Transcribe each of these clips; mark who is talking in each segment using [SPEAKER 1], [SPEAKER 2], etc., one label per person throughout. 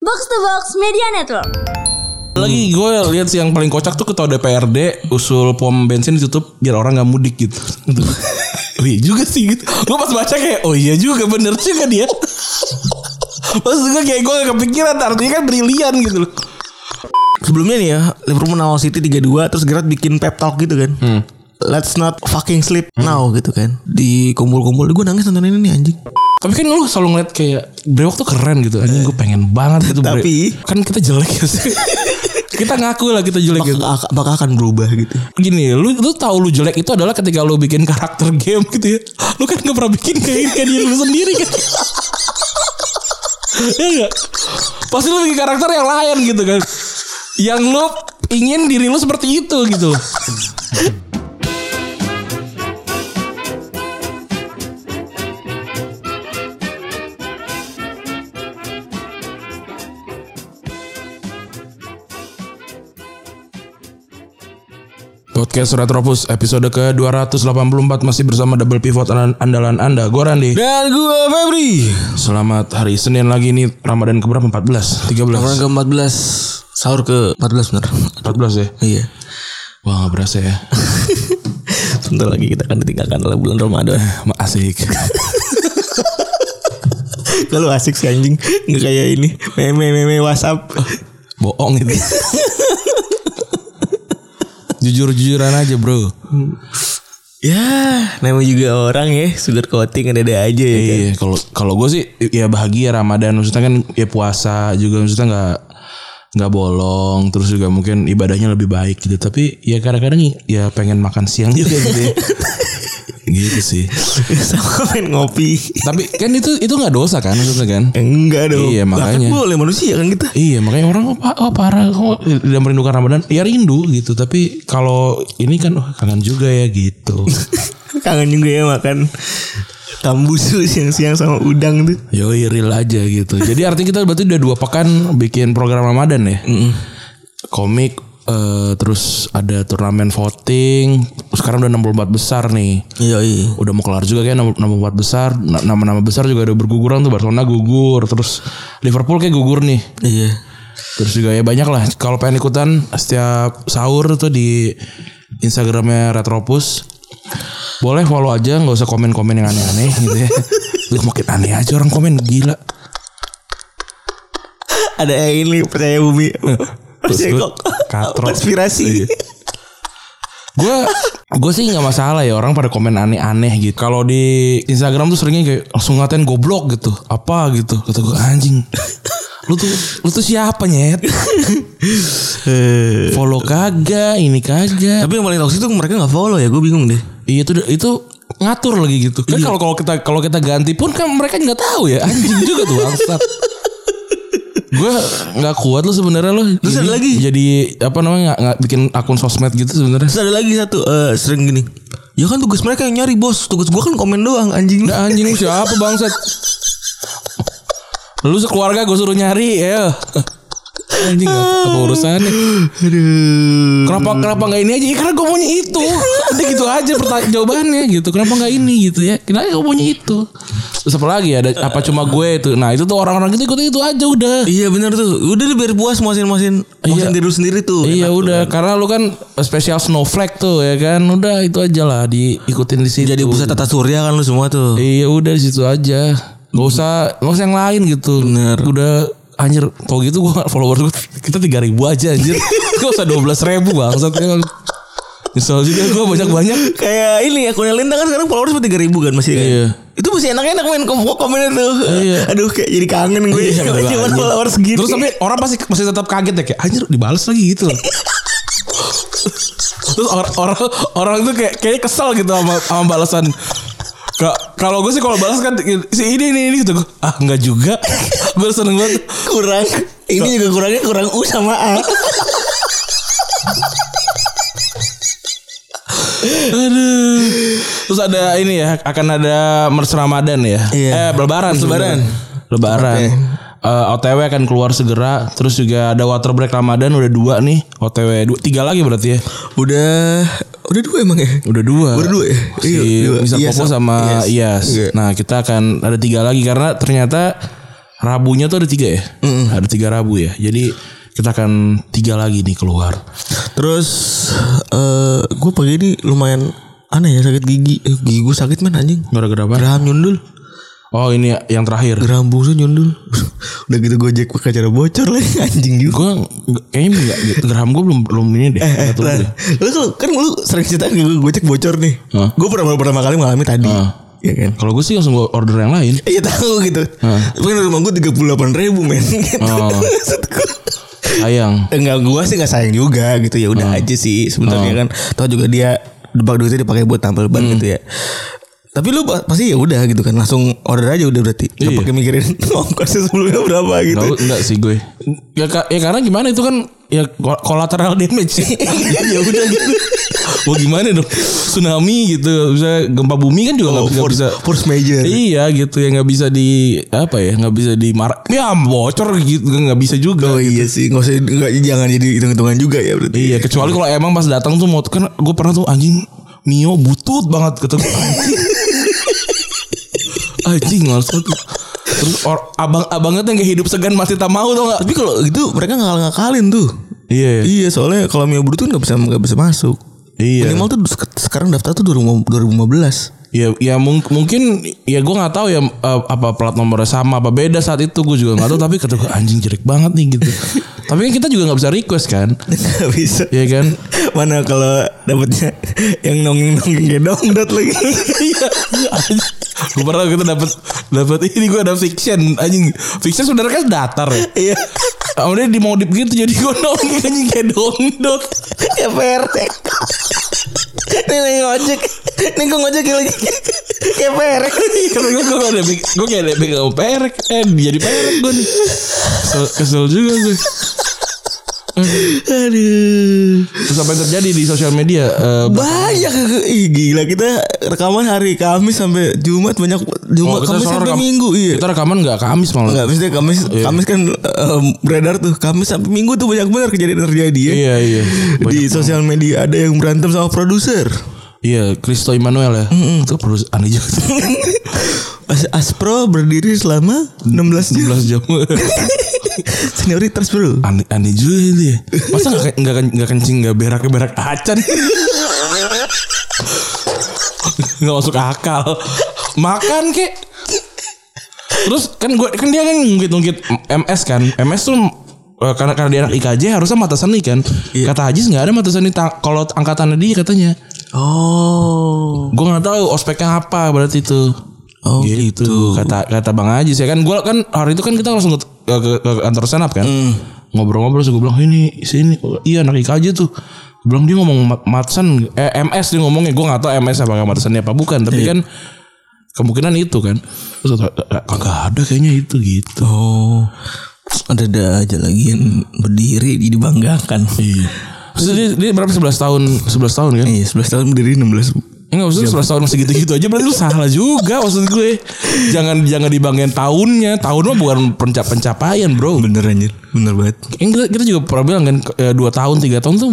[SPEAKER 1] Box to Box Media Network.
[SPEAKER 2] Lagi gue lihat sih yang paling kocak tuh ketua DPRD usul pom bensin ditutup biar orang nggak mudik gitu. oh iya juga sih gitu. Gue pas baca kayak oh iya juga bener juga dia. pas gue kayak gue gak kepikiran artinya kan brilian gitu loh.
[SPEAKER 3] Sebelumnya nih ya Liverpool menang Lawan City 3-2 Terus Gerrard bikin pep talk gitu kan Let's not fucking sleep now gitu kan Di kumpul-kumpul Gue nangis nonton ini nih anjing
[SPEAKER 2] Tapi kan lu selalu ngeliat kayak Brewok tuh keren gitu. Anjing gue pengen banget gitu. Bre-
[SPEAKER 3] Tapi-
[SPEAKER 2] kan kita jelek ya sih. kita ngaku lah kita jelek gitu.
[SPEAKER 3] Apakah, apakah akan berubah gitu
[SPEAKER 2] gini lu lu tahu lu jelek itu adalah ketika lu bikin karakter game gitu ya lu kan gak pernah bikin kayak kayak diri lu sendiri kan ya gak? pasti lu bikin karakter yang lain gitu kan yang lu ingin diri lu seperti itu gitu loh. Podcast Retropus episode ke-284 masih bersama double pivot an- andalan Anda, gue Randi.
[SPEAKER 3] Dan gue Febri
[SPEAKER 2] Selamat hari Senin lagi nih Ramadan keberapa? 14? 13?
[SPEAKER 3] Orang ke-14 Sahur ke-14 bener
[SPEAKER 2] 14 ya?
[SPEAKER 3] Iya
[SPEAKER 2] Wah gak berasa ya
[SPEAKER 3] Sebentar lagi kita akan ditinggalkan oleh bulan Ramadan
[SPEAKER 2] Ma- Asik
[SPEAKER 3] Kalau asik sih anjing Nggak kayak ini Meme meme whatsapp
[SPEAKER 2] Boong itu Jujur-jujuran aja bro
[SPEAKER 3] Ya Namanya juga orang ya Sugar coating ada-ada aja ya kan?
[SPEAKER 2] Iya kalau kalau gue sih ya bahagia Ramadan Maksudnya kan ya puasa juga Maksudnya gak nggak bolong terus juga mungkin ibadahnya lebih baik gitu tapi ya kadang-kadang ya pengen makan siang juga gitu ya. gitu sih
[SPEAKER 3] Sama main ngopi
[SPEAKER 2] tapi kan itu itu nggak dosa kan maksudnya kan
[SPEAKER 3] Enggak dong
[SPEAKER 2] Iya, makanya.
[SPEAKER 3] Bahkan boleh manusia kan kita
[SPEAKER 2] Iya makanya orang oh, pa- oh parah kok tidak merindukan Ramadan ya rindu gitu tapi kalau ini kan wah, kangen juga ya gitu
[SPEAKER 3] Kangen juga ya makan Tambusu siang-siang sama udang tuh
[SPEAKER 2] yo real aja gitu jadi artinya kita berarti udah dua pekan bikin program Ramadan ya
[SPEAKER 3] Hmm.
[SPEAKER 2] komik eh, terus ada turnamen voting sekarang udah 64 besar nih
[SPEAKER 3] Iya iya
[SPEAKER 2] udah mau kelar juga kayak 64 besar Na- nama-nama besar juga udah berguguran tuh Barcelona gugur terus Liverpool kayak gugur nih
[SPEAKER 3] Iya
[SPEAKER 2] Terus juga ya banyak lah kalau pengen ikutan setiap sahur tuh di Instagramnya Retropus boleh follow aja nggak usah komen-komen yang aneh-aneh gitu ya. Lu makin aneh aja orang komen gila.
[SPEAKER 3] Ada yang ini percaya bumi Percaya
[SPEAKER 2] lu
[SPEAKER 3] kok
[SPEAKER 2] katro.
[SPEAKER 3] Aspirasi
[SPEAKER 2] Gue gue sih nggak masalah ya orang pada komen aneh-aneh gitu. Kalau di Instagram tuh seringnya kayak langsung ngatain goblok gitu. Apa gitu. Kata gue anjing. Lu tuh lu tuh siapa nyet? follow kagak, ini kagak.
[SPEAKER 3] Eh, Tapi yang paling toksik tuh mereka gak follow ya Gue bingung deh
[SPEAKER 2] Iya itu itu ngatur lagi gitu.
[SPEAKER 3] Iya.
[SPEAKER 2] Kan kalau kalau kita kalau kita ganti pun kan mereka nggak tahu ya. Anjing juga tuh bangsat. gue nggak kuat lu sebenarnya lu.
[SPEAKER 3] Terus ada
[SPEAKER 2] Jadi-
[SPEAKER 3] lagi?
[SPEAKER 2] Jadi apa namanya nggak nggak bikin akun sosmed gitu sebenarnya.
[SPEAKER 3] Terus ada lagi satu eh, sering gini. Ya kan tugas mereka yang nyari bos. Tugas gua kan komen doang anjing.
[SPEAKER 2] Nah, anjing lu siapa bangsat? Lu sekeluarga gue suruh nyari ya. Anjing apa, apa urusannya?
[SPEAKER 3] Aduh.
[SPEAKER 2] Kenapa kenapa nggak ini aja? Ya, karena gue maunya itu. Udah gitu aja pertanya- jawabannya gitu. Kenapa nggak ini gitu ya? Kenapa gue maunya itu? Terus apa lagi ada apa cuma gue itu? Nah itu tuh orang-orang gitu ikut itu aja udah.
[SPEAKER 3] Iya bener tuh. Udah deh biar puas muasin-muasin. Muasin
[SPEAKER 2] Iya.
[SPEAKER 3] diri lu sendiri tuh.
[SPEAKER 2] Iya udah karena lu kan spesial snowflake tuh ya kan. Udah itu aja lah diikutin di situ.
[SPEAKER 3] Jadi Iya, pusat tata surya kan lu semua tuh.
[SPEAKER 2] Iya udah di situ aja. Gak usah gak usah yang lain gitu.
[SPEAKER 3] Iya, Bener.
[SPEAKER 2] Udah anjir tau gitu gua follower gua kita 3000 aja anjir. gak usah 12.000 ribu bangsat. Ya, Nyesel juga gua banyak-banyak.
[SPEAKER 3] Kayak ini akunnya Linda kan sekarang followers sampai 3000 kan masih kan?
[SPEAKER 2] Iya.
[SPEAKER 3] Itu masih enak-enak main kom komennya tuh.
[SPEAKER 2] Iya.
[SPEAKER 3] Aduh kayak jadi kangen gue.
[SPEAKER 2] Iya,
[SPEAKER 3] Cuma
[SPEAKER 2] bener banget.
[SPEAKER 3] followers gitu. gini.
[SPEAKER 2] Terus tapi orang pasti masih tetap kaget ya kayak anjir dibales lagi gitu. loh." Terus orang orang orang tuh kayak kayak kesel gitu sama sama balasan. Ka- Kalau gue sih kalau balas kan si ini ini ini gitu Gua, ah nggak juga. gue seneng banget.
[SPEAKER 3] kurang ini juga kurangnya kurang U sama A.
[SPEAKER 2] Aduh. Terus ada ini ya akan ada merch Ramadan ya.
[SPEAKER 3] Iya.
[SPEAKER 2] Eh lebaran
[SPEAKER 3] Lebaran.
[SPEAKER 2] sebenarnya. Lebaran.
[SPEAKER 3] Oke.
[SPEAKER 2] Eh, OTW akan keluar segera. Terus juga ada water break Ramadan udah dua nih. OTW dua, tiga lagi berarti ya.
[SPEAKER 3] udah udah dua emang ya?
[SPEAKER 2] Udah dua.
[SPEAKER 3] Baru dua ya?
[SPEAKER 2] Si
[SPEAKER 3] Iya, dua.
[SPEAKER 2] Mr.
[SPEAKER 3] Iya,
[SPEAKER 2] Popo
[SPEAKER 3] sama-
[SPEAKER 2] sama
[SPEAKER 3] Yes.
[SPEAKER 2] Iyas.
[SPEAKER 3] Iya.
[SPEAKER 2] Nah kita akan ada tiga lagi karena ternyata Rabunya tuh ada tiga ya? Ada tiga Rabu ya. Jadi kita akan tiga lagi nih keluar.
[SPEAKER 3] Terus eh gue pagi ini lumayan aneh ya sakit gigi. Eh, gigi gue sakit men anjing.
[SPEAKER 2] Gara-gara apa?
[SPEAKER 3] Geraham nyundul.
[SPEAKER 2] Oh ini yang terakhir.
[SPEAKER 3] Geraham busa nyundul. Udah gitu gojek pakai cara bocor lagi anjing juga.
[SPEAKER 2] Gue kayaknya enggak. Gerham gue belum belum ini deh. Nggak tahu
[SPEAKER 3] Lah,
[SPEAKER 2] deh.
[SPEAKER 3] lu kalau- kan lu sering cerita ke gue gojek bocor nih.
[SPEAKER 2] Hah?
[SPEAKER 3] Gue pertama pertama kali mengalami tadi. Iya kan?
[SPEAKER 2] Kalau gue sih langsung gue order yang lain.
[SPEAKER 3] Iya tahu gitu. Tapi rumah gue tiga puluh delapan ribu men. Gitu.
[SPEAKER 2] Oh.
[SPEAKER 3] Maksud gua.
[SPEAKER 2] Sayang.
[SPEAKER 3] Enggak gua sih enggak sayang juga gitu ya udah aja
[SPEAKER 2] Oh.
[SPEAKER 3] sih sebenarnya kan tau juga dia debak duitnya dipakai buat tampil ban
[SPEAKER 2] Hmm.
[SPEAKER 3] gitu ya tapi lu pa- pasti ya udah gitu kan langsung order aja udah berarti nggak
[SPEAKER 2] Iya.
[SPEAKER 3] pakai mikirin ongkosnya sebelumnya berapa gitu
[SPEAKER 2] Tahu enggak sih gue? Ya, ka- ya karena gimana itu kan ya kol- collateral damage. ya ya udah gitu. Wah gimana dong? Tsunami gitu, bisa gempa bumi kan juga nggak
[SPEAKER 3] Oh,
[SPEAKER 2] nggak
[SPEAKER 3] force,
[SPEAKER 2] bisa.
[SPEAKER 3] force major
[SPEAKER 2] Iya gitu ya nggak bisa di apa ya nggak bisa di marah ya bocor gitu nggak bisa juga
[SPEAKER 3] oh iya sih nggak usah nggak jangan jadi hitung hitungan juga ya berarti
[SPEAKER 2] Iya kecuali kalau emang pas datang tuh mau kan gue pernah tuh anjing Mio butut banget kata gue anjing anjing maksud gue. terus or- abang-abangnya tuh yang kayak hidup segan mati tak mau tau gak
[SPEAKER 3] tapi kalau gitu mereka ngakal ngakalin tuh
[SPEAKER 2] iya
[SPEAKER 3] iya soalnya kalau Mio Bruto nggak bisa nggak bisa masuk
[SPEAKER 2] iya
[SPEAKER 3] minimal tuh sek- sekarang daftar tuh 2015
[SPEAKER 2] ya ya mung- mungkin ya gue nggak tahu ya eh, apa plat nomornya sama apa beda saat itu gue juga nggak tahu tapi kata gue anjing jelek banget nih gitu tapi kan kita juga nggak bisa request kan
[SPEAKER 3] nggak bisa
[SPEAKER 2] Iya kan
[SPEAKER 3] Mana kalau dapetnya yang nongeng nongeng kayak dongdot lagi.
[SPEAKER 2] Iya. gue pernah kita dapat dapat ini gue ada fiction anjing fiction sebenarnya kan datar ya
[SPEAKER 3] Iya.
[SPEAKER 2] Kemudian dimodif gitu jadi gue nongeng anjing kayak dongdot
[SPEAKER 3] ya PRT. Nih lagi ngojek. Nih gue ngojek lagi. Kayak PRT.
[SPEAKER 2] Karena gue gak ada Gue kayak ada pegang perek Eh jadi perek gue nih kesel, kesel juga gue
[SPEAKER 3] Aduh.
[SPEAKER 2] Terus apa yang terjadi di sosial media Eh,
[SPEAKER 3] Banyak Ih gila kita rekaman hari Kamis sampai Jumat banyak
[SPEAKER 2] oh,
[SPEAKER 3] Jumat
[SPEAKER 2] kita
[SPEAKER 3] Kamis
[SPEAKER 2] soal
[SPEAKER 3] sampai
[SPEAKER 2] rekam-
[SPEAKER 3] Minggu iya.
[SPEAKER 2] Kita Iya. rekaman gak Kamis malah
[SPEAKER 3] Enggak maksudnya Kamis Kamis kan em, beredar tuh Kamis sampai Minggu tuh banyak benar kejadian terjadi ya.
[SPEAKER 2] Iya iya
[SPEAKER 3] Di sosial media ada yang berantem sama produser.
[SPEAKER 2] Iya Kristo Immanuel ya Itu perlu aneh juga
[SPEAKER 3] As Aspro berdiri selama 16 jam.
[SPEAKER 2] 16 jam
[SPEAKER 3] Senioritas bro.
[SPEAKER 2] aneh, aneh juga itu ya masa nggak nggak nggak kencing nggak berak berak acan nggak masuk akal makan kek terus kan gue kan dia kan ngungkit ngungkit ms kan ms tuh eh, karena karena dia anak IKJ harusnya mata seni kan kata Haji nggak ada mata seni ta- kalau angkatannya dia katanya
[SPEAKER 3] Oh.
[SPEAKER 2] gue nggak tahu ospeknya apa berarti itu Gitu.
[SPEAKER 3] Oh,
[SPEAKER 2] kata kata bang Haji sih kan gue kan hari itu kan kita langsung ke ke, ke kantor senap
[SPEAKER 3] Mm.
[SPEAKER 2] kan
[SPEAKER 3] Hmm.
[SPEAKER 2] ngobrol-ngobrol terus gue bilang ini sini iya anak IKJ tuh Gua bilang dia ngomong ma- Matsan eh, MS dia ngomongnya gue nggak tahu MS apakah Matsan apa bukan tapi kan kemungkinan itu kan terus kata, kagak ada kayaknya itu gitu
[SPEAKER 3] Oh. Ada ada aja lagi yang berdiri dibanggakan.
[SPEAKER 2] iya Terus dia, dia berapa 11 tahun 11 tahun kan
[SPEAKER 3] Iya, 11 tahun berdiri 16.
[SPEAKER 2] Enggak maksudnya 11 tahun masih gitu-gitu aja Berarti lu salah juga maksud gue Jangan jangan dibanggain tahunnya Tahun mah bukan penca- pencapaian bro
[SPEAKER 3] Bener anjir, bener banget.
[SPEAKER 2] Yang kita, kita juga pernah bilang kan 2 tahun 3 tahun tuh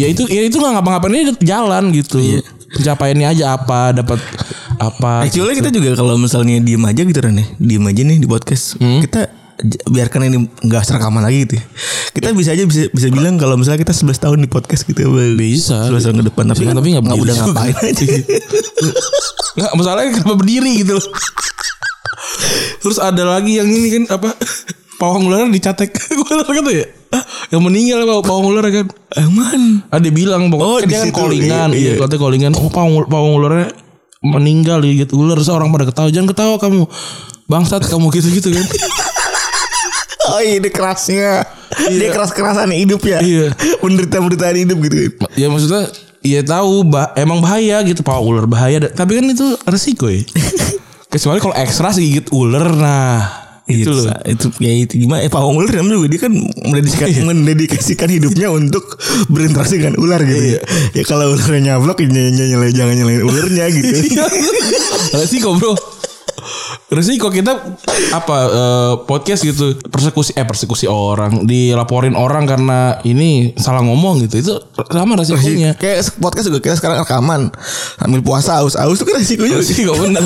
[SPEAKER 2] Ya itu ya itu gak ngapa-ngapain aja jalan gitu
[SPEAKER 3] Iya.
[SPEAKER 2] Pencapaiannya aja apa Dapat apa
[SPEAKER 3] Actually kita juga kalau misalnya diem aja gitu Ren ya. Diem aja nih di podcast. Kita j- biarkan ini nggak serekaman lagi gitu. ya. Kita bisa aja bisa bisa bilang kalau misalnya kita 11 tahun di podcast gitu.
[SPEAKER 2] Bisa.
[SPEAKER 3] 11 tahun ke depan tapi
[SPEAKER 2] Bisa,
[SPEAKER 3] kan
[SPEAKER 2] tapi nggak
[SPEAKER 3] nggak Iya.
[SPEAKER 2] berdiri
[SPEAKER 3] udah
[SPEAKER 2] juga.
[SPEAKER 3] ngapain aja.
[SPEAKER 2] Nggak masalahnya kenapa berdiri gitu loh Terus ada lagi yang ini kan apa Pawang ular dicatek Gue kata ya "Hah, Yang meninggal apa pawang ular kan
[SPEAKER 3] Aman.
[SPEAKER 2] Ah dia bilang bang,
[SPEAKER 3] Oh,
[SPEAKER 2] kan
[SPEAKER 3] di
[SPEAKER 2] dia kan
[SPEAKER 3] situ,
[SPEAKER 2] callingan,
[SPEAKER 3] iya,
[SPEAKER 2] iya,
[SPEAKER 3] iya.
[SPEAKER 2] katanya callingan. Oh pawang pawang ularnya meninggal gitu ular seorang pada ketawa jangan ketawa kamu bangsat kamu gitu gitu kan
[SPEAKER 3] Oh ini kerasnya Dia keras-kerasan hidup ya
[SPEAKER 2] Iya.
[SPEAKER 3] Penderitaan-penderitaan hidup gitu kan
[SPEAKER 2] ya maksudnya ya tahu bah, emang bahaya gitu pawang ular bahaya da- tapi kan itu resiko ya kecuali kalau ekstra sih gigit ular nah itu loh
[SPEAKER 3] sa- itu ya itu gimana eh, Pak Wongul namanya juga dia kan mendedikasikan, mendedikasikan hidupnya untuk berinteraksi dengan ular gitu ya. Ya kalau ularnya nyablok ya ny- ny- nyalain- jangan nyalain ularnya gitu.
[SPEAKER 2] resiko bro resiko kita apa eh, podcast gitu persekusi eh persekusi orang dilaporin orang karena ini salah ngomong gitu itu sama resikonya
[SPEAKER 3] Iya. Kayak podcast juga kita sekarang rekaman ambil puasa aus aus itu kan resikonya
[SPEAKER 2] resiko bener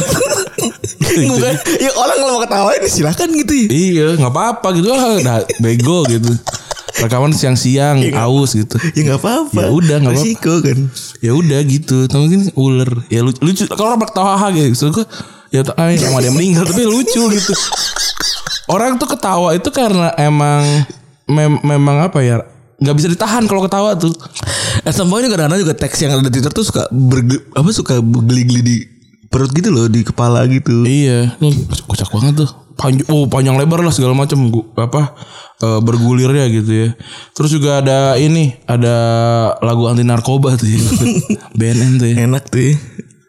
[SPEAKER 3] Bukan, ya orang kalau mau ketawain silakan gitu ya.
[SPEAKER 2] Iya, nggak apa-apa gitu. Ah, dah bego gitu. Rekaman siang-siang, aus gitu.
[SPEAKER 3] Ya nggak apa-apa.
[SPEAKER 2] Ya udah, nggak apa-apa.
[SPEAKER 3] Resiko kan.
[SPEAKER 2] Ya udah gitu. Tapi mungkin ular. Ya lucu. lucu. Kalau orang ketawa hah gitu. So, gua, ya tak ay, emang ada yang meninggal tapi lucu gitu. Orang tuh ketawa itu karena emang mem- memang apa ya? nggak bisa ditahan kalau ketawa tuh.
[SPEAKER 3] At some point kadang-kadang juga teks yang ada di Twitter tuh suka berge, apa suka bergeli-geli di perut gitu loh di kepala gitu.
[SPEAKER 2] Iya, ini kocak banget tuh. Panj- oh, panjang lebar lah segala macam Gu- apa eh, bergulirnya gitu ya. Terus juga ada ini, ada lagu anti narkoba tuh ya. BNN tuh ya.
[SPEAKER 3] Enak tuh ya.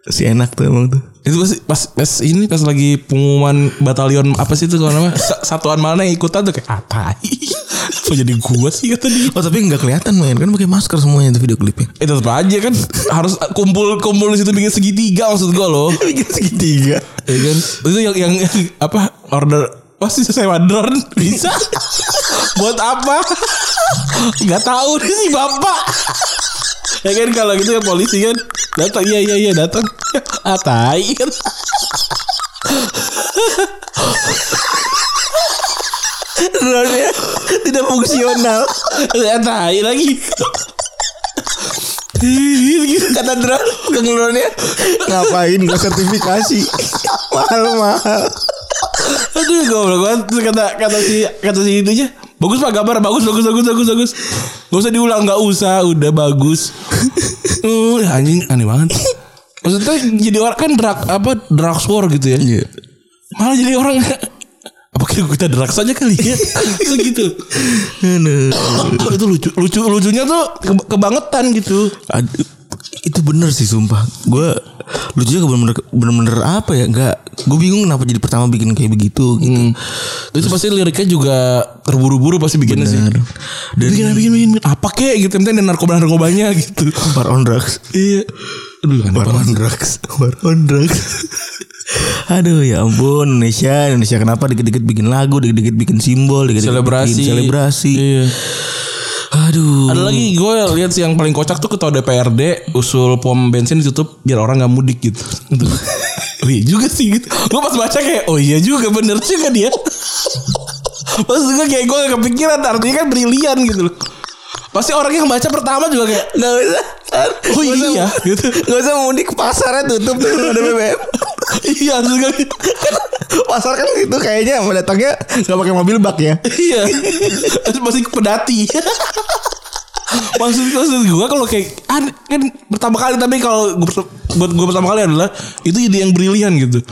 [SPEAKER 3] Si enak tuh emang tuh.
[SPEAKER 2] Itu pas, pas pas ini pas lagi pengumuman batalion apa sih itu kalau nama Sa- satuan mana yang ikutan tuh kayak apa? Kok jadi gua sih kata dia.
[SPEAKER 3] Oh tapi nggak kelihatan main kan pakai masker semuanya tuh video ya. klipnya.
[SPEAKER 2] Eh tetap aja kan harus kumpul kumpul di situ bikin segitiga maksud gua loh.
[SPEAKER 3] Bikin segitiga.
[SPEAKER 2] Ya kan? Itu yang yang apa order pasti sewa drone bisa. Buat apa? Gak tahu deh si bapak. ya kan kalau gitu ya polisi kan datang iya iya iya datang. Ah tai kan.
[SPEAKER 3] Drone-nya tidak fungsional.
[SPEAKER 2] Ah, tai lagi.
[SPEAKER 3] Kata drone keluarnya ngapain gak sertifikasi mahal mahal.
[SPEAKER 2] Aduh goblok banget Terus kata kata si kata si itunya bagus pak gambar bagus bagus bagus bagus bagus gak usah diulang nggak usah udah bagus uh anjing aneh banget maksudnya jadi orang kan drug apa drugs war gitu ya
[SPEAKER 3] Iya.
[SPEAKER 2] malah jadi orang apa kayak kita drugs aja kali ya Terus gitu itu lucu lucu lucunya tuh ke- kebangetan gitu
[SPEAKER 3] Aduh, itu bener sih sumpah. Gue lucunya ke- bener-bener bener-bener apa ya? Gak. Gue bingung kenapa jadi pertama bikin kayak begitu gitu.
[SPEAKER 2] itu Hmm. pasti liriknya juga terburu-buru pasti bikinnya sih
[SPEAKER 3] Bener. Dan
[SPEAKER 2] bikin bikin bikin bikin. apa kek gitu penting ada narkoba narkobanya gitu
[SPEAKER 3] bar on drugs.
[SPEAKER 2] iya aduh aneh
[SPEAKER 3] War
[SPEAKER 2] banget
[SPEAKER 3] on drugs. War on drugs. Aduh ya ampun Indonesia Indonesia kenapa dikit-dikit bikin lagu Dikit-dikit bikin simbol dikit-dikit
[SPEAKER 2] selebrasi Hmm.
[SPEAKER 3] bikin Selebrasi
[SPEAKER 2] iya.
[SPEAKER 3] Aduh
[SPEAKER 2] ada lagi gue lihat sih yang paling kocak tuh ketua DPRD usul pom bensin ditutup biar orang nggak mudik gitu oh iya juga sih gitu gue pas baca kayak oh iya juga bener juga dia pas gue kayak gue gak kepikiran artinya kan brilian gitu loh pasti orang yang baca pertama juga kayak
[SPEAKER 3] Gak usah
[SPEAKER 2] oh iya gitu
[SPEAKER 3] Gak usah mudik pasarnya tutup tuh ada BBM
[SPEAKER 2] iya juga
[SPEAKER 3] Pasar kan itu kayaknya mendatangnya Gak pakai mobil bak ya
[SPEAKER 2] iya masih pedati maksud maksud gue kalau kayak ah, kan pertama kali tapi kalau gua perse- buat gue pertama kali adalah itu jadi yang brilian gitu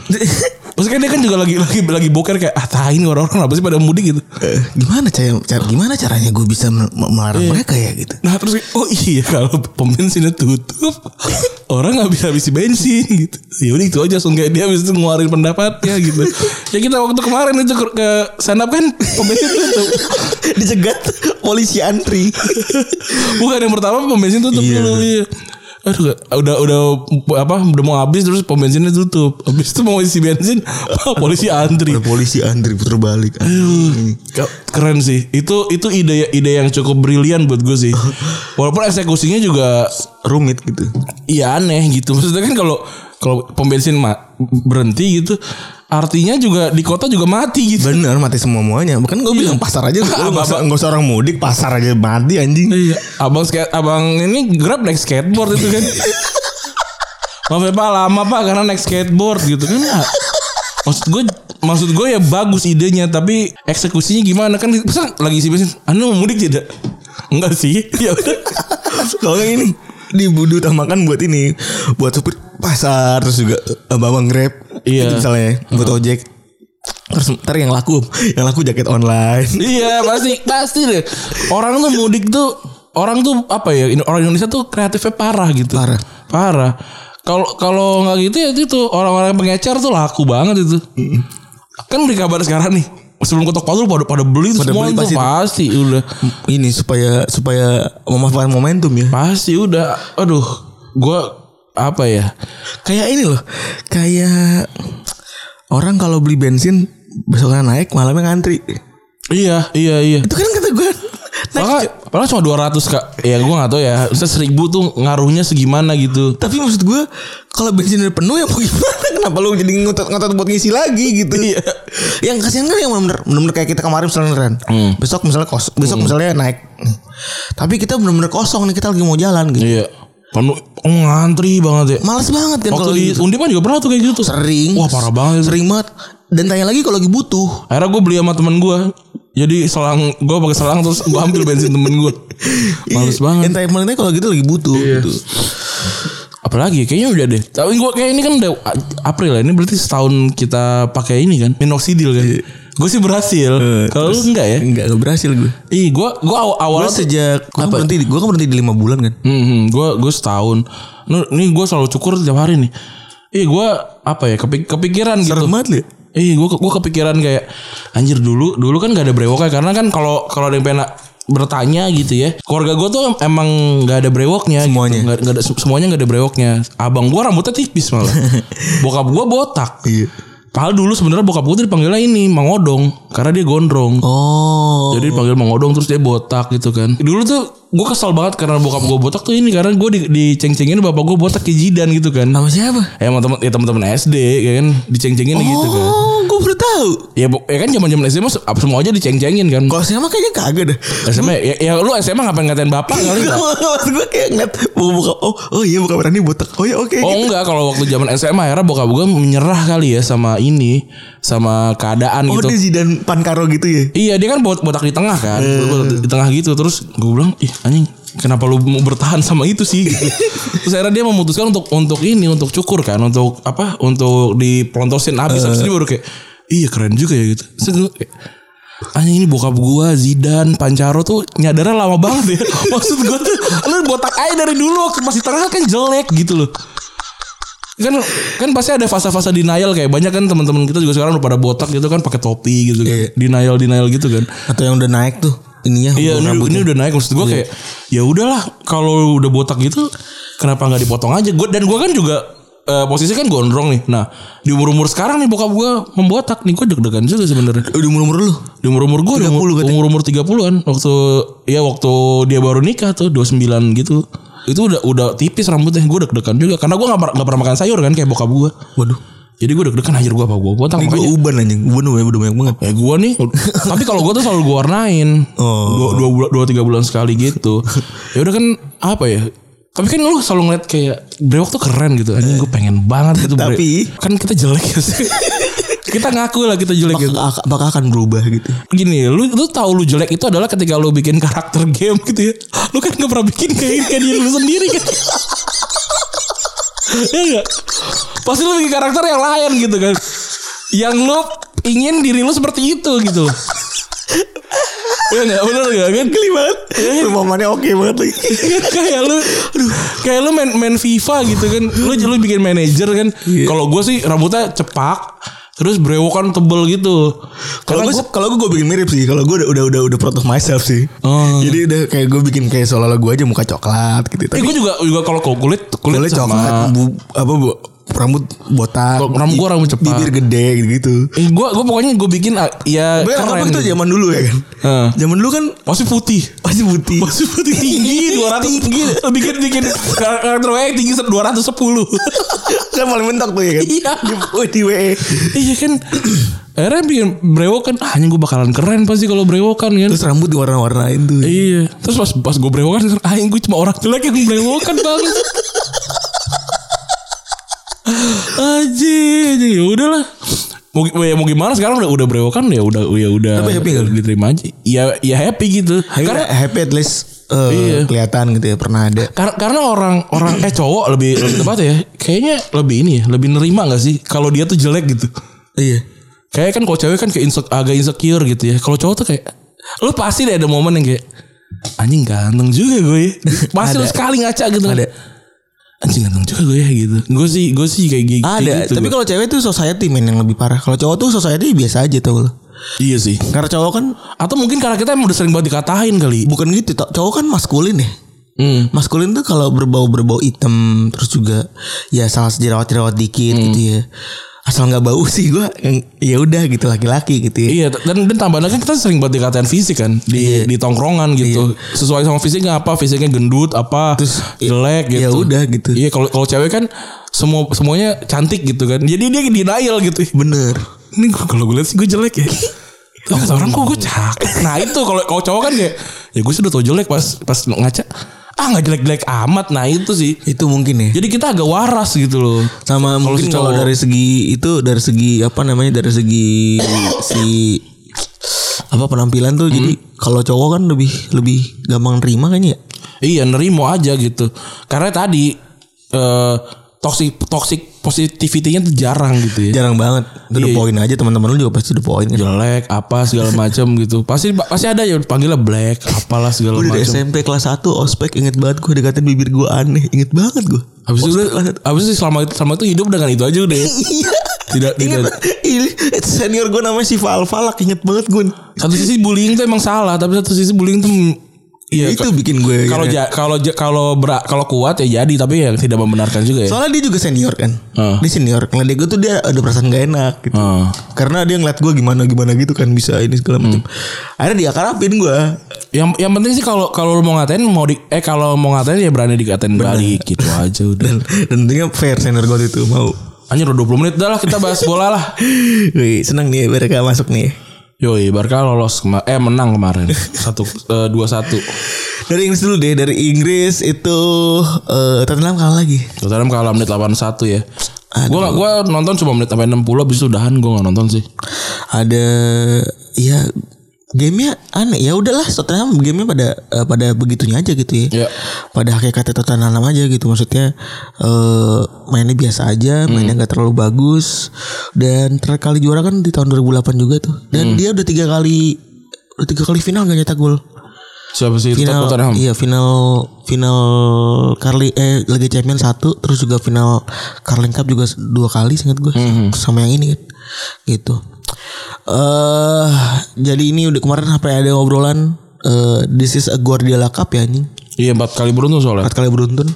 [SPEAKER 2] maksudnya dia kan juga lagi lagi lagi boker kayak ah tahin orang-orang kenapa sih pada mudik gitu
[SPEAKER 3] Eh, Gimana cara, cara- gimana caranya gue bisa mel- melarang mereka ya gitu
[SPEAKER 2] nah terus kayak, oh iya kalau pom bensinnya tutup orang nggak bisa habisi bensin gitu ya udah itu aja langsung kayak dia habis itu ngeluarin pendapatnya gitu ya kita waktu kemarin itu ke, ke stand up kan pom bensin tutup
[SPEAKER 3] Dicegat polisi antri
[SPEAKER 2] Bukan yang pertama pom bensin tutup
[SPEAKER 3] Iya.
[SPEAKER 2] dulu iya. Aduh gak- udah udah apa udah mau habis terus pom bensinnya tutup. Habis itu mau isi bensin polisi antri.
[SPEAKER 3] Ada polisi antri puter balik
[SPEAKER 2] Ke- Keren sih. Itu itu ide ide yang cukup brilian buat gue sih. Walaupun eksekusinya juga
[SPEAKER 3] Rumit gitu
[SPEAKER 2] iya aneh gitu. Maksudnya kan kalau kalau pom bensin ma- berhenti gitu artinya juga di kota juga mati gitu.
[SPEAKER 3] Bener mati semua-muanya Bukan gue bilang pasar aja Lu gak usah, gak usah orang mudik Pasar aja mati anjing
[SPEAKER 2] Iya, abang skate, abang ini grab naik skateboard itu kan. Maaf ya pak, lama pak karena naik skateboard gitu kan. Ah, Maksud gue, maksud gue ya bagus idenya, tapi eksekusinya gimana kan? Pesan lagi sih bensin. Anda mau mudik tidak? Enggak sih. Ya udah.
[SPEAKER 3] Kalau nggak ini di budu utamakan buat ini buat supir pasar terus juga eh, bawang grab
[SPEAKER 2] Iya.
[SPEAKER 3] Gitu misalnya buat ojek terus ntar yang laku yang laku jaket online
[SPEAKER 2] iya pasti, pasti deh. Orang tuh mudik tuh, orang tuh apa ya? Indo- Orang Indonesia tuh kreatifnya parah gitu.
[SPEAKER 3] Parah.
[SPEAKER 2] Parah. Kalau kalau nggak gitu ya itu orang-orang pengecer tuh laku banget itu. Kan di kabar sekarang nih sebelum kotak palu pada pada beli tuh
[SPEAKER 3] Pada
[SPEAKER 2] semua
[SPEAKER 3] beli
[SPEAKER 2] tuh
[SPEAKER 3] pasti.
[SPEAKER 2] pasti udah
[SPEAKER 3] ini supaya supaya memanfaatkan momentum ya
[SPEAKER 2] pasti udah aduh gua apa ya
[SPEAKER 3] kayak ini loh kayak orang kalau beli bensin besoknya naik malamnya ngantri
[SPEAKER 2] iya iya iya
[SPEAKER 3] itu kan kata gue
[SPEAKER 2] Padahal, padahal cuma 200 kak Ya gue gak tau ya Misalnya seribu tuh ngaruhnya segimana gitu
[SPEAKER 3] Tapi maksud gue kalau bensin udah penuh ya mau gimana? Kenapa lu jadi ngotot-ngotot buat ngisi lagi gitu? Iya. yang kasihan kan yang benar-benar benar-benar kayak kita kemarin misalnya Ren.
[SPEAKER 2] Hmm.
[SPEAKER 3] Besok misalnya kos, besok misalnya naik. Tapi kita benar-benar kosong nih kita lagi mau jalan gitu.
[SPEAKER 2] Iya Penuh oh, ngantri banget ya
[SPEAKER 3] Males banget kan
[SPEAKER 2] Waktu
[SPEAKER 3] kalau
[SPEAKER 2] di
[SPEAKER 3] gitu.
[SPEAKER 2] Undipan juga pernah tuh kayak gitu tuh
[SPEAKER 3] sering.
[SPEAKER 2] Wah parah banget itu.
[SPEAKER 3] Sering banget. Dan tanya lagi kalau lagi butuh.
[SPEAKER 2] Akhirnya gue beli sama temen gue Jadi selang Gue pakai selang terus gue ambil bensin temen gue Males
[SPEAKER 3] Iya.
[SPEAKER 2] banget
[SPEAKER 3] Dan tanya tanya kalau gitu lagi butuh
[SPEAKER 2] Iya.
[SPEAKER 3] gitu.
[SPEAKER 2] Apalagi ya, kayaknya udah deh Tapi gue kayak ini kan udah April ya Ini berarti setahun kita pakai ini kan Minoxidil kan Gue sih berhasil
[SPEAKER 3] Iya. Eh,
[SPEAKER 2] Kalau lu
[SPEAKER 3] terus-
[SPEAKER 2] enggak ya
[SPEAKER 3] Enggak, enggak berhasil gue.
[SPEAKER 2] Ih gue gue aw- awal
[SPEAKER 3] Gue sejak gue kan berhenti, gue kan berhenti di lima bulan kan.
[SPEAKER 2] Hmm, gue gue setahun. Nu- Ini gue selalu cukur tiap hari nih. Ih gue apa ya kepik- kepikiran gitu.
[SPEAKER 3] Serem banget lu ya.
[SPEAKER 2] Ih gue gue kepikiran kayak anjir dulu dulu kan gak ada brewoknya karena kan kalau kalau ada yang pengen bertanya gitu ya keluarga gue tuh emang gak ada brewoknya gitu.
[SPEAKER 3] Semuanya.
[SPEAKER 2] Nggak- nggak ada se- semuanya gak ada brewoknya abang gue rambutnya tipis malah bokap gue botak
[SPEAKER 3] Iya.
[SPEAKER 2] padahal dulu sebenarnya bokap gue tuh dipanggilnya ini mang odong karena dia gondrong
[SPEAKER 3] Oh.
[SPEAKER 2] jadi dipanggil Mang Odong terus dia botak gitu kan. Dulu tuh gue kesel banget karena bokap gue botak tuh ini karena gue di, diceng-cengin bapak gue botak kayak jidan gitu kan.
[SPEAKER 3] Nama siapa?
[SPEAKER 2] Ya emang teman ya teman-teman SD ya kan diceng-cengin gitu kan.
[SPEAKER 3] Oh, gue baru tahu.
[SPEAKER 2] Ya, bu- ya kan zaman-zaman SMA se- apa semua aja diceng-cengin kan.
[SPEAKER 3] Kalau SMA kayaknya kagak dah.
[SPEAKER 2] SMA ya, ya lu SMA ngapain ngatain bapak kali ya? Pak?
[SPEAKER 3] Maksud gue kayak ngeliat buka buka oh oh iya buka berani botak oh ya oke
[SPEAKER 2] Oh
[SPEAKER 3] gitu.
[SPEAKER 2] enggak kalau waktu zaman SMA akhirnya bokap gue menyerah kali ya sama ini sama keadaan
[SPEAKER 3] oh
[SPEAKER 2] gitu.
[SPEAKER 3] dia Zidane Pankaro gitu ya
[SPEAKER 2] Iya dia kan bot- botak di tengah kan Botak di- Di tengah gitu Terus gue bilang Ih anjing Kenapa lu mau bertahan sama itu sih gitu. Terus akhirnya dia memutuskan untuk untuk ini Untuk cukur kan Untuk apa Untuk dipelontosin habis Habis itu dia baru kayak Iya keren juga ya gitu Terus gue kayak Anjing ini bokap gua Zidane Pancaro tuh nyadarnya lama banget ya Maksud gua tuh Lu botak aja dari dulu Waktu masih tengah kan jelek gitu loh kan kan pasti ada fase-fase denial kayak banyak kan teman-teman kita juga sekarang udah pada botak gitu kan pakai topi gitu kan
[SPEAKER 3] Iya.
[SPEAKER 2] denial denial gitu kan
[SPEAKER 3] atau yang udah naik tuh ininya
[SPEAKER 2] iya ini, ini udah naik maksud gue kayak ya udahlah kalau udah botak gitu kenapa nggak dipotong aja gue dan gue kan juga eh, posisi kan gondrong nih nah di umur umur sekarang nih bokap gue membotak nih gue deg-degan juga sebenarnya
[SPEAKER 3] udah umur umur lu
[SPEAKER 2] di umur umur gue
[SPEAKER 3] 30 katanya.
[SPEAKER 2] umur umur 30-an waktu ya waktu dia baru nikah tuh 29 gitu itu udah udah tipis rambutnya gue deg-degan juga karena gue nggak par- nggak pernah makan sayur kan kayak bokap gue
[SPEAKER 3] waduh
[SPEAKER 2] jadi gue deg-degan anjir gue apa gue botak
[SPEAKER 3] ini gue
[SPEAKER 2] makanya
[SPEAKER 3] uban anjing uban udah udah banyak banget
[SPEAKER 2] Ya gue nih Tapi kalau gue tuh selalu gue warnain
[SPEAKER 3] Oh.
[SPEAKER 2] dua, dua, bulan, dua tiga bulan sekali gitu ya udah kan apa ya tapi kan lu selalu ngeliat kayak brewok tuh keren gitu Anjing gue pengen banget gitu bre-
[SPEAKER 3] Tapi-
[SPEAKER 2] Kan kita jelek ya sih Kita ngaku lah kita jelek gitu
[SPEAKER 3] Ak- bakal akan berubah gitu
[SPEAKER 2] Gini lu, lu tahu lu jelek itu adalah ketika lu bikin karakter game gitu ya Lu kan gak pernah bikin kayak, kayak diri lu sendiri kan Iya gak? Pasti lu bikin karakter yang lain gitu kan Yang lu ingin diri lu seperti itu gitu Iya gak? Bener gak kan?
[SPEAKER 3] geli banget perumpamannya Eh, oke banget lagi
[SPEAKER 2] kayak lu kayak lu main main FIFA gitu kan lu lu bikin manajer kan
[SPEAKER 3] Iya.
[SPEAKER 2] kalau gue sih rambutnya cepak terus brewokan tebel gitu
[SPEAKER 3] kalau gue kalau gue bikin mirip sih kalau gue udah udah udah udah proud of myself sih
[SPEAKER 2] Oh.
[SPEAKER 3] jadi udah kayak gue bikin kayak seolah-olah gue aja muka coklat gitu
[SPEAKER 2] Eh
[SPEAKER 3] tapi
[SPEAKER 2] gue juga juga kalau kalau kulit kulit,
[SPEAKER 3] kulit
[SPEAKER 2] sama.
[SPEAKER 3] coklat bu- apa bu, rambut botak
[SPEAKER 2] Kalau rambut gua rambut cepat.
[SPEAKER 3] bibir gede gitu
[SPEAKER 2] Eh gue gue pokoknya gue bikin ah, ya
[SPEAKER 3] Tapi kenapa
[SPEAKER 2] keren.
[SPEAKER 3] kita zaman dulu ya kan?
[SPEAKER 2] Heeh.
[SPEAKER 3] Zaman dulu kan
[SPEAKER 2] Masih putih.
[SPEAKER 3] masih putih.
[SPEAKER 2] Masih putih tinggi 200 tinggi. Bikin bikin karakter WA tinggi 210.
[SPEAKER 3] kan paling mentok tuh ya kan?
[SPEAKER 2] Iya.
[SPEAKER 3] Di, oh, di WE.
[SPEAKER 2] iya kan. Akhirnya bikin brewokan ah, anjing gue bakalan keren pasti kalau brewokan kan.
[SPEAKER 3] Terus rambut diwarna-warnain tuh.
[SPEAKER 2] Iya. Terus pas pas gue brewokan, anjing gue cuma orang jelek yang brewokan banget. Aji, ya udahlah. Mau, gi- ya mau gimana sekarang udah udah brewokan ya udah ya udah
[SPEAKER 3] Tapi happy nggak lu?
[SPEAKER 2] diterima aja. Ya ya happy gitu.
[SPEAKER 3] Happy-
[SPEAKER 2] Karena
[SPEAKER 3] happy at least eh,
[SPEAKER 2] Iya.
[SPEAKER 3] kelihatan gitu ya pernah ada.
[SPEAKER 2] Karena, karena orang orang eh cowok lebih lebih tepat ya kayaknya lebih ini ya lebih nerima nggak sih kalau dia tuh jelek gitu
[SPEAKER 3] Iya.
[SPEAKER 2] kayak kan kalau cewek kan kayak inse- agak insecure gitu ya kalau cowok tuh kayak lu pasti deh ada momen yang kayak anjing ganteng juga gue ya. pasti lu
[SPEAKER 3] Ada.
[SPEAKER 2] sekali ngaca gitu
[SPEAKER 3] Ada.
[SPEAKER 2] anjing ganteng juga gue ya gitu gue sih gue sih kayak gi- kayak
[SPEAKER 3] Ada,
[SPEAKER 2] gitu
[SPEAKER 3] tapi
[SPEAKER 2] gue.
[SPEAKER 3] kalau cewek tuh society men yang lebih parah. Kalau cowok tuh society biasa aja tau lo.
[SPEAKER 2] iya sih
[SPEAKER 3] Karena cowok kan
[SPEAKER 2] atau mungkin karena kita emang udah sering banget dikatain kali
[SPEAKER 3] bukan gitu, tau. cowok kan maskulin ya.
[SPEAKER 2] hmm.
[SPEAKER 3] Maskulin
[SPEAKER 2] Hmm.
[SPEAKER 3] tuh kalau berbau berbau hitam terus juga ya salah jerawat jerawat dikit gitu ya. asal nggak bau sih gue ya udah gitu laki-laki gitu ya.
[SPEAKER 2] Iya dan dan tambahan lagi kita sering buat dikatain fisik kan di
[SPEAKER 3] Iya.
[SPEAKER 2] di tongkrongan gitu. Sesuai sama fisiknya apa, fisiknya gendut apa,
[SPEAKER 3] Terus,
[SPEAKER 2] jelek gitu.
[SPEAKER 3] ya udah gitu.
[SPEAKER 2] Iya kalau kalau cewek kan semua semuanya cantik gitu kan. Jadi dia denial gitu.
[SPEAKER 3] bener
[SPEAKER 2] Ini gua- kalau gue lihat sih gue jelek ya. Oh, kata orang kok gue cakep. Nah itu kalau kalau cowok kan ya ya gue sudah tau jelek pas pas ngaca ah nggak jelek-jelek amat nah itu sih
[SPEAKER 3] itu mungkin ya
[SPEAKER 2] jadi kita agak waras gitu loh Iya.
[SPEAKER 3] sama
[SPEAKER 2] Kalau
[SPEAKER 3] mungkin
[SPEAKER 2] si
[SPEAKER 3] kalau
[SPEAKER 2] cowok.
[SPEAKER 3] dari segi itu dari segi apa namanya dari segi si apa penampilan tuh jadi
[SPEAKER 2] Hmm.
[SPEAKER 3] kalau cowok kan lebih lebih gampang terima kayaknya ya
[SPEAKER 2] Iya nerimo aja gitu. Karena tadi eh toxic toxic positivity-nya tuh jarang gitu ya.
[SPEAKER 3] jarang banget itu the
[SPEAKER 2] Iya.
[SPEAKER 3] point aja teman-teman lu juga pasti the point kan
[SPEAKER 2] Jelek apa segala macam gitu. Pasti pasti ada ya panggilnya black apalah segala
[SPEAKER 3] Gue dari
[SPEAKER 2] macam.
[SPEAKER 3] SMP kelas 1 ospek inget banget gue dikatain bibir gue aneh inget banget gue
[SPEAKER 2] Habis itu udah habis itu selama itu selama itu hidup dengan itu aja udah. ya.
[SPEAKER 3] Iya.
[SPEAKER 2] Tidak-
[SPEAKER 3] Ingat,
[SPEAKER 2] tidak.
[SPEAKER 3] ini senior gue namanya si Falfalak inget banget gue.
[SPEAKER 2] Satu sisi bullying tuh emang salah, tapi satu sisi bullying tuh mm, iya
[SPEAKER 3] itu
[SPEAKER 2] ka-
[SPEAKER 3] ya. bikin gue.
[SPEAKER 2] kalau ja- kalau ja- kalau bera- kalau kuat ya jadi tapi ya tidak membenarkan juga ya.
[SPEAKER 3] Soalnya dia juga senior kan.
[SPEAKER 2] Ah.
[SPEAKER 3] Dia senior. Ngeliat gue tuh dia ada perasaan gak enak gitu.
[SPEAKER 2] Ah.
[SPEAKER 3] Karena dia ngeliat gue gimana gimana gitu kan bisa ini
[SPEAKER 2] Hmm.
[SPEAKER 3] segala macam. Akhirnya dia karapin gue.
[SPEAKER 2] Yang yang penting sih kalau kalau lu mau ngatain mau di, eh kalau mau ngatain ya berani dikatain balik gitu aja udah.
[SPEAKER 3] Dan dan tentunya fair senior gue itu mau.
[SPEAKER 2] Anjir udah 20 menit dah lah kita bahas bola lah.
[SPEAKER 3] Wih, seneng nih mereka masuk nih.
[SPEAKER 2] Yoi, Barca lolos kema- eh menang kemarin. Satu eh, dua satu.
[SPEAKER 3] Dari Inggris dulu deh, dari Inggris itu eh Tottenham kalah lagi.
[SPEAKER 2] Tottenham kalah menit 81 ya. Gua gak- gua nonton cuma menit sampai 60 habis itu udahan gua gak nonton sih.
[SPEAKER 3] ada ya gamenya aneh ya udahlah Tottenham gamenya pada eh, pada begitunya aja gitu ya
[SPEAKER 2] Ya.
[SPEAKER 3] pada hakikatnya Tottenham aja gitu maksudnya eh mainnya biasa aja mainnya nggak terlalu bagus dan terakhir kali juara kan di tahun 2008 juga tuh dan dia udah tiga kali udah tiga kali final gak nyetak gol
[SPEAKER 2] Siapa sih itu
[SPEAKER 3] final
[SPEAKER 2] Tottenham?
[SPEAKER 3] iya final final Carli eh Liga Champions satu terus juga final Carling Cup juga dua kali singkat gue
[SPEAKER 2] Mhm.
[SPEAKER 3] sama yang ini kan gitu eh jadi ini udah kemarin sampai ada obrolan eh this is a Guardiola Cup ya anjing
[SPEAKER 2] Iya, empat kali beruntun soalnya.
[SPEAKER 3] empat kali beruntun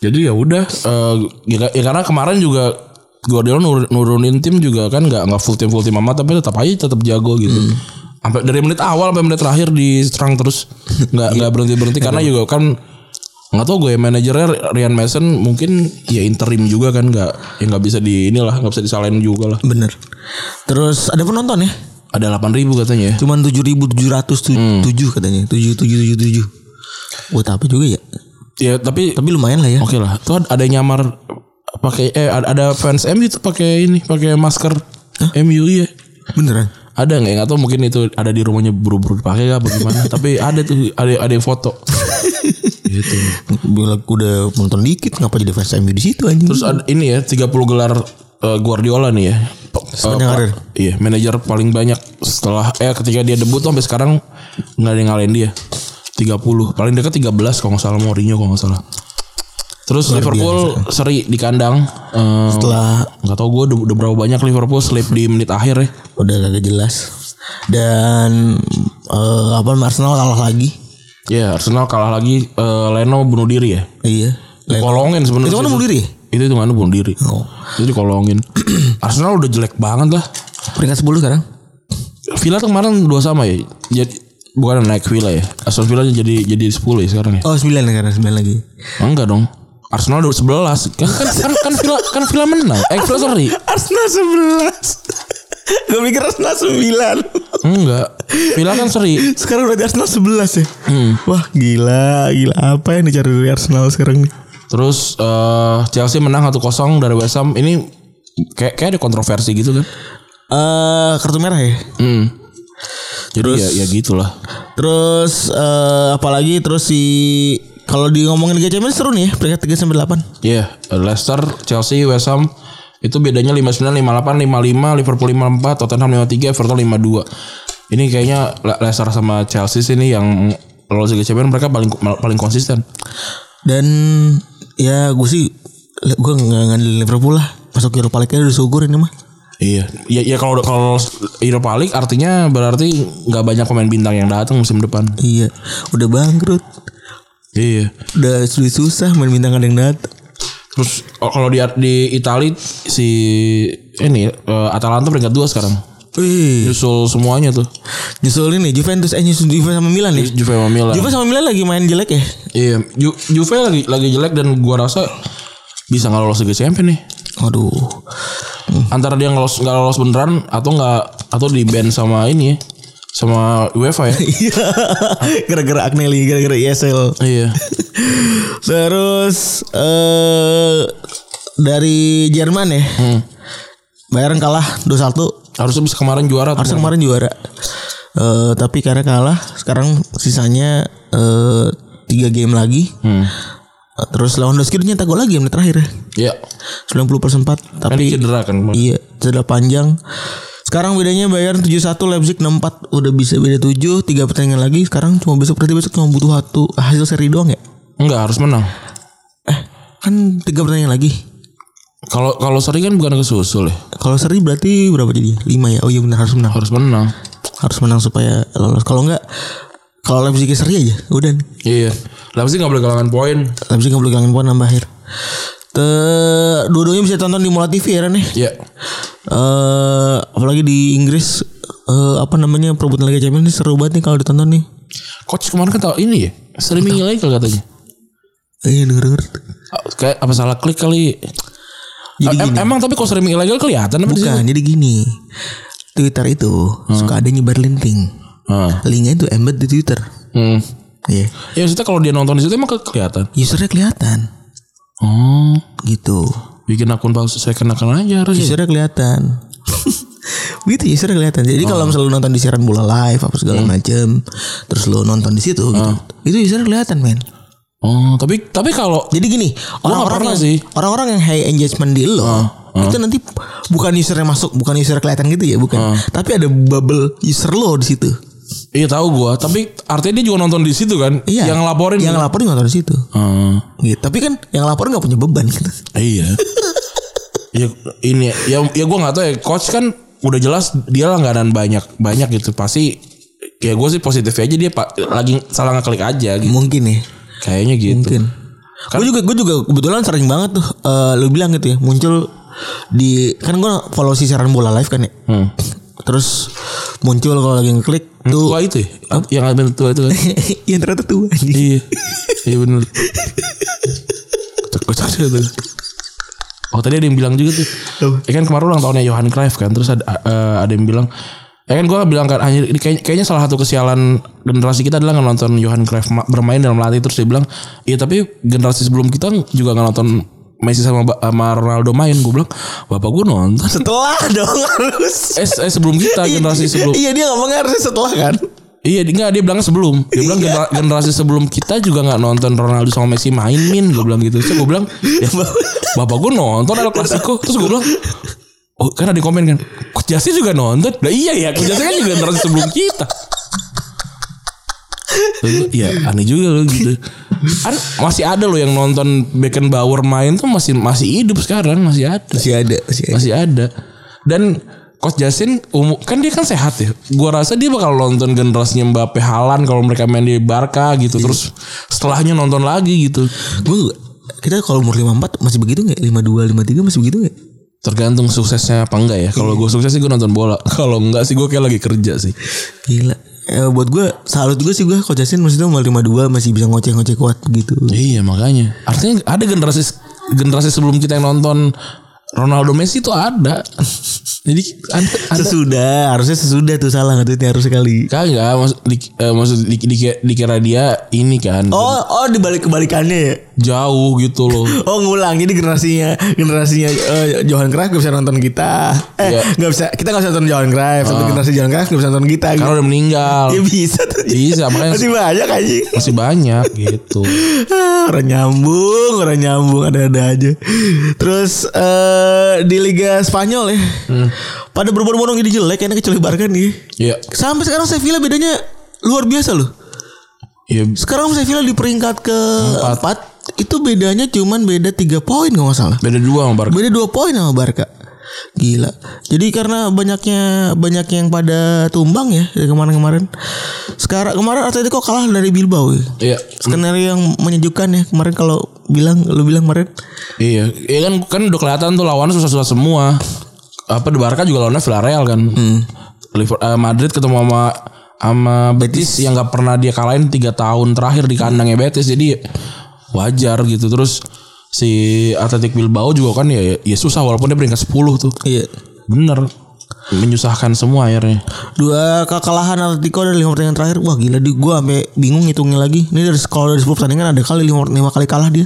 [SPEAKER 2] Jadi ya udah eh, ya, ya karena kemarin juga Guardiola nur- nurunin tim juga kan nggak nggak full tim full tim amat tapi tetap aja tetap jago gitu. Sampai dari menit awal sampai menit terakhir diserang terus nggak nggak berhenti berhenti karena juga kan nggak tau gue ya, manajernya Ryan Mason mungkin ya interim juga kan nggak ya nggak bisa di inilah nggak bisa disalahin juga lah.
[SPEAKER 3] bener terus ada penonton ya
[SPEAKER 2] Ada 8.000 ribu katanya. ya.
[SPEAKER 3] cuman tujuh ribu tujuh ratus
[SPEAKER 2] Hmm.
[SPEAKER 3] tujuh katanya tujuh tujuh tujuh tujuh buat apa juga ya
[SPEAKER 2] Ya tapi
[SPEAKER 3] tapi lumayan lah ya
[SPEAKER 2] oke lah. Tuh ada yang nyamar pakai eh ada ada fans MU tuh pakai ini pakai masker MU ya.
[SPEAKER 3] beneran
[SPEAKER 2] ada nggak ya? nggak tahu mungkin itu ada di rumahnya buru-buru dipakai gak bagaimana tapi ada tuh ada ada yang foto gitu
[SPEAKER 3] Bila udah nonton dikit ngapa jadi fans MU di situ anjing
[SPEAKER 2] terus ada ini ya 30 gelar eh, Guardiola nih ya Pe-
[SPEAKER 3] Sepanjang
[SPEAKER 2] eh,
[SPEAKER 3] karir.
[SPEAKER 2] iya manajer paling banyak setelah eh ketika dia debut tuh sampai sekarang nggak ada yang ngalahin dia 30 paling dekat 13 kalau nggak salah Mourinho kalau nggak salah terus Liverpool seri di kandang Eh,
[SPEAKER 3] setelah
[SPEAKER 2] nggak tahu gue udah, udah berapa banyak Liverpool slip di menit akhir ya
[SPEAKER 3] udah kagak jelas dan eh, apa Arsenal kalah lagi
[SPEAKER 2] ya Arsenal kalah lagi Eh, Leno bunuh diri ya
[SPEAKER 3] iya
[SPEAKER 2] Kolongin sebenarnya.
[SPEAKER 3] itu kan
[SPEAKER 2] sih.
[SPEAKER 3] bunuh diri
[SPEAKER 2] Itu itu mana bunuh diri.
[SPEAKER 3] Oh.
[SPEAKER 2] Jadi kolongin. Arsenal udah jelek banget lah.
[SPEAKER 3] peringkat 10 sekarang
[SPEAKER 2] Villa tuh kemarin dua sama ya. Jadi bukan naik Villa ya. Aston Villa jadi jadi 10 ya sekarang ya.
[SPEAKER 3] oh 9 sekarang 9 lagi
[SPEAKER 2] Enggak dong. Arsenal udah 11. Kan kan kan, kan Villa kan Villa menang. Eh Villa sorry.
[SPEAKER 3] Arsenal 11 gue mikir Arsenal 9
[SPEAKER 2] Enggak. Villa kan seri.
[SPEAKER 3] sekarang udah di Arsenal 11 ya wah gila gila apa yang dicari dari Arsenal sekarang nih
[SPEAKER 2] Terus eh, Chelsea menang 1-0 dari West Ham. Ini kayak kayak ada kontroversi gitu kan.
[SPEAKER 3] Eh kartu merah ya
[SPEAKER 2] Hmm. Jadi ya ya gitulah.
[SPEAKER 3] terus eh, apalagi terus si kalau di ngomongin Liga Champions seru nih ya peringkat 3 sampai 8
[SPEAKER 2] Iya, Leicester, Chelsea, West Ham itu bedanya 59, 58, 55, Liverpool 54, Tottenham 53, Everton 52. Ini kayaknya Le- Leicester sama Chelsea sih ini yang lolos Liga Champions mereka paling paling konsisten.
[SPEAKER 3] Dan ya gue sih gue nggak ngandelin Liverpool lah. Masuk Europa League udah syukur ini mah.
[SPEAKER 2] Iya. Ya, ya kalau kalau lolos Europa League artinya berarti nggak banyak pemain bintang yang datang musim depan.
[SPEAKER 3] Iya, udah bangkrut.
[SPEAKER 2] Iya.
[SPEAKER 3] Udah susah susah main bintang ada yang datang.
[SPEAKER 2] Terus oh, kalau di di Itali si ini eh, Atalanta peringkat dua sekarang.
[SPEAKER 3] Wih,
[SPEAKER 2] Nyusul semuanya tuh.
[SPEAKER 3] nyusul ini Juventus eh nyusul Juve sama Milan ya.
[SPEAKER 2] Juve sama Milan.
[SPEAKER 3] Juve sama Milan lagi main jelek ya.
[SPEAKER 2] Iya, Ju- Juve lagi lagi jelek dan gua rasa bisa nggak lolos Liga Champions nih.
[SPEAKER 3] Aduh.
[SPEAKER 2] Antara dia nggak lolos nggak lolos beneran atau nggak atau di ban sama ini ya, sama UEFA ya.
[SPEAKER 3] Iya. gara-gara Agnelli, gara-gara ISL.
[SPEAKER 2] iya.
[SPEAKER 3] Terus eh dari Jerman ya.
[SPEAKER 2] Hmm.
[SPEAKER 3] Bayern kalah 2-1.
[SPEAKER 2] Harusnya bisa kemarin juara. tuh.
[SPEAKER 3] Harusnya kemarin juara. Eh tapi karena kalah, sekarang sisanya eh 3 game lagi.
[SPEAKER 2] Hmm.
[SPEAKER 3] Eh, Terus Lewandowski udah nyetak gol lagi menit terakhir.
[SPEAKER 2] Iya.
[SPEAKER 3] ya. 90 plus
[SPEAKER 2] Kan
[SPEAKER 3] 4
[SPEAKER 2] dia
[SPEAKER 3] tapi
[SPEAKER 2] cedera kan. kemarin.
[SPEAKER 3] Iya, cedera panjang. Sekarang bedanya Bayern 71, Leipzig 64. Udah bisa beda 7, 3 pertandingan lagi. Sekarang cuma besok berarti besok cuma butuh satu hasil seri doang ya?
[SPEAKER 2] Enggak harus menang.
[SPEAKER 3] Eh, kan 3 pertandingan lagi.
[SPEAKER 2] Kalau kalau seri kan bukan kesusul ya.
[SPEAKER 3] Kalau seri berarti berapa jadinya? 5 ya. Oh iya benar harus menang.
[SPEAKER 2] Harus menang.
[SPEAKER 3] Harus menang supaya lolos. Kalau enggak kalau Leipzig seri aja, udah. nih.
[SPEAKER 2] Iya. Leipzig nggak boleh kehilangan poin.
[SPEAKER 3] Leipzig nggak boleh kehilangan poin nambah akhir. Te dua-duanya bisa tonton di Mola TV ya Ren ya?
[SPEAKER 2] Iya.
[SPEAKER 3] Eh, apalagi di Inggris eh, apa namanya perebutan Liga Champions ini seru banget nih kalau ditonton nih.
[SPEAKER 2] Coach kemarin kan tahu ini ya. Streaming ilegal katanya.
[SPEAKER 3] Iya denger denger.
[SPEAKER 2] Kayak apa salah klik kali.
[SPEAKER 3] Jadi
[SPEAKER 2] Em-
[SPEAKER 3] gini.
[SPEAKER 2] Emang tapi kalau streaming ilegal kelihatan apa di
[SPEAKER 3] Bukan,
[SPEAKER 2] situ?
[SPEAKER 3] jadi gini. Twitter itu suka ada nyebar linting.
[SPEAKER 2] Ah.
[SPEAKER 3] Linknya itu embed di Twitter.
[SPEAKER 2] Hmm.
[SPEAKER 3] Iya.
[SPEAKER 2] Ya maksudnya kalau dia nonton di situ emang ke- kelihatan.
[SPEAKER 3] Usernya kelihatan
[SPEAKER 2] Oh,
[SPEAKER 3] gitu.
[SPEAKER 2] bikin akun palsu saya kenakan aja harusnya.
[SPEAKER 3] Usernya kelihatan. gitu usernya kelihatan. Jadi kalau misalnya lu nonton di siaran bola live apa segala macem terus lu nonton di situ gitu. Itu usernya kelihatan, men.
[SPEAKER 2] Oh, tapi tapi kalau
[SPEAKER 3] Jadi gini,
[SPEAKER 2] pernah
[SPEAKER 3] orang-orang yang,
[SPEAKER 2] sih.
[SPEAKER 3] orang-orang yang high engagement di lo itu nanti bukan usernya masuk, bukan user kelihatan gitu ya, bukan. Tapi ada bubble user lo di situ.
[SPEAKER 2] iya tahu gua, tapi artinya dia juga nonton di situ kan?
[SPEAKER 3] Iya.
[SPEAKER 2] Yang laporin.
[SPEAKER 3] Yang laporin nggak tahu di situ.
[SPEAKER 2] Ah,
[SPEAKER 3] Gitu. Tapi kan yang laporin nggak punya beban gitu.
[SPEAKER 2] iya. ya ini ya ya gua nggak tahu ya coach kan udah jelas dia langganan banyak banyak gitu pasti ya gue sih positif aja dia pak lagi salah ngeklik aja gitu.
[SPEAKER 3] Mungkin ya.
[SPEAKER 2] kayaknya gitu
[SPEAKER 3] Mungkin. Gue juga gue juga kebetulan sering banget tuh eh, lu bilang gitu ya muncul di kan gue follow si siaran bola live kan ya.
[SPEAKER 2] Hmm.
[SPEAKER 3] Terus muncul kalau lagi ngeklik tuh
[SPEAKER 2] tua itu ya? yang admin tua itu kan
[SPEAKER 3] yang Hmm. ternyata tuh anjing.
[SPEAKER 2] iya iya bener kocak kocak itu oh tadi ada yang bilang juga tuh ya kan kemarin ulang tahunnya Johan Cruyff kan terus ada eh, ada yang bilang ya kan gue bilang kan hanya ini kayaknya, kayaknya salah satu kesialan generasi kita adalah nonton Johan Cruyff ma- bermain dalam latih terus dia bilang iya tapi generasi sebelum kita juga nggak nonton Messi sama, Ba- sama Ronaldo main gue bilang bapak gue nonton
[SPEAKER 3] Setelah dong harus.
[SPEAKER 2] eh, eh, sebelum kita generasi sebelum
[SPEAKER 3] Iya dia ngomongnya harusnya setelah kan.
[SPEAKER 2] Iya, di- enggak dia bilang sebelum. Dia bilang genera- generasi sebelum kita juga nggak nonton Ronaldo sama Messi main min. Gue bilang gitu. Terus gue bilang, ya, bapak gue nonton El Clasico. Terus gue bilang, oh kan ada yang komen kan, Coach Justin juga nonton. Lah iya ya, Coach Justin kan juga generasi sebelum kita. Terus gua, Iya aneh juga loh gitu. Kan masih ada loh yang nonton Beckenbauer main tuh masih masih hidup sekarang masih ada
[SPEAKER 3] Masih ada, masih ada.
[SPEAKER 2] masih ada dan Coach Justin umu- kan dia kan sehat ya. Gua rasa dia bakal nonton generasinya Mbappe Halan kalau mereka main di Barca gitu. Terus setelahnya nonton lagi gitu.
[SPEAKER 3] Gue kita kalau umur 54 masih begitu nggak? 52, 53 masih begitu nggak?
[SPEAKER 2] Tergantung suksesnya apa enggak ya. Kalau gue sukses sih gue nonton bola. Kalau enggak sih gue kayak lagi kerja sih.
[SPEAKER 3] Gila. Eh, buat gue salut juga sih gue Coach Justin maksudnya umur 52 masih bisa ngoceh-ngoceh kuat gitu.
[SPEAKER 2] Iya makanya. Artinya ada generasi generasi sebelum kita yang nonton Ronaldo Messi itu ada. Jadi ada, ada
[SPEAKER 3] Sesudah, harusnya sesudah tuh salah nggak tuh harus sekali.
[SPEAKER 2] kagak maksud di, eh, maksud di- di- dikira dia ini kan
[SPEAKER 3] Oh, oh dibalik kebalikannya ya.
[SPEAKER 2] jauh gitu loh.
[SPEAKER 3] Oh ngulang jadi generasinya generasinya eh, Johan Cruyff gak bisa nonton kita. Eh
[SPEAKER 2] Iya.
[SPEAKER 3] nggak bisa kita nggak bisa nonton Johan Cruyff. Satu generasi Johan Cruyff nggak bisa nonton kita. Gitu.
[SPEAKER 2] Karena udah meninggal.
[SPEAKER 3] Ya bisa tuh.
[SPEAKER 2] Bisa, makanya-
[SPEAKER 3] masih banyak anjing.
[SPEAKER 2] masih banyak gitu.
[SPEAKER 3] Ah, orang nyambung, orang nyambung ada-ada aja. Terus eh di Liga Spanyol ya. Pada berbondong-bondong jadi jelek karena kecuali Barca nih.
[SPEAKER 2] Iya,
[SPEAKER 3] Sampai sekarang Sevilla bedanya luar biasa loh.
[SPEAKER 2] iya
[SPEAKER 3] Sekarang Sevilla di peringkat ke empat itu bedanya cuman beda tiga poin kalau nggak salah.
[SPEAKER 2] beda dua sama Barca.
[SPEAKER 3] Beda dua poin sama Barca. Gila. Jadi karena banyaknya banyak yang pada tumbang ya dari kemarin-kemarin. Sekarang kemarin Atletico kalah dari Bilbao.
[SPEAKER 2] Iya.
[SPEAKER 3] Ya. Skenario yang menyejukkan ya kemarin kalau bilang lu bilang kemarin
[SPEAKER 2] Iya, iya kan kan udah kelihatan tuh lawannya susah-susah semua. Apa di Barca juga lawannya Villarreal kan. Liver- eh, Madrid ketemu sama sama Betis, yang nggak pernah dia kalahin tiga tahun terakhir di kandangnya Betis. Jadi wajar gitu. Terus si Athletic Bilbao juga kan ya ya susah walaupun dia peringkat 10 tuh.
[SPEAKER 3] Iya.
[SPEAKER 2] Bener menyusahkan semua akhirnya.
[SPEAKER 3] Dua kekalahan Atletico dari lima pertandingan terakhir. Wah gila di gua sampai bingung ngitungnya lagi. Ini dari kalau dari 10 pertandingan ada kali lima, lima kali kalah dia.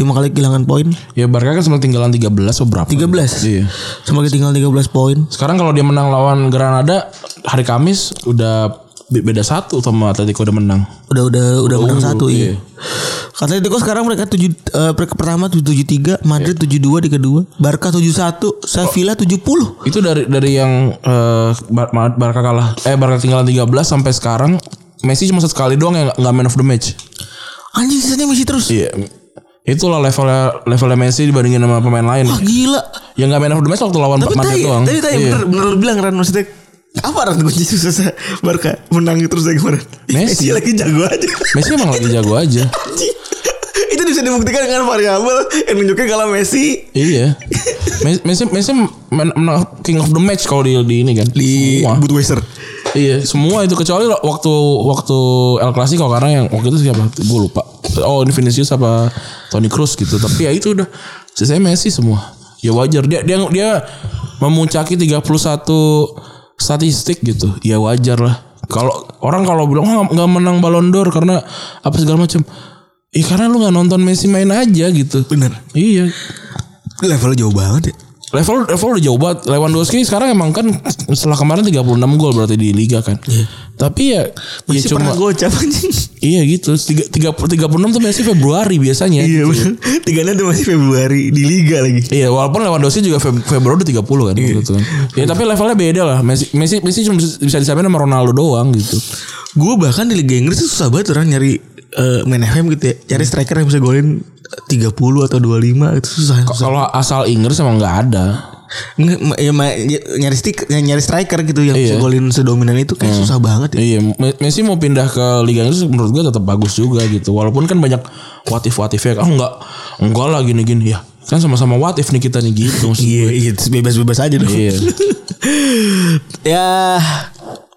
[SPEAKER 3] Lima kali kehilangan poin.
[SPEAKER 2] Ya Barca kan sempat tinggalan 13 atau berapa?
[SPEAKER 3] 13.
[SPEAKER 2] Iya.
[SPEAKER 3] Sebagai tinggal 13 poin.
[SPEAKER 2] Sekarang kalau dia menang lawan Granada hari Kamis udah be- beda satu sama Atletico udah menang.
[SPEAKER 3] Udah udah udah menang
[SPEAKER 2] unggul,
[SPEAKER 3] satu
[SPEAKER 2] iya.
[SPEAKER 3] iya. Katanya Atletico sekarang mereka 7 eh, peringkat pertama 73, Madrid
[SPEAKER 2] Iya.
[SPEAKER 3] 72 di kedua, Barca 71,
[SPEAKER 2] Oh.
[SPEAKER 3] Sevilla 70.
[SPEAKER 2] Itu dari dari yang eh, Bar- Mar- Barca kalah eh Barca tinggalan 13 sampai sekarang Messi cuma sekali doang yang nggak man of the match.
[SPEAKER 3] Anjing sisanya masih terus.
[SPEAKER 2] Iya. Itulah levelnya levelnya Messi dibandingin sama pemain lain.
[SPEAKER 3] Wah Ah, gila.
[SPEAKER 2] Yang nggak man of the match waktu lawan
[SPEAKER 3] Tapi
[SPEAKER 2] Madrid
[SPEAKER 3] tadi
[SPEAKER 2] doang.
[SPEAKER 3] tadi tadi
[SPEAKER 2] Iya.
[SPEAKER 3] bener bener lu bilang Ran maksudnya apa Ran kunci susah Barca menang terus kayak kemarin.
[SPEAKER 2] Messi.
[SPEAKER 3] Messi lagi jago aja.
[SPEAKER 2] Messi emang lagi jago aja.
[SPEAKER 3] Anjing. Itu bisa dibuktikan dengan variabel yang nunjukin kalau Messi
[SPEAKER 2] Iya. Messi Messi, Messi men- menang king of the match kalau di, di ini kan.
[SPEAKER 3] di
[SPEAKER 2] Semua.
[SPEAKER 3] Budweiser.
[SPEAKER 2] Iya, semua itu kecuali lo- waktu waktu El Clasico karena yang waktu itu siapa? Gue lupa. Oh, ini Vinicius apa Toni Kroos gitu. Tapi ya itu udah sisanya Messi semua. Ya wajar dia dia dia memuncaki 31 statistik gitu. Ya wajar lah. Kalau orang kalau bilang "Ah, nggak menang Ballon d'Or karena apa segala macam. Iya karena lu nggak nonton Messi main aja gitu.
[SPEAKER 3] Bener.
[SPEAKER 2] Iya.
[SPEAKER 3] Levelnya jauh banget ya.
[SPEAKER 2] Level level udah jauh banget. Lewandowski sekarang emang kan setelah kemarin 36 gol berarti di liga kan. Tapi ya ya
[SPEAKER 3] Messi
[SPEAKER 2] cuma
[SPEAKER 3] Iya. pernah gocap anjing.
[SPEAKER 2] iya gitu. Tiga- tiga- 36 tuh Messi Februari biasanya.
[SPEAKER 3] Iya benar. Tiga nanti masih Februari di liga lagi.
[SPEAKER 2] Iya, walaupun Lewandowski juga Feb- Februari udah 30 kan
[SPEAKER 3] Iya.
[SPEAKER 2] waktu itu kan. Ya tapi levelnya beda lah. Messi Messi Messi cuma bisa bisa disamain sama Ronaldo doang gitu.
[SPEAKER 3] Gue bahkan di Liga Inggris tuh susah banget orang nyari eh, main FM gitu ya. Cari striker yang bisa golin 30 atau 25 itu susah. susah.
[SPEAKER 2] Kalau asal Inggris emang nggak ada.
[SPEAKER 3] Nge- ma- ya, ma- ya, nyari stick, ya, nyari striker gitu yang bisa
[SPEAKER 2] Iya.
[SPEAKER 3] golin sedominan itu kayak susah banget ya.
[SPEAKER 2] Iya, Me- Messi mau pindah ke Liga Inggris menurut gua tetap bagus juga gitu. Walaupun kan banyak what if what if-nya. Oh enggak, enggak lah gini-gini ya. Kan sama-sama what if nih kita nih gitu. maksud
[SPEAKER 3] Iya, iya terus bebas-bebas aja dong.
[SPEAKER 2] Iya.
[SPEAKER 3] ya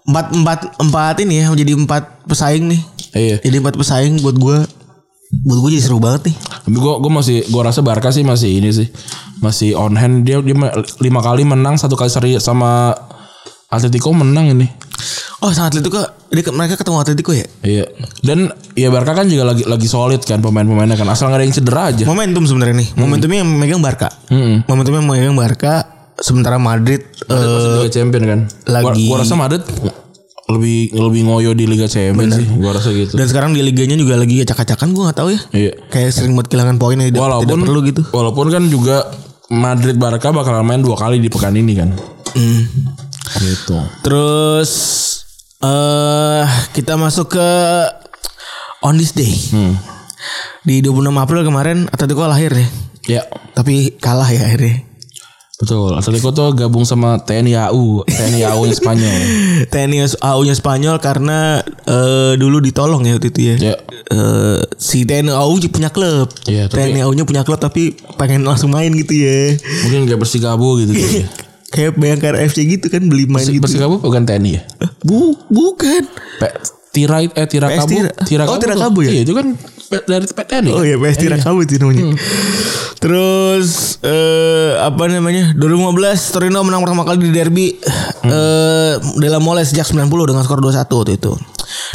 [SPEAKER 3] empat empat empat ini ya jadi empat pesaing nih.
[SPEAKER 2] Iya.
[SPEAKER 3] Jadi empat pesaing buat gue buat gue jadi seru banget nih.
[SPEAKER 2] Tapi gue gue masih gue rasa Barca sih masih ini sih masih on hand dia dia me- lima kali menang satu kali seri sama Atletico menang ini.
[SPEAKER 3] Oh, sama Atletico, dia ke- mereka ketemu Atletico ya?
[SPEAKER 2] Iya. Dan ya Barca kan juga lagi lagi solid kan pemain-pemainnya kan asal nggak ada yang cedera aja.
[SPEAKER 3] momentum sebenarnya nih. Momentumnya yang megang Barca.
[SPEAKER 2] Mm-mm.
[SPEAKER 3] Momentumnya yang megang Barca sementara Madrid eh,
[SPEAKER 2] Masih Liga Champion kan. Gua,
[SPEAKER 3] lagi-
[SPEAKER 2] gua rasa Madrid lebih lebih ngoyo di Liga Champion sih. Gua rasa gitu.
[SPEAKER 3] dan sekarang di liganya juga lagi acak-acakan gue nggak tahu ya.
[SPEAKER 2] Iya.
[SPEAKER 3] Kayak sering buat kehilangan poin yang tidak,
[SPEAKER 2] Walaupun
[SPEAKER 3] tidak perlu gitu.
[SPEAKER 2] Walaupun kan juga Madrid Barca bakal main dua kali di pekan ini kan. Gitu.
[SPEAKER 3] Mm. Terus eh kita masuk ke on this day.
[SPEAKER 2] Mm.
[SPEAKER 3] Di 26 April kemarin Atletico lahir nih.
[SPEAKER 2] Ya.
[SPEAKER 3] Tapi kalah ya akhirnya.
[SPEAKER 2] Betul, Atletico tuh gabung sama TNI AU, TNI AU yang Spanyol.
[SPEAKER 3] TNI AU-nya Spanyol karena eh, dulu ditolong ya waktu itu ya.
[SPEAKER 2] Iya.
[SPEAKER 3] Eh, si TNI AU punya klub.
[SPEAKER 2] Iya, tapi-
[SPEAKER 3] TNI AU-nya punya klub tapi pengen langsung main gitu ya.
[SPEAKER 2] Mungkin gak Persikabo gitu kali ya.
[SPEAKER 3] Kayak Bayangkara FC gitu kan beli main Iya, gitu.
[SPEAKER 2] Persikabo bukan TNI ya?
[SPEAKER 3] Bu, bukan.
[SPEAKER 2] Pe- tirai eh
[SPEAKER 3] PS
[SPEAKER 2] Tirakabu,
[SPEAKER 3] Tira-
[SPEAKER 2] Tirakabu.
[SPEAKER 3] Oh,
[SPEAKER 2] tuh-
[SPEAKER 3] Tirakabu ya?
[SPEAKER 2] Iya, itu kan pe- dari pe- TNI.
[SPEAKER 3] Oh iya PS Tirakabu itu namanya. Terus eh apa namanya? 2015 Torino menang pertama kali di derby eh Della Mole sejak 90 dengan skor 2-1 waktu itu.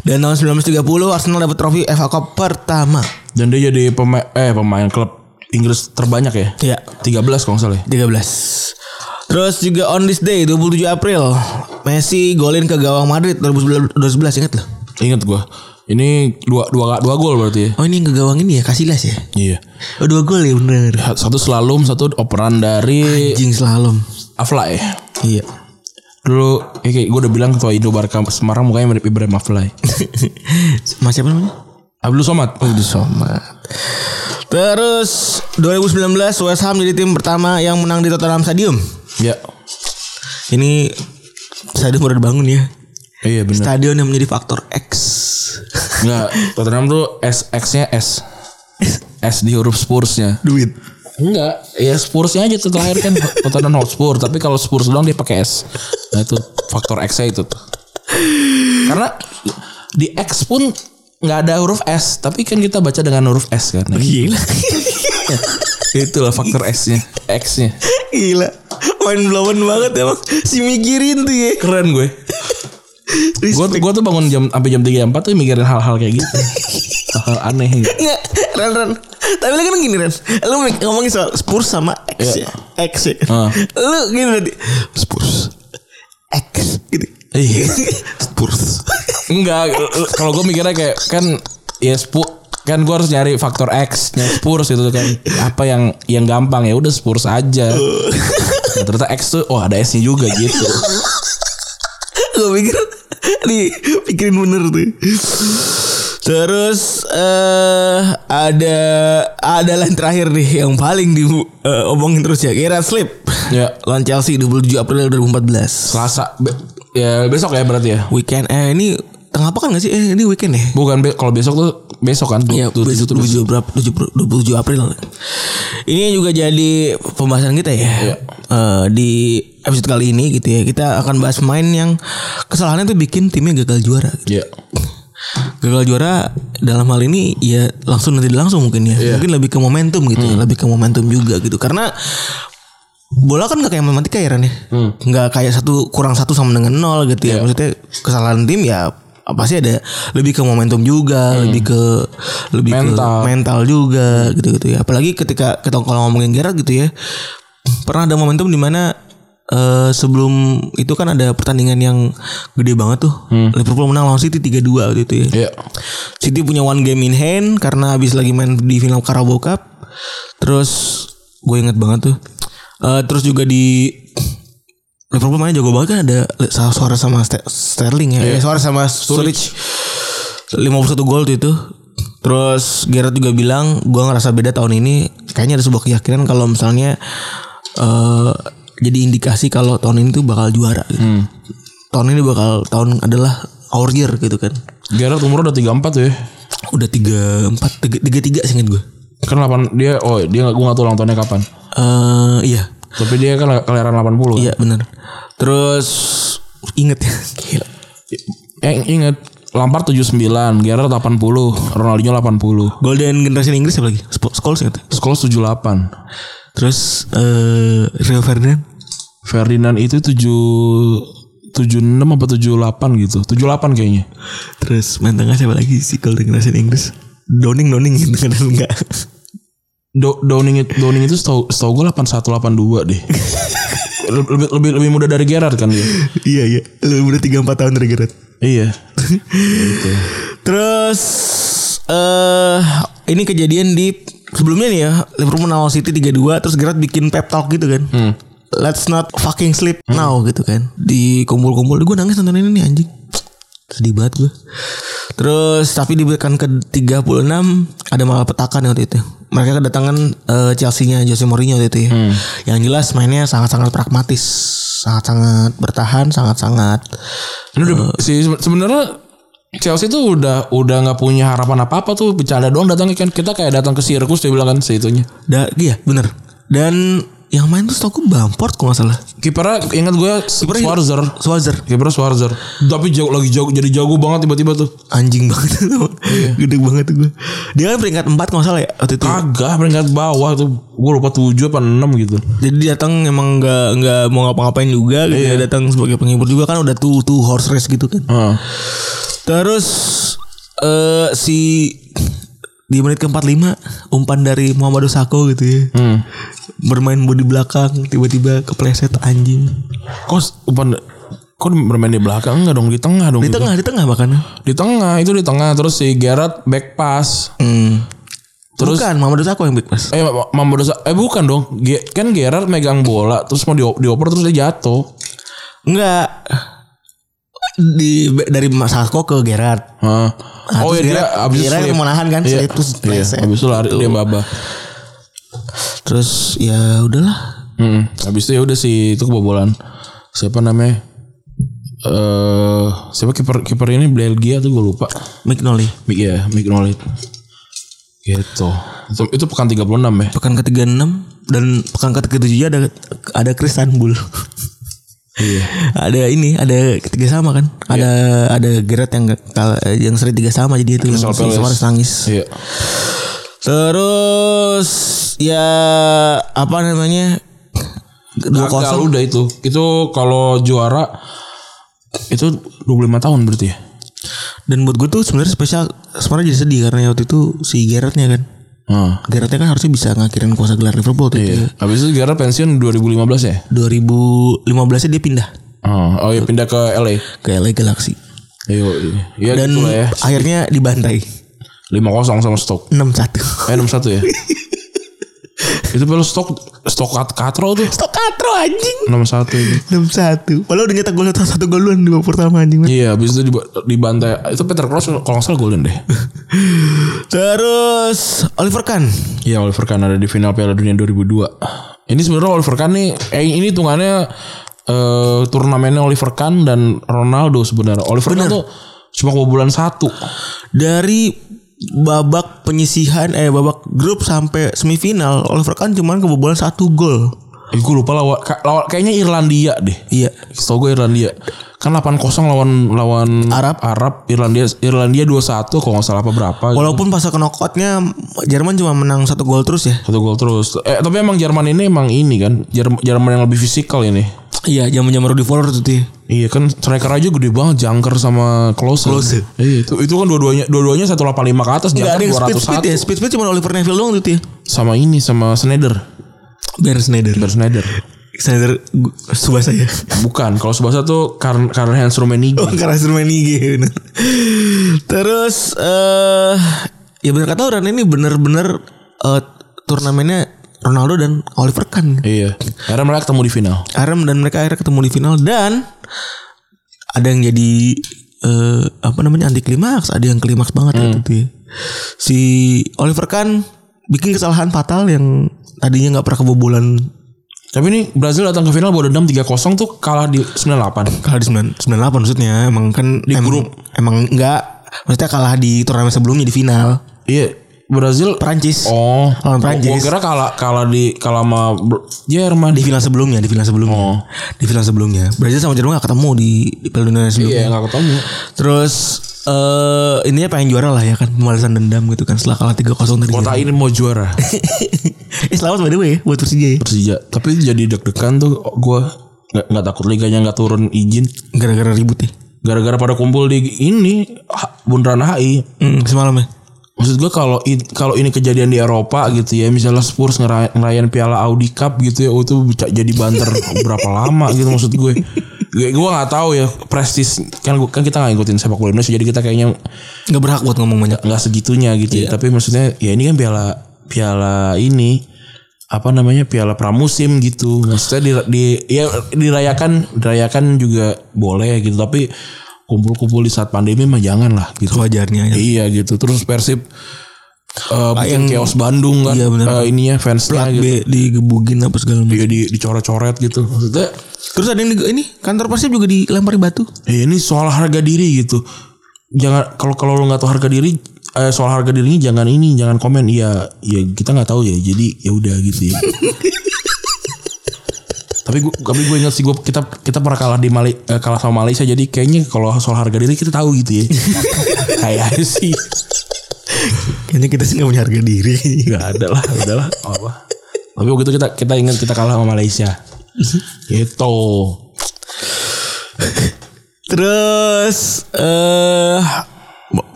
[SPEAKER 3] Dan tahun 1930 Arsenal dapat trofi FA Cup pertama.
[SPEAKER 2] Dan dia jadi pemain eh pemain klub Inggris terbanyak ya?
[SPEAKER 3] Iya.
[SPEAKER 2] 13 kalau nggak salah. ya.
[SPEAKER 3] 13. Terus juga on this day 27 April Messi golin ke gawang Madrid 2011 2011, ingat loh.
[SPEAKER 2] Ingat gua. Ini dua dua dua gol berarti ya.
[SPEAKER 3] Oh ini yang ke gawang ini ya Casillas ya.
[SPEAKER 2] Iya.
[SPEAKER 3] Oh dua gol ya bener.
[SPEAKER 2] Satu slalom, satu operan dari
[SPEAKER 3] Jing slalom.
[SPEAKER 2] Afla ya.
[SPEAKER 3] Iya.
[SPEAKER 2] Dulu eh, kayak gue udah bilang ketua Indo Barca Semarang mukanya mirip Ibrahim Afla. ya.
[SPEAKER 3] Mas siapa namanya?
[SPEAKER 2] Abdul Somad.
[SPEAKER 3] Abdul Somad. Terus 2019 West Ham jadi tim pertama yang menang di Tottenham Stadium.
[SPEAKER 2] Ya.
[SPEAKER 3] Ini stadion baru dibangun ya.
[SPEAKER 2] Iya benar.
[SPEAKER 3] Stadion yang menjadi faktor X.
[SPEAKER 2] Enggak, Tottenham tuh SX-nya S. S di huruf Spurs-nya.
[SPEAKER 3] Duit.
[SPEAKER 2] Enggak, ya Spurs-nya aja tuh terakhir kan Tottenham Hotspur, tapi kalau Spurs doang dia pakai S. Nah itu faktor X-nya itu tuh. Karena di X pun nggak ada huruf S, tapi kan kita baca dengan huruf S kan.
[SPEAKER 3] Gila.
[SPEAKER 2] Itulah faktor S-nya, X-nya.
[SPEAKER 3] Gila. Main blown banget emang. Si mikirin tuh ya.
[SPEAKER 2] Keren gue. Gue
[SPEAKER 3] Respect.
[SPEAKER 2] gua tuh bangun jam sampai jam 3 jam 4 tuh mikirin hal-hal kayak gitu. Hal-hal aneh gitu.
[SPEAKER 3] Nggak, Ren, Ren. Tapi lu kan gini, Ren. Lu ngomongin soal Spurs sama X ya. X ya.
[SPEAKER 2] Iya. Ah.
[SPEAKER 3] Lu gini tadi. Spurs. X. Gitu.
[SPEAKER 2] Iya.
[SPEAKER 3] Spurs.
[SPEAKER 2] Enggak, eh, kalau gue mikirnya kayak kan ya spu kan gue harus nyari faktor X nya Spurs itu kan apa yang yang gampang ya udah Spurs aja Nah, ternyata X tuh oh ada S nya juga gitu
[SPEAKER 3] Gue pikir di pikirin bener tuh. Terus eh ada ada yang terakhir nih yang paling di eh, omongin terus ya. Kira slip.
[SPEAKER 2] ya
[SPEAKER 3] Lawan Chelsea 27 April 2014.
[SPEAKER 2] Selasa be- ya besok ya berarti ya
[SPEAKER 3] Weekend eh ini tengah pekan gak sih? Eh ini weekend ya?
[SPEAKER 2] bukan be- kalau besok tuh besok kan
[SPEAKER 3] Iya,
[SPEAKER 2] tuh,
[SPEAKER 3] besok 27 berapa? 27 27 April. Ini juga jadi pembahasan kita ya. Eh, di episode kali ini gitu ya. Kita akan bahas main yang kesalahannya tuh bikin timnya gagal juara. gitu.
[SPEAKER 2] ya
[SPEAKER 3] Gagal juara dalam hal ini ya langsung nanti langsung mungkin ya. Mungkin lebih ke momentum gitu ya, lebih ke momentum juga gitu. Karena bola kan gak kayak matematika ya Ren ya. Gak kayak satu kurang satu sama dengan nol gitu ya. Maksudnya kesalahan tim ya pasti ada lebih ke momentum juga, lebih ke lebih
[SPEAKER 2] Mental.
[SPEAKER 3] ke mental juga gitu-gitu ya. Apalagi ketika kita kalau ngomongin Gerard gitu ya. Pernah ada momentum di mana eh, sebelum itu kan ada pertandingan yang gede banget tuh. Liverpool menang lawan City 3-2 waktu itu
[SPEAKER 2] ya
[SPEAKER 3] ya. City punya one game in hand karena habis lagi main di final Carabao Cup. Terus gue inget banget tuh. Eh, terus juga di Liverpool mainnya jago banget kan ada suara sama Ste- Sterling ya. Eh, suara sama Sturridge. 51 gol tuh itu. Terus Gerard juga bilang gue ngerasa beda tahun ini kayaknya ada sebuah keyakinan kalau misalnya eh jadi indikasi kalau tahun ini tuh bakal juara. gitu. Tahun ini bakal tahun adalah our year gitu kan
[SPEAKER 2] Gerard umur udah 34 ya
[SPEAKER 3] udah tiga empat tiga tiga, tiga sih ingat gue
[SPEAKER 2] kan 8 dia oh dia nggak gue nggak tahu ulang tahunnya kapan
[SPEAKER 3] Eh iya
[SPEAKER 2] tapi dia kan kelahiran 80 kan
[SPEAKER 3] iya benar terus inget ya gila
[SPEAKER 2] Eh, inget Lampard 79 Gerard 80 Ronaldinho 80
[SPEAKER 3] golden generation Inggris apa lagi Sp- Scholes inget
[SPEAKER 2] Scholes 78
[SPEAKER 3] terus eh Rio Ferdinand
[SPEAKER 2] Ferdinand itu 7 76 apa 78 gitu 78 kayaknya
[SPEAKER 3] terus main tengah siapa lagi si golden generation Inggris Downing Downing gitu kan enggak
[SPEAKER 2] Do, Downing, it- Downing itu setahu setahu gue 81 82 deh lebih, lebih lebih muda dari Gerard kan dia
[SPEAKER 3] iya iya lu udah tiga empat tahun dari Gerard
[SPEAKER 2] iya
[SPEAKER 3] Terus eh ini kejadian di sebelumnya nih ya Liverpool menang lawan City 3-2 terus Gerard bikin pep talk gitu kan.
[SPEAKER 2] Hmm.
[SPEAKER 3] Let's not fucking sleep now gitu kan. Di kumpul-kumpul gue nangis nonton ini nih anjing. Sedih banget gue. Terus tapi di belakang ke 36 ada malapetaka nih waktu itu. Mereka kedatangan eh, Chelsea-nya Jose Mourinho waktu itu ya.
[SPEAKER 2] Hmm.
[SPEAKER 3] Yang jelas mainnya sangat-sangat pragmatis, sangat-sangat bertahan, sangat-sangat eh,
[SPEAKER 2] Ini udah- si se- sebenarnya Chelsea tuh udah udah nggak punya harapan apa apa tuh bercanda doang datang kan kita kayak datang ke sirkus dia bilang kan seitunya
[SPEAKER 3] Da, iya bener Dan yang main tuh setahu gue Bamport kalau nggak salah
[SPEAKER 2] kipernya ingat gue
[SPEAKER 3] Kipernya-
[SPEAKER 2] Schwarzer
[SPEAKER 3] Swazer
[SPEAKER 2] kipernya Schwarzer tapi jago lagi jago jadi jago banget tiba-tiba tuh
[SPEAKER 3] Anjing banget tuh. Gede banget tuh gue Dia kan peringkat 4 kalau nggak salah ya Waktu itu
[SPEAKER 2] Kagak peringkat bawah tuh Gue lupa 7 apa 6 gitu
[SPEAKER 3] Jadi dia datang emang nggak nggak mau ngapa-ngapain juga gitu. Dia datang sebagai penghibur juga kan udah tuh tuh horse race gitu kan
[SPEAKER 2] Heeh.
[SPEAKER 3] Terus eh si di menit ke-45 umpan dari Muhammad Sako gitu ya. Bermain body belakang tiba-tiba kepleset anjing.
[SPEAKER 2] Kok umpan Kok bermain di belakang Enggak dong di tengah dong gitu.
[SPEAKER 3] Di tengah di tengah bahkan.
[SPEAKER 2] Di tengah Itu di tengah Terus si Gerard back pass
[SPEAKER 3] Hmm.
[SPEAKER 2] Terus-
[SPEAKER 3] Bukan Muhammad Sako yang big pass.
[SPEAKER 2] Eh Ma- Mambo Dosa Eh bukan dong Ge- Kan Gerard megang bola Terus mau diop- dioper Terus dia jatuh
[SPEAKER 3] Enggak. Di dari Mas Hasko ke Gerard.
[SPEAKER 2] Heeh.
[SPEAKER 3] Nah,
[SPEAKER 2] oh ya
[SPEAKER 3] terus
[SPEAKER 2] dia
[SPEAKER 3] Gerard-
[SPEAKER 2] abis itu
[SPEAKER 3] Gerard
[SPEAKER 2] slip.
[SPEAKER 3] yang mau nahan kan, Gitu.
[SPEAKER 2] iya.
[SPEAKER 3] slip, terus
[SPEAKER 2] iya.
[SPEAKER 3] pleset.
[SPEAKER 2] Abis itu lari
[SPEAKER 3] Gitu.
[SPEAKER 2] dia babak
[SPEAKER 3] Terus ya udahlah.
[SPEAKER 2] Mm-mm. Habis itu ya udah sih itu kebobolan. Siapa namanya? Eh siapa kiper kiper ini Belgia tuh gue lupa.
[SPEAKER 3] McNally
[SPEAKER 2] Mik ya, Mik Nolit. Gitu. Itu, itu pekan 36 ya.
[SPEAKER 3] pekan ke-36 dan pekan ke-37 ada ada Kristanbul.
[SPEAKER 2] Iya.
[SPEAKER 3] ada ini, ada ketiga sama kan? Ada ada Gerard yang kal- yang seri tiga sama jadi itu yang
[SPEAKER 2] Crystal Palace.
[SPEAKER 3] harus nangis.
[SPEAKER 2] Iya.
[SPEAKER 3] Terus ya apa namanya?
[SPEAKER 2] Gagal
[SPEAKER 3] Dua kosong.
[SPEAKER 2] udah itu. Itu kalau juara itu 25 tahun berarti ya.
[SPEAKER 3] Dan buat gue tuh sebenarnya spesial sebenarnya jadi sedih karena waktu itu si Gerardnya kan.
[SPEAKER 2] Heeh.
[SPEAKER 3] Gerardnya kan harusnya bisa ngakhirin kuasa gelar Liverpool tuh.
[SPEAKER 2] Iya. Nah. Habis itu Gerard pensiun 2015 ya.
[SPEAKER 3] 2015 -nya dia pindah
[SPEAKER 2] Oh, oh ya pindah ke LA.
[SPEAKER 3] ke LA Galaxy.
[SPEAKER 2] Iya, iya
[SPEAKER 3] Dan
[SPEAKER 2] gitu lah ya.
[SPEAKER 3] akhirnya dibantai
[SPEAKER 2] 5-0 sama Stoke.
[SPEAKER 3] 6-1.
[SPEAKER 2] Eh 6-1 ya. itu baru Stoke Stoke Kat Katro tuh
[SPEAKER 3] Stokatro anjing.
[SPEAKER 2] 6-1 itu.
[SPEAKER 3] 6-1. Padahal udah nyetak gol satu gol duluan di babak pertama anjing.
[SPEAKER 2] Iya, habis itu diba- dibantai. Itu Peter Crouch kalau nggak salah golin deh.
[SPEAKER 3] Terus Oliver Kahn.
[SPEAKER 2] Iya, Oliver Kahn ada di final Piala Dunia 2002. Ini sebenarnya Oliver Kahn nih eh, ini hitungannya eh, turnamennya Oliver Kahn dan Ronaldo sebenarnya. Oliver Kahn tuh cuma kebobolan satu.
[SPEAKER 3] Dari babak penyisihan eh babak grup sampai semifinal Oliver Kahn cuman kebobolan satu gol.
[SPEAKER 2] Eh, gue lupa lawan, ka- lawan kayaknya Irlandia deh.
[SPEAKER 3] Iya.
[SPEAKER 2] Setahu gue Irlandia. Kan 8-0 lawan lawan
[SPEAKER 3] Arab.
[SPEAKER 2] Arab Irlandia Irlandia 2-1 kalau nggak salah apa berapa. gitu.
[SPEAKER 3] Walaupun pas knockoutnya Jerman cuma menang satu gol terus ya.
[SPEAKER 2] Satu gol terus. Eh tapi emang Jerman ini emang ini kan Jerman, Jerman yang lebih fisikal ini.
[SPEAKER 3] Iya, zaman-zaman Rudi Voller tuh dia.
[SPEAKER 2] Iya kan striker aja gede banget Jangker sama Klose.
[SPEAKER 3] Klose.
[SPEAKER 2] Iya itu, itu kan dua-duanya dua-duanya 185 ke atas
[SPEAKER 3] Enggak ada yang
[SPEAKER 2] Jangker
[SPEAKER 3] speed speed ya.
[SPEAKER 2] 201
[SPEAKER 3] Speed speed cuma Oliver Neville doang tuh dia.
[SPEAKER 2] sama ini sama Schneider.
[SPEAKER 3] Ben Snyder.
[SPEAKER 2] Dan Schneider.
[SPEAKER 3] Snyder subasa ya.
[SPEAKER 2] Bukan, kalau Subasa tuh karena karena Hans
[SPEAKER 3] Oh,
[SPEAKER 2] Rummenigge.
[SPEAKER 3] karena main IG bener. Terus eh ya bener kata orang ini bener-bener eh, turnamennya Ronaldo dan Oliver Kahn.
[SPEAKER 2] Iya. Karena mereka ketemu di final.
[SPEAKER 3] Aram dan mereka akhirnya ketemu di final dan ada yang jadi eh apa namanya anti klimaks, ada yang klimaks banget waktu itu ya. Si Oliver Kahn bikin kesalahan fatal yang tadinya nggak pernah kebobolan
[SPEAKER 2] Tapi ini Brazil datang ke final bawa dendam 3-0 tuh kalah di 98.
[SPEAKER 3] kalah di 9 98 maksudnya emang kan di grup emang nggak maksudnya kalah di turnamen sebelumnya di final
[SPEAKER 2] Iya, Brazil
[SPEAKER 3] Prancis
[SPEAKER 2] Oh,
[SPEAKER 3] Lawan Prancis.
[SPEAKER 2] Gua kira kalah kalah di kalah sama Br- Jerman.
[SPEAKER 3] di final sebelumnya di final sebelumnya
[SPEAKER 2] Oh.
[SPEAKER 3] di final sebelumnya Brazil sama Jerman gak ketemu di, di Piala Dunia sebelumnya
[SPEAKER 2] Iya, enggak ketemu.
[SPEAKER 3] terus eh ininya pengen juara lah ya kan pembalasan dendam gitu kan setelah kalah 3-0 tadi
[SPEAKER 2] Kota ini mau juara
[SPEAKER 3] eh selamat by the way ya, buat Persija ya
[SPEAKER 2] Persija, tapi jadi deg-degan tuh gua nggak nggak takut liganya nggak turun izin
[SPEAKER 3] gara-gara ribut ya
[SPEAKER 2] gara-gara pada kumpul di ini ha- bundaran HI.
[SPEAKER 3] Mm, semalam ya
[SPEAKER 2] Maksud gua kalau i- kalau ini kejadian di Eropa gitu ya, misalnya Spurs ngera- ngerayain Piala Audi Cup gitu ya, oh, itu bisa jadi banter berapa lama gitu maksud gue. Gue gue nggak tahu ya prestis kan gua- kan kita nggak ngikutin sepak bola Indonesia jadi kita kayaknya
[SPEAKER 3] nggak berhak buat ngomong banyak
[SPEAKER 2] nggak segitunya gitu
[SPEAKER 3] Iya.
[SPEAKER 2] ya. Tapi maksudnya ya ini kan piala piala ini apa namanya piala pramusim gitu. Maksudnya di, di ya dirayakan dirayakan juga boleh gitu. Tapi kumpul-kumpul di saat pandemi mah jangan lah gitu.
[SPEAKER 3] sewajarnya ya.
[SPEAKER 2] Iya gitu. Terus Persib eh bikin chaos Bandung kan.
[SPEAKER 3] Iya, benar.
[SPEAKER 2] Eh, ininya fansnya gitu.
[SPEAKER 3] B digebugin apa segala macam
[SPEAKER 2] Iya di dicoret-coret gitu. Maksudnya
[SPEAKER 3] terus ada yang di, ini kantor Persib juga dilempari batu
[SPEAKER 2] ya ini soal harga diri gitu. Jangan kalau kalau lu nggak tahu harga diri eh, soal harga dirinya jangan ini jangan komen ya ya kita nggak tahu ya jadi ya udah gitu ya. tapi gue tapi gue ingat sih gue kita kita pernah kalah di Mali, eh, kalah sama Malaysia jadi kayaknya kalau soal harga diri kita tahu gitu ya kayak sih
[SPEAKER 3] kayaknya kita sih nggak punya harga diri
[SPEAKER 2] nggak ada lah udahlah Oh, apa tapi waktu itu kita kita ingat kita kalah sama Malaysia gitu
[SPEAKER 3] Terus eh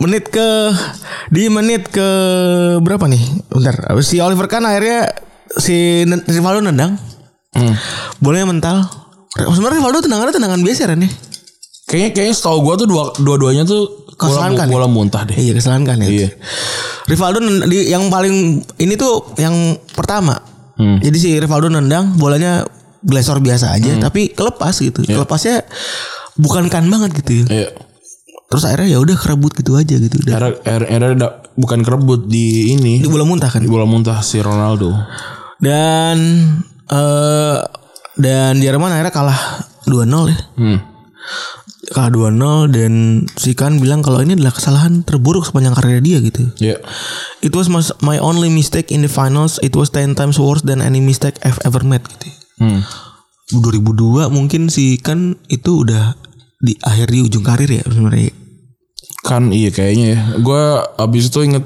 [SPEAKER 3] menit ke di menit ke berapa nih? Bentar. Si Oliver Kahn akhirnya si Nen- Rivaldo nendang.
[SPEAKER 2] Hmm.
[SPEAKER 3] Boleh mental. Sebenarnya Rivaldo tendangannya tendangan biasa kan ya?
[SPEAKER 2] kayaknya kayaknya setahu gue tuh dua dua-duanya tuh bola,
[SPEAKER 3] Kesalahan kan ya?
[SPEAKER 2] bola muntah deh
[SPEAKER 3] Iya kesalahan kan ya.
[SPEAKER 2] Iya.
[SPEAKER 3] Rivaldo nend- di, yang paling ini tuh yang pertama.
[SPEAKER 2] Hmm.
[SPEAKER 3] Jadi si Rivaldo nendang bolanya glasor biasa aja tapi kelepas gitu. Kelepasnya bukan kan banget gitu. ya.
[SPEAKER 2] Iya.
[SPEAKER 3] Terus akhirnya ya udah kerebut gitu aja gitu. Udah.
[SPEAKER 2] Era era, era da- bukan kerebut di ini
[SPEAKER 3] Di bola muntah kan.
[SPEAKER 2] di bola muntah si Ronaldo.
[SPEAKER 3] Dan eh dan Jerman akhirnya kalah 2-0 ya.
[SPEAKER 2] Hmm.
[SPEAKER 3] Kalah 2-0 dan si Kahn bilang kalau ini adalah kesalahan terburuk sepanjang karir dia gitu.
[SPEAKER 2] Iya.
[SPEAKER 3] It was mas- my only mistake in the finals. It was 10 times worse than any mistake I've ever made gitu.
[SPEAKER 2] Hmm.
[SPEAKER 3] 2002 mungkin si kan itu udah di akhir di ujung karir ya sebenarnya.
[SPEAKER 2] Kan iya kayaknya ya. Gue abis itu inget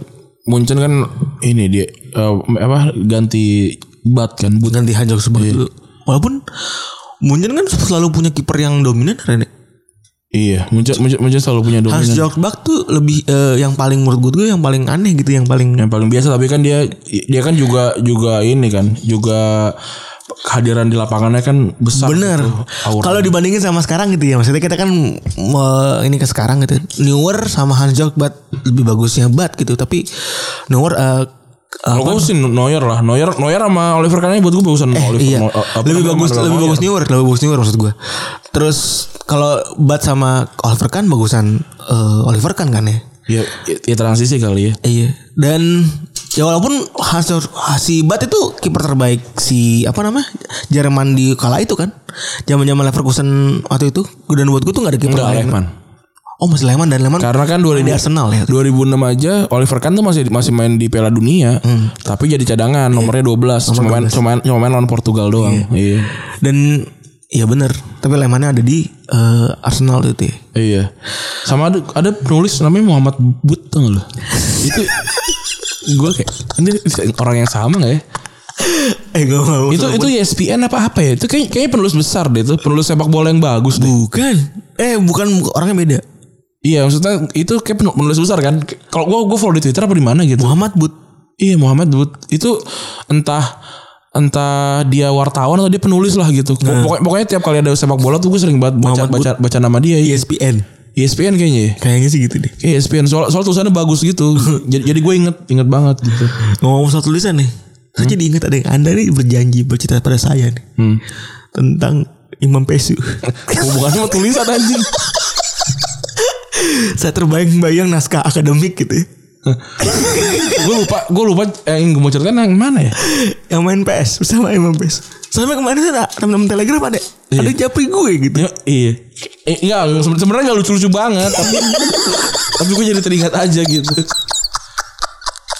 [SPEAKER 2] Munchen kan ini dia eh, apa ganti bat kan but
[SPEAKER 3] Ganti Hanjok sebab dulu. Walaupun Munchen kan selalu punya kiper yang dominan Rene.
[SPEAKER 2] iya Munchen Munchen, Munchen selalu punya
[SPEAKER 3] Hans
[SPEAKER 2] dominan
[SPEAKER 3] Jorgbak tuh lebih eh, yang paling menurut gue yang paling aneh gitu yang paling
[SPEAKER 2] yang paling biasa tapi kan dia dia kan juga juga ini kan juga kehadiran di lapangannya kan besar
[SPEAKER 3] bener.
[SPEAKER 2] gitu, aura.
[SPEAKER 3] Kalau dibandingin sama sekarang gitu ya maksudnya kita kan me- ini ke sekarang gitu. Newer sama Hans Jorgbak lebih bagusnya Bat gitu tapi Newer eh,
[SPEAKER 2] Kalau gue sih Neuer lah Neuer Neuer sama Oliver Kahn buat gue bagusan Oliver
[SPEAKER 3] iya.
[SPEAKER 2] Mo- eh, apa
[SPEAKER 3] lebih
[SPEAKER 2] namanya,
[SPEAKER 3] bagus
[SPEAKER 2] sama
[SPEAKER 3] lebih
[SPEAKER 2] Neuer.
[SPEAKER 3] bagus Newer, lebih bagus Newer maksud gue. Terus kalau Bat sama Oliver kan bagusan eh, Oliver kan kan ya.
[SPEAKER 2] Ya, ya, ya transisi kali ya
[SPEAKER 3] Iya. Dan ya walaupun hasil si Bat itu kiper terbaik si apa namanya Jerman di kala itu kan. Zaman-zaman Leverkusen waktu itu dan buat gue tuh gak ada kiper
[SPEAKER 2] Enggak
[SPEAKER 3] lain.
[SPEAKER 2] Lehmann
[SPEAKER 3] Oh masih Lehmann dan ya. Lehmann
[SPEAKER 2] Karena kan
[SPEAKER 3] di
[SPEAKER 2] 2000,
[SPEAKER 3] Arsenal ya.
[SPEAKER 2] 2006 aja Oliver Kahn tuh masih masih main di Piala Dunia Tapi jadi cadangan nomornya 12 cuma, Main, cuma, main, cuma main lawan Portugal doang Iya
[SPEAKER 3] Dan iya bener Tapi Lehmannnya ada di eh, Arsenal itu ya.
[SPEAKER 2] Iya Sama ada, ada penulis namanya Muhammad But tau gak lu? Itu Gue kayak Ini orang yang sama gak ya?
[SPEAKER 3] Eh gak mau.
[SPEAKER 2] Itu itu ESPN apa apa ya? Itu kayak, kayaknya penulis besar deh itu Penulis sepak bola yang bagus deh
[SPEAKER 3] bukan. Eh bukan orangnya beda.
[SPEAKER 2] Iya maksudnya itu kayak penu- penulis besar kan Kalau gue gue follow di Twitter apa di mana gitu
[SPEAKER 3] Muhammad But
[SPEAKER 2] Iya Muhammad Bud itu entah entah dia wartawan atau dia penulis lah gitu. Pokoknya, pokoknya tiap kali ada sepak bola tuh gue sering banget baca
[SPEAKER 3] Muhammad Bud.
[SPEAKER 2] baca, baca nama dia.
[SPEAKER 3] E
[SPEAKER 2] Iya.
[SPEAKER 3] ESPN.
[SPEAKER 2] ESPN kayaknya ya.
[SPEAKER 3] Kayaknya sih gitu deh.
[SPEAKER 2] Kayak ESPN soal soal tulisannya bagus gitu. jadi, jadi gue inget inget banget gitu.
[SPEAKER 3] Ngomong soal tulisan nih. Saya jadi ingat ada yang Anda nih berjanji bercerita pada saya nih. Tentang Imam Pesu.
[SPEAKER 2] Hubungannya sama tulisan anjing.
[SPEAKER 3] saya terbayang-bayang naskah akademik gitu. ya.
[SPEAKER 2] gue lupa gue lupa eh, yang gue mau ceritain yang mana ya?
[SPEAKER 3] Yang main PS bersama Imam Pesu. Sampai kemarin saya teman-teman Telegram ada ada japri gue gitu.
[SPEAKER 2] Ya, iya. Eh, enggak, seben- sebenarnya enggak lucu-lucu banget, tapi tapi gue jadi teringat aja gitu.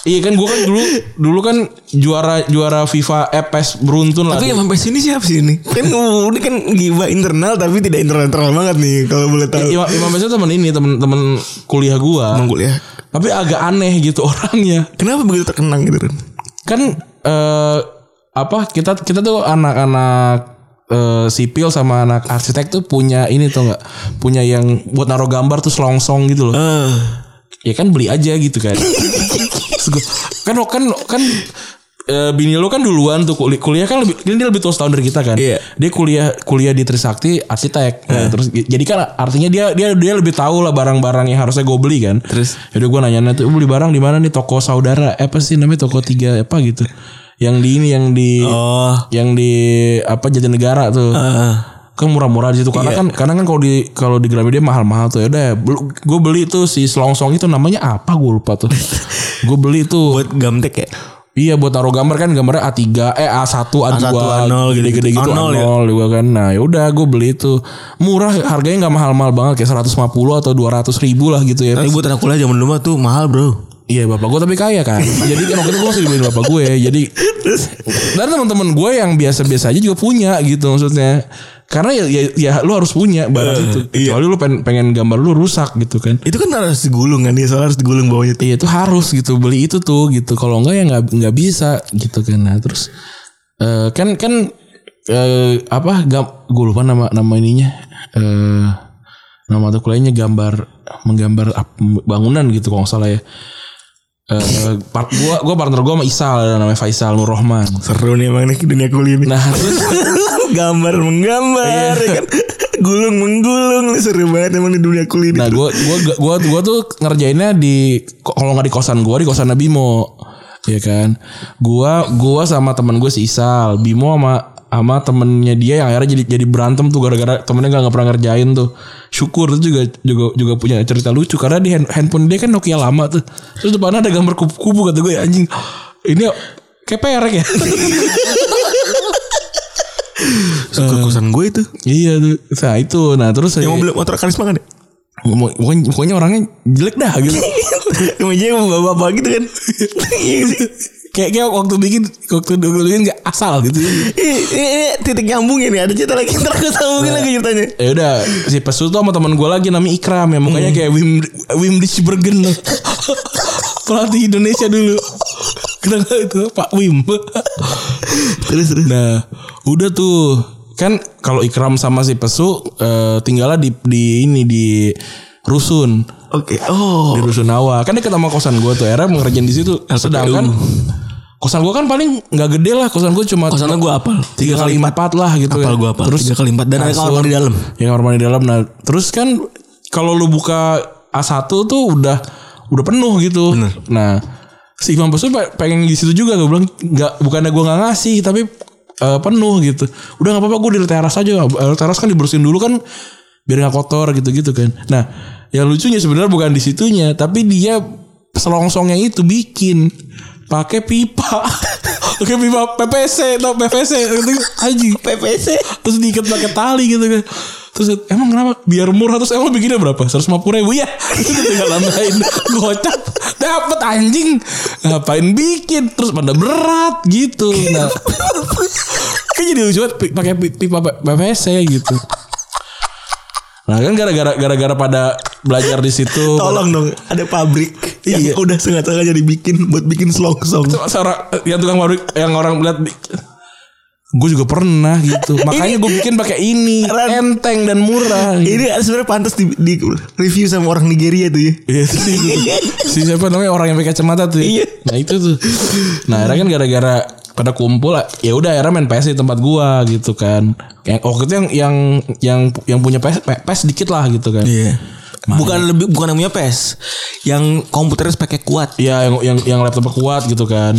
[SPEAKER 2] Iya kan gue kan dulu dulu kan juara juara FIFA eh, PES beruntun lah.
[SPEAKER 3] Tapi Imam Pesu ini siapa sih ini? Kan uh, ini kan gibah internal tapi tidak internal internal banget nih kalau boleh tahu.
[SPEAKER 2] Imam Iya, Imam Besar temen ini temen-temen kuliah gua.
[SPEAKER 3] Emang kuliah.
[SPEAKER 2] Tapi agak aneh gitu orangnya.
[SPEAKER 3] ya. Kenapa begitu terkenang gitu Ren?
[SPEAKER 2] Kan eh, apa kita kita tuh anak-anak eh, sipil sama anak arsitek tuh punya ini tuh nggak punya yang buat naruh gambar terus longsong gitu loh.
[SPEAKER 3] Eh,
[SPEAKER 2] ya kan beli aja gitu kan Terus gua, kan kan kan eh, bini lo kan duluan tuh kuliah, kuliah kan lebih ini dia lebih tua setahun dari kita kan
[SPEAKER 3] Iya.
[SPEAKER 2] dia kuliah kuliah di Trisakti arsitek Nah, terus j- jadi kan artinya dia dia dia lebih tahu lah barang-barang yang harusnya gue beli kan
[SPEAKER 3] Terus?
[SPEAKER 2] jadi gue nanya tuh beli barang di mana nih toko saudara Eh, apa sih namanya toko tiga apa gitu yang di ini yang di
[SPEAKER 3] Oh.
[SPEAKER 2] yang di apa Jatinegara tuh
[SPEAKER 3] eh.
[SPEAKER 2] kan murah-murah di situ karena
[SPEAKER 3] Iya.
[SPEAKER 2] kan karena kan kalau di kalau di Gramedia mahal-mahal tuh ya udah gue beli tuh si selongsong itu namanya apa gue lupa tuh gue beli tuh
[SPEAKER 3] buat gamtek ya
[SPEAKER 2] iya buat taruh gambar kan gambarnya A3 eh A1 A2
[SPEAKER 3] A1, A0,
[SPEAKER 2] gede-gede gitu
[SPEAKER 3] gitu. A0 ya?
[SPEAKER 2] A0 juga kan nah ya udah gue beli itu murah harganya nggak mahal-mahal banget kayak 150 atau 200 ribu lah gitu ya
[SPEAKER 3] Tapi buat anak kuliah zaman dulu mah tuh mahal bro
[SPEAKER 2] Iya bapak gue tapi kaya kan Jadi kan waktu itu gue masih dibeliin bapak gue Jadi Dan teman-teman gue yang biasa-biasa aja juga punya gitu maksudnya Karena ya, ya, ya lu harus punya barang itu Kecuali lu pengen, pengen gambar lu rusak gitu kan
[SPEAKER 3] Itu kan harus digulung kan Dia soalnya harus digulung bawahnya tuh.
[SPEAKER 2] Iya itu harus gitu beli itu tuh gitu kalau enggak ya nggak nggak bisa gitu kan nah terus eh, kan kan eh, apa gam gue lupa nama nama ininya eh nama mata kuliahnya gambar menggambar ap- bangunan gitu kalau nggak salah ya eh part gua gua partner gua sama Isal namanya Faisal Nur Rahman
[SPEAKER 3] Seru nih emang nih dunia kuliah nih
[SPEAKER 2] nah terus
[SPEAKER 3] Gambar menggambar ya kan Gulung menggulung nih Seru banget emang di dunia kuliah
[SPEAKER 2] Nah,
[SPEAKER 3] nih
[SPEAKER 2] gue gua gua gua tuh ngerjainnya di kalau nggak di kosan gua di kosan Bimo. Ya kan? Gua gua sama temen gue si Isal, Bimo sama sama temennya dia yang akhirnya jadi jadi berantem tuh gara-gara temennya nggak nggak pernah ngerjain tuh syukur tuh juga juga juga punya cerita lucu karena di hand- handphone dia kan Nokia lama tuh terus depannya ada gambar ya?" kupu-kupu kata gue anjing ini kayak perek ya
[SPEAKER 3] Suka kosan gue itu.
[SPEAKER 2] Iya tuh. Nah itu. Nah terus saya
[SPEAKER 3] Yang mau beli motor karisma kan ya?
[SPEAKER 2] Pokoknya- pokoknya, pokoknya orangnya jelek dah gitu.
[SPEAKER 3] Yang aja yang bapak-bapak gitu kan. Iya gak sih?
[SPEAKER 2] kayak kayak waktu bikin waktu dulu bikin nggak asal gitu.
[SPEAKER 3] Ih, ih, ih, titik nyambungin ya ada cerita lagi ntar gue sambungin lagi ceritanya
[SPEAKER 2] Ya udah si pesu tuh sama teman gue lagi namanya Ikram ya mukanya kayak Wim Wim Disbergen loh. pelatih Indonesia dulu. Kenapa itu Pak Wim?
[SPEAKER 3] terus terus
[SPEAKER 2] nah udah tuh kan kalau Ikram sama si pesu eh, tinggalnya di di ini di rusun
[SPEAKER 3] oke oh
[SPEAKER 2] di rusun Nawa kan deket sama kosan gue tuh era ngerjain di situ sedangkan kosan gue kan paling nggak gede lah kosan gue cuma
[SPEAKER 3] kosan gue apal
[SPEAKER 2] tiga kali empat lah gitu
[SPEAKER 3] apal gue apal
[SPEAKER 2] terus
[SPEAKER 3] tiga kali empat dan ada
[SPEAKER 2] kasur.
[SPEAKER 3] kamar Nah, di dalam
[SPEAKER 2] yang kamar mandi dalam nah terus kan kalau lu buka A1 tuh udah udah penuh gitu
[SPEAKER 3] Bener.
[SPEAKER 2] nah si Imam Besut pe- pengen di situ juga gue bilang nggak bukannya gue nggak ngasih tapi eh, penuh gitu udah nggak apa-apa gue di teras aja Eh, teras kan dibersihin dulu kan biar nggak kotor gitu-gitu kan nah yang lucunya sebenarnya bukan di situnya tapi dia selongsongnya itu bikin pakai pipa pakai pipa PPC atau PVC anjing
[SPEAKER 3] PPC
[SPEAKER 2] terus diikat pakai tali gitu kan terus emang kenapa biar murah terus emang bikinnya berapa 150 ribu ya itu udah tinggal nambahin gocap dapat anjing ngapain bikin terus pada berat gitu nah kan jadi lucu banget pi- pakai pi- pipa P- PVC gitu nah kan gara-gara gara-gara pada belajar di situ
[SPEAKER 3] tolong dong ada pabrik
[SPEAKER 2] Iya.
[SPEAKER 3] yang udah sengaja dibikin buat bikin selongsong
[SPEAKER 2] Cuma seorang yang tukang pabrik yang orang lihat gue juga pernah gitu makanya gue bikin pakai ini
[SPEAKER 3] Ran.
[SPEAKER 2] enteng dan murah gitu.
[SPEAKER 3] ini sebenarnya pantas di, di review sama orang Nigeria tuh ya
[SPEAKER 2] Iya sih Si siapa namanya orang yang pakai kacamata tuh. ya?
[SPEAKER 3] Iya.
[SPEAKER 2] Nah itu tuh. Nah akhirnya kan gara-gara pada kumpul ya udah akhirnya main PS di tempat gua gitu kan. Yang waktu itu yang yang yang yang punya PS PS dikit lah gitu kan. Iya.
[SPEAKER 3] bukan lebih bukan namanya PES yang komputernya speknya kuat
[SPEAKER 2] Iya, yang yang yang laptop kuat gitu kan.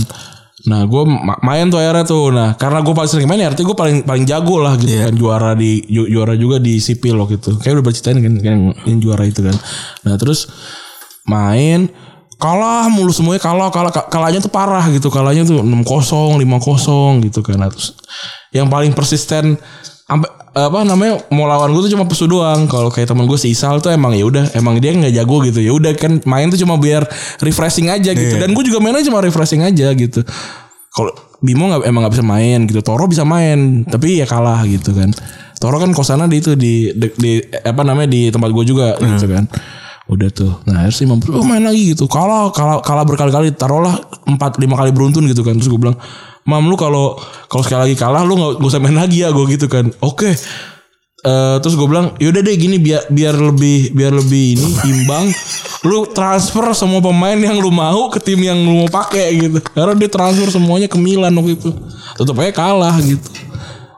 [SPEAKER 2] Nah gue main tuh akhirnya tuh Nah karena gue paling sering main ya Artinya gue paling paling jago lah gitu kan Juara di ju- juara juga di sipil loh gitu Kayak udah berceritain kan, kan yang, yang juara itu kan Nah terus Main Kalah mulu semuanya kalah kalah ka- kalahnya tuh parah gitu kalahnya tuh 6-0 5-0 gitu kan nah, terus yang paling persisten sampai apa namanya mau lawan gue tuh cuma pesu doang kalau kayak teman gue si Isal tuh emang ya udah emang dia nggak jago gitu ya udah kan main tuh cuma biar refreshing aja gitu dan gue juga mainnya cuma refreshing aja gitu kalau Bimo nggak emang nggak bisa main gitu Toro bisa main tapi ya kalah gitu kan Toro kan kosannya di itu di di, di- apa namanya di tempat gue juga gitu kan udah tuh nah harus Imam oh main lagi gitu kalah kalah kalah berkali-kali taruhlah empat lima kali beruntun gitu kan terus gue bilang Mam lu kalau kalau sekali lagi kalah lu nggak gak usah main lagi ya gue gitu kan oke Eh, terus gue bilang yaudah deh gini biar biar lebih biar lebih ini imbang lu transfer semua pemain yang lu mau ke tim yang lu mau pakai gitu karena dia transfer semuanya ke Milan waktu itu tetap aja kalah gitu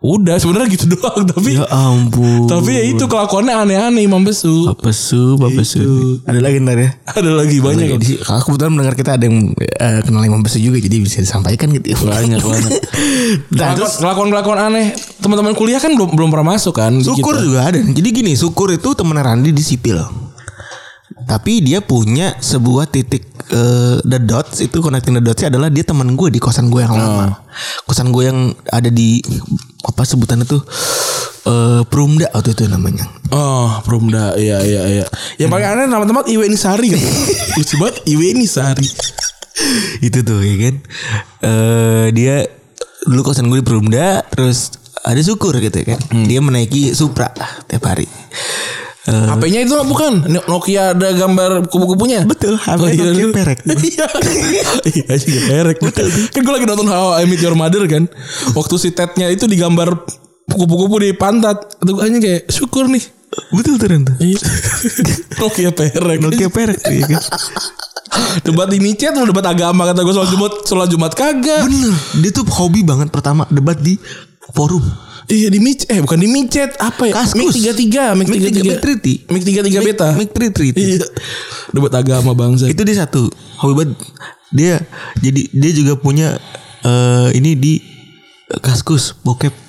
[SPEAKER 2] udah sebenarnya gitu doang tapi
[SPEAKER 3] Ya ampun
[SPEAKER 2] tapi ya itu kelakuannya aneh-aneh Imam Besu
[SPEAKER 3] Pesu, pesu. Ada lagi ntar ya.
[SPEAKER 2] ada lagi banyak
[SPEAKER 3] Jadi kalau kebetulan mendengar kita ada yang eh, kenal Imam Besu juga jadi bisa disampaikan gitu.
[SPEAKER 2] Banyak, banyak. Kelakuan-
[SPEAKER 3] nah, terus
[SPEAKER 2] kelakuan-kelakuan aneh teman-teman kuliah kan belum belum pernah masuk kan di
[SPEAKER 3] Syukur
[SPEAKER 2] kita.
[SPEAKER 3] juga ada. Jadi gini, Syukur itu temen Randi di sipil. Tapi dia punya sebuah titik eh, the dots itu connecting the dots adalah dia teman gue di kosan gue yang lama. Kosan gue yang ada di apa sebutannya tuh eh Perumda waktu itu namanya.
[SPEAKER 2] Oh, Perumda. Iya, iya, iya. Yang paling aneh nama tempat Iweni Sari kan. Lucu banget Iweni Sari.
[SPEAKER 3] Eh. itu tuh ya kan. Eh dia dulu kosan gue di Perumda terus ada syukur gitu ya kan. Dia menaiki Supra tiap hari. Eh,
[SPEAKER 2] HP-nya itu lah bukan Ni- Nokia ada gambar kupu-kupunya.
[SPEAKER 3] Betul, HP Nokia perek.
[SPEAKER 2] Iya. Iya, sih perek. Betul. Kan gue lagi nonton How I Met Your Mother kan. Waktu si Ted-nya itu digambar kupu-kupu di pantat. Itu gue hanya kayak syukur nih.
[SPEAKER 3] betul tuh Ren, tuh.
[SPEAKER 2] Nokia perek.
[SPEAKER 3] Iya. Nokia perek tuh ya kan.
[SPEAKER 2] Debat di micet lu debat agama kata gue sholat Jumat, sholat Jumat kagak.
[SPEAKER 3] Bener Dia tuh hobi banget pertama debat di forum
[SPEAKER 2] Iya di micet eh bukan di micet apa ya?
[SPEAKER 3] Kaskus.
[SPEAKER 2] Mik 33, Mik
[SPEAKER 3] Mik
[SPEAKER 2] 33.
[SPEAKER 3] 33 Triti
[SPEAKER 2] Mik 33 beta.
[SPEAKER 3] Mik Tri Triti
[SPEAKER 2] Iya. Debat agama bangsa.
[SPEAKER 3] Itu dia satu Hobi banget Dia Jadi dia juga punya eh Ini di eh, Kaskus Bokep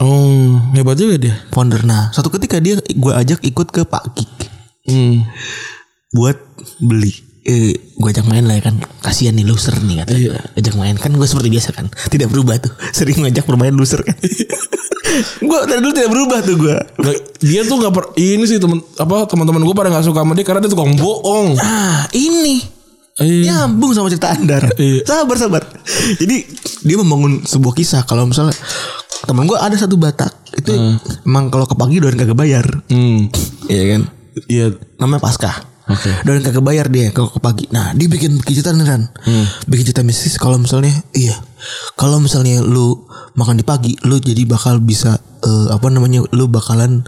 [SPEAKER 2] Oh, hebat juga dia.
[SPEAKER 3] Founder Nah suatu ketika dia Gue ajak ikut ke Pak Kik
[SPEAKER 2] Hmm.
[SPEAKER 3] Buat beli eh, Gue ajak main lah ya kan Kasian nih loser nih kata
[SPEAKER 2] Iya.
[SPEAKER 3] Ajak main Kan gue seperti biasa kan Tidak berubah tuh Sering ngajak bermain loser kan gue dari dulu tidak berubah tuh gue.
[SPEAKER 2] Nggak- dia tuh nggak per ini sih temen apa teman-teman gue pada nggak suka sama dia karena dia tukang bohong
[SPEAKER 3] Ah ini
[SPEAKER 2] iya
[SPEAKER 3] nyambung sama cerita Andar.
[SPEAKER 2] Iya.
[SPEAKER 3] Sabar sabar. Jadi dia membangun sebuah kisah kalau misalnya teman gue ada satu Batak itu emang kalau ke pagi doain kagak bayar.
[SPEAKER 2] hmm.
[SPEAKER 3] Iya kan?
[SPEAKER 2] iya
[SPEAKER 3] Namanya Paskah.
[SPEAKER 2] Oke.
[SPEAKER 3] Dan kagak bayar dia kalau ke pagi. Nah, dia bikin bikin cerita beneran.
[SPEAKER 2] Hmm.
[SPEAKER 3] Bikin cerita mistis kalau misalnya iya. Kalau misalnya lu makan di pagi, lu jadi bakal bisa eh, apa namanya? Lu bakalan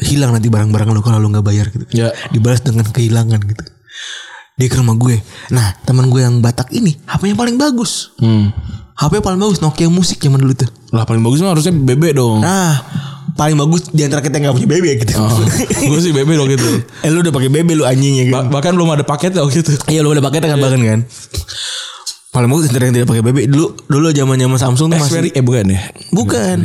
[SPEAKER 3] hilang nanti barang-barang lu kalau lu nggak bayar gitu.
[SPEAKER 2] Ya.
[SPEAKER 3] Dibalas dengan kehilangan gitu. Dia ke rumah gue. Nah, teman gue yang Batak ini HP-nya paling bagus.
[SPEAKER 2] hmm.
[SPEAKER 3] HP paling bagus Nokia musik zaman dulu tuh.
[SPEAKER 2] lah paling bagus mah harusnya bebek dong
[SPEAKER 3] Nah, paling bagus di antara kita yang gak punya BB gitu.
[SPEAKER 2] Oh. gue sih bebek dong gitu
[SPEAKER 3] eh lu udah pakai BB lu anjing ya gitu.
[SPEAKER 2] Ba- bahkan belum ada paketnya waktu itu
[SPEAKER 3] Iya lu udah pakai kan bahkan kan. Paling bagus internet yang tidak pakai BB dulu dulu zaman-zaman Samsung tuh masih
[SPEAKER 2] Xperi eh bukan ya
[SPEAKER 3] bukan.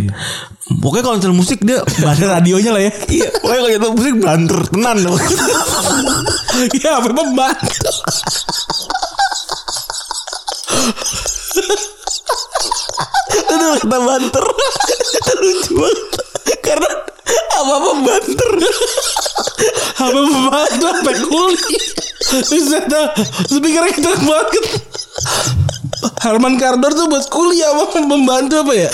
[SPEAKER 3] Pokoknya kalau nyetel musik dia
[SPEAKER 2] ada radionya lah ya
[SPEAKER 3] iya, pokoknya kalau nyetel musik banter tenan loh.
[SPEAKER 2] Iya apa beban
[SPEAKER 3] Aduh kata banter. Lucu banget. Karena apa-apa banter.
[SPEAKER 2] Apa beban tuh sampai kuli Terus ada Speakernya kenceng banget Herman Kardon tuh buat kuliah apa membantu apa ya?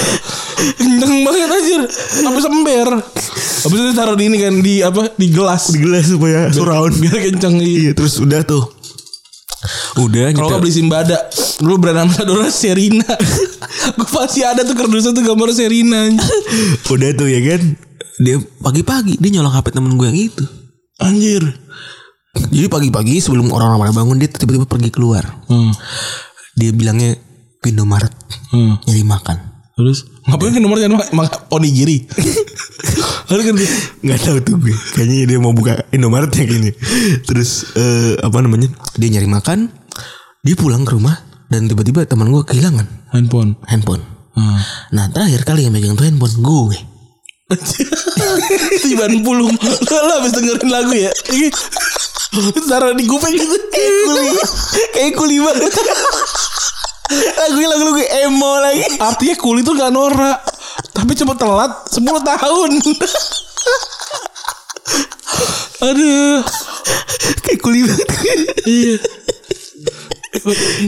[SPEAKER 2] Kenceng banget anjir. Habis ember. Habis itu taruh di ini kan di apa? Di gelas.
[SPEAKER 3] Di gelas supaya surround.
[SPEAKER 2] Biar kenceng.
[SPEAKER 3] Iya, terus udah tuh. Udah
[SPEAKER 2] Kalau nggak
[SPEAKER 3] nyetel-
[SPEAKER 2] beli Simbada, lu brand ambassador Serina. Gue pasti ada tuh kerdusnya tuh gambar Serina.
[SPEAKER 3] Udah tuh ya kan. Dia pagi-pagi dia nyolong HP temen gue yang itu.
[SPEAKER 2] Anjir.
[SPEAKER 3] Jadi pagi-pagi sebelum orang-orang pada bangun dia tiba-tiba pergi keluar.
[SPEAKER 2] Hmm.
[SPEAKER 3] Dia bilangnya ke Indomaret
[SPEAKER 2] Hmm.
[SPEAKER 3] nyari makan.
[SPEAKER 2] Terus ngapain ke nomornya emang, emang onigiri? Lalu kan dia,
[SPEAKER 3] Gak tahu tuh gue. Kayaknya dia mau buka Indomaret ya gini. Terus eh, apa namanya? Dia nyari makan. Dia pulang ke rumah dan tiba-tiba teman gue kehilangan
[SPEAKER 2] handphone.
[SPEAKER 3] handphone.
[SPEAKER 2] Hmm.
[SPEAKER 3] Nah terakhir kali yang megang tuh handphone gue.
[SPEAKER 2] Tiban pulung Lo habis dengerin lagu ya Ini Taruh di kuping gitu Kayak kuli Kayak kuli banget
[SPEAKER 3] Lagunya lagu gue emo lagi.
[SPEAKER 2] Artinya kuli tuh gak norak Tapi cuma telat 10 tahun Aduh
[SPEAKER 3] Kayak kuli banget.
[SPEAKER 2] Iya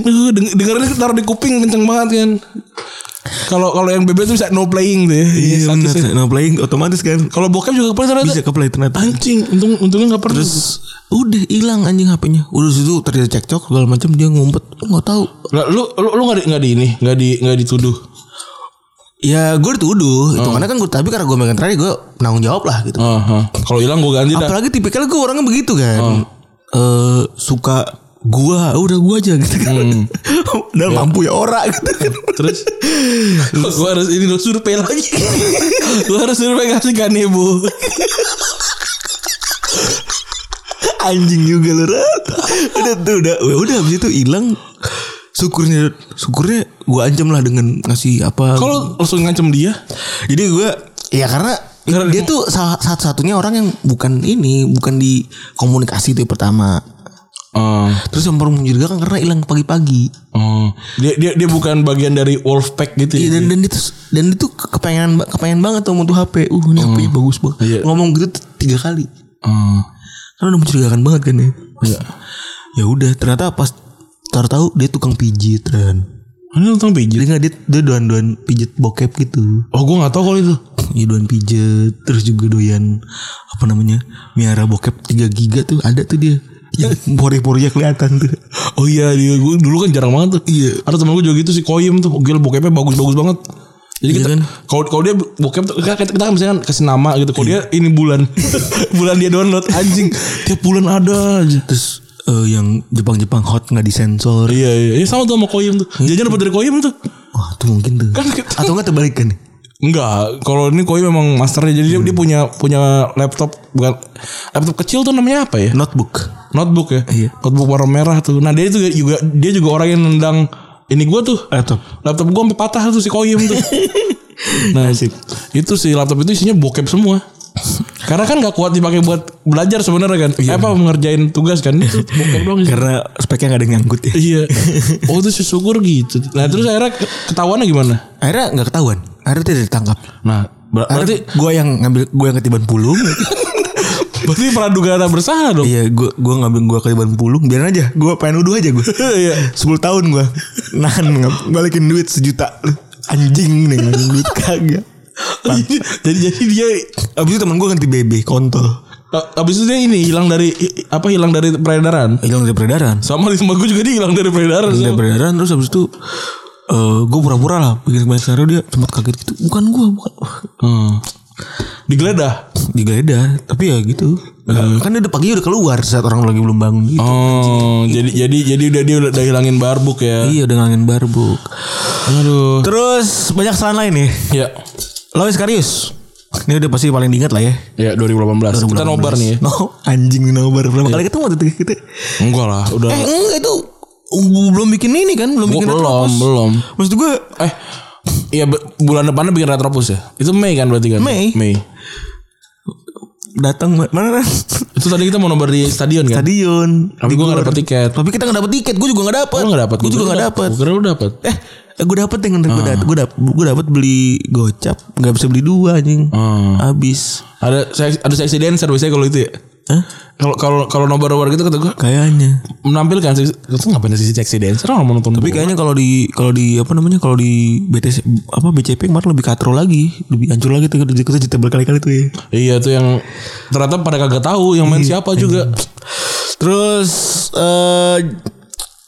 [SPEAKER 2] Aduh, deng- dengerin taruh di kuping kenceng banget kan kalau kalau yang bebek tuh bisa no playing tuh ya.
[SPEAKER 3] Iya
[SPEAKER 2] statusnya.
[SPEAKER 3] bener. Nah playing otomatis kan.
[SPEAKER 2] Kalau bokep juga kepala ternyata
[SPEAKER 3] Bisa ke play ternyata.
[SPEAKER 2] anjing. Untung untungnya nggak pernah. Terus
[SPEAKER 3] Udah hilang anjing HP-nya. Udah situ terjadi cekcok segala macam dia ngumpet. Enggak tahu.
[SPEAKER 2] lu lu lu nggak di nggak di ini nggak di nggak dituduh.
[SPEAKER 3] Ya gue dituduh itu karena kan gue tapi karena gue megang terakhir gue penanggung jawab lah gitu.
[SPEAKER 2] Ah, ah. Kalau hilang gue ganti dah.
[SPEAKER 3] Apalagi tipikal gue orangnya begitu kan. Eh suka gua udah gua aja gitu kan. Dan mampu ya ora gitu kan.
[SPEAKER 2] Terus gue harus ini dong survei lagi. gue harus survei kasih kan ibu.
[SPEAKER 3] Anjing juga lu Rat. Udah tuh udah Wah, udah habis itu hilang syukurnya syukurnya gua ancam lah dengan ngasih apa
[SPEAKER 2] Kalau langsung ngancem dia,
[SPEAKER 3] Jadi gue ya karena
[SPEAKER 2] Karena-
[SPEAKER 3] dia tuh salah satu-satunya orang yang bukan ini, bukan di komunikasi itu yang pertama.
[SPEAKER 2] Ah,
[SPEAKER 3] Terus yang paling mencurigakan karena hilang pagi-pagi.
[SPEAKER 2] oh. dia dia dia bukan bagian dari wolf pack gitu ya.
[SPEAKER 3] Iya, dan dan itu dan itu kepengen ba- kepengen banget tuh mau tuh HP. Uh, ini HP bagus banget.
[SPEAKER 2] Iya.
[SPEAKER 3] Ngomong gitu t- tiga kali.
[SPEAKER 2] Oh.
[SPEAKER 3] Karena udah mencurigakan banget kan ya.
[SPEAKER 2] Iya.
[SPEAKER 3] Ya udah, ternyata pas tahu tahu dia tukang pijit kan.
[SPEAKER 2] Ini tentang pijit.
[SPEAKER 3] Jadi nggak dia dia doan-doan pijit bokep gitu.
[SPEAKER 2] Oh gue nggak tahu kalau itu.
[SPEAKER 3] Ya doyan pijet Terus juga doyan Apa namanya Miara bokep 3 giga tuh Ada tuh dia Yang pori-porinya kelihatan tuh
[SPEAKER 2] Oh iya, dia, gua dulu kan jarang banget tuh. Iya. Ada temen gue juga gitu si Koyim tuh. Gila bokepnya bagus-bagus banget. Jadi
[SPEAKER 3] Iya
[SPEAKER 2] kita,
[SPEAKER 3] kan?
[SPEAKER 2] kalau kalau dia bokep tuh, kita, kita kan misalkan kasih nama gitu. Kalau dia ini bulan, bulan dia download
[SPEAKER 3] Iya,
[SPEAKER 2] anjing. Tiap bulan ada aja.
[SPEAKER 3] Terus eh, Yang Jepang-Jepang hot nggak disensor
[SPEAKER 2] Iya iya, iya sama tuh sama Koyim tuh. Jajan dapat dari Koyim tuh.
[SPEAKER 3] Wah tuh mungkin tuh
[SPEAKER 2] Kan kita-
[SPEAKER 3] Atau nggak terbalikan
[SPEAKER 2] Enggak, kalau ini Koyim memang masternya. Jadi dia, dia punya punya laptop bukan laptop kecil tuh namanya apa ya?
[SPEAKER 3] Notebook
[SPEAKER 2] Notebook ya.
[SPEAKER 3] Iya.
[SPEAKER 2] Notebook warna merah tuh. Nah, dia itu juga dia juga orang yang nendang ini gua Eh, tuh.
[SPEAKER 3] Laptop
[SPEAKER 2] Laptop gua sampai patah tuh si Koyim tuh. nah, itu si laptop itu isinya bokep semua. Karena kan nggak kuat dipakai buat belajar sebenarnya kan. Apa mengerjain tugas kan? Itu bokep doang isinya.
[SPEAKER 3] Karena speknya nggak ada yang nyangkut ya
[SPEAKER 2] Iya. Oh itu si syukur gitu. Nah terus akhirnya ketahuannya gimana?
[SPEAKER 3] Akhirnya nggak ketahuan Akhirnya tidak ditangkap
[SPEAKER 2] Nah Ber- berarti
[SPEAKER 3] Berarti gue yang ngambil gue yang ketiban pulung.
[SPEAKER 2] berarti praduga tak bersalah dong.
[SPEAKER 3] Iya, gue gue ngambil gue ketiban pulung. Biarin aja, gue pengen nuduh aja gue. Iya. 10 tahun gue nahan nge- balikin duit sejuta. Anjing nih ngambil duit kagak.
[SPEAKER 2] jadi jadi jadi dia
[SPEAKER 3] Abis itu temen gue ganti BB kontol.
[SPEAKER 2] abis itu dia ini hilang dari apa hilang dari peredaran.
[SPEAKER 3] Hilang dari peredaran.
[SPEAKER 2] Sama di sama gue juga dia hilang Iya. dari peredaran.
[SPEAKER 3] Hilang dari peredaran terus abis itu eh gue pura-pura lah bikin banyak skenario dia sempat kaget gitu bukan gue bukan
[SPEAKER 2] Hmm. Digeledah.
[SPEAKER 3] digeledah tapi ya gitu
[SPEAKER 2] Iya.
[SPEAKER 3] Eh, kan dia udah pagi udah keluar saat orang lagi belum bangun gitu.
[SPEAKER 2] Oh, jadi jadi jadi udah dia udah, udah hilangin barbuk ya.
[SPEAKER 3] Iya udah ngangin barbuk. Iya.
[SPEAKER 2] Aduh.
[SPEAKER 3] Terus banyak saran lain nih.
[SPEAKER 2] Ya.
[SPEAKER 3] Lois Karius. Ini udah pasti paling diingat lah ya.
[SPEAKER 2] Ya 2018. Kita nobar nih ya. Iya.
[SPEAKER 3] No, anjing nobar. Belum kali ketemu waktu itu kita.
[SPEAKER 2] Enggak lah, udah
[SPEAKER 3] Eh enggak itu uh, belum bikin ini kan, belum
[SPEAKER 2] Gua
[SPEAKER 3] bikin
[SPEAKER 2] belum,
[SPEAKER 3] Retropos.
[SPEAKER 2] belum.
[SPEAKER 3] Maksud gue
[SPEAKER 2] Eh, iya be- bulan depannya bikin retropus ya. Itu Mei kan berarti kan?
[SPEAKER 3] Mei.
[SPEAKER 2] Mei.
[SPEAKER 3] datang ma- mana kan?
[SPEAKER 2] Itu tadi kita mau nobar di stadion kan?
[SPEAKER 3] Stadion.
[SPEAKER 2] Tapi
[SPEAKER 3] Di
[SPEAKER 2] gue gak
[SPEAKER 3] gor.
[SPEAKER 2] dapet tiket.
[SPEAKER 3] Tapi kita gak dapet tiket, gue juga gak dapet.
[SPEAKER 2] Gue gak dapet.
[SPEAKER 3] Gue juga gak dapet.
[SPEAKER 2] Gue kira lu dapet.
[SPEAKER 3] Eh, gue dapet yang gue dapet, gue dapet, gue dapet beli gocap, gak bisa beli dua anjing.
[SPEAKER 2] Hmm.
[SPEAKER 3] Habis.
[SPEAKER 2] Ada seks- ada seksi dancer biasanya kalau itu ya.
[SPEAKER 3] Hah?
[SPEAKER 2] Kalau kalau kalau nobar-nobar gitu kata gue
[SPEAKER 3] Kayaknya.
[SPEAKER 2] menampilkan sih itu ngapain sih seksi dancer orang mau nonton bola.
[SPEAKER 3] Tapi kayaknya kalau di kalau di apa namanya kalau di BTS apa BCP kemarin lebih katro lagi, lebih hancur lagi tuh kita cerita berkali-kali tuh ya.
[SPEAKER 2] Iya tuh yang ternyata pada kagak tahu yang main siapa juga.
[SPEAKER 3] Terus eh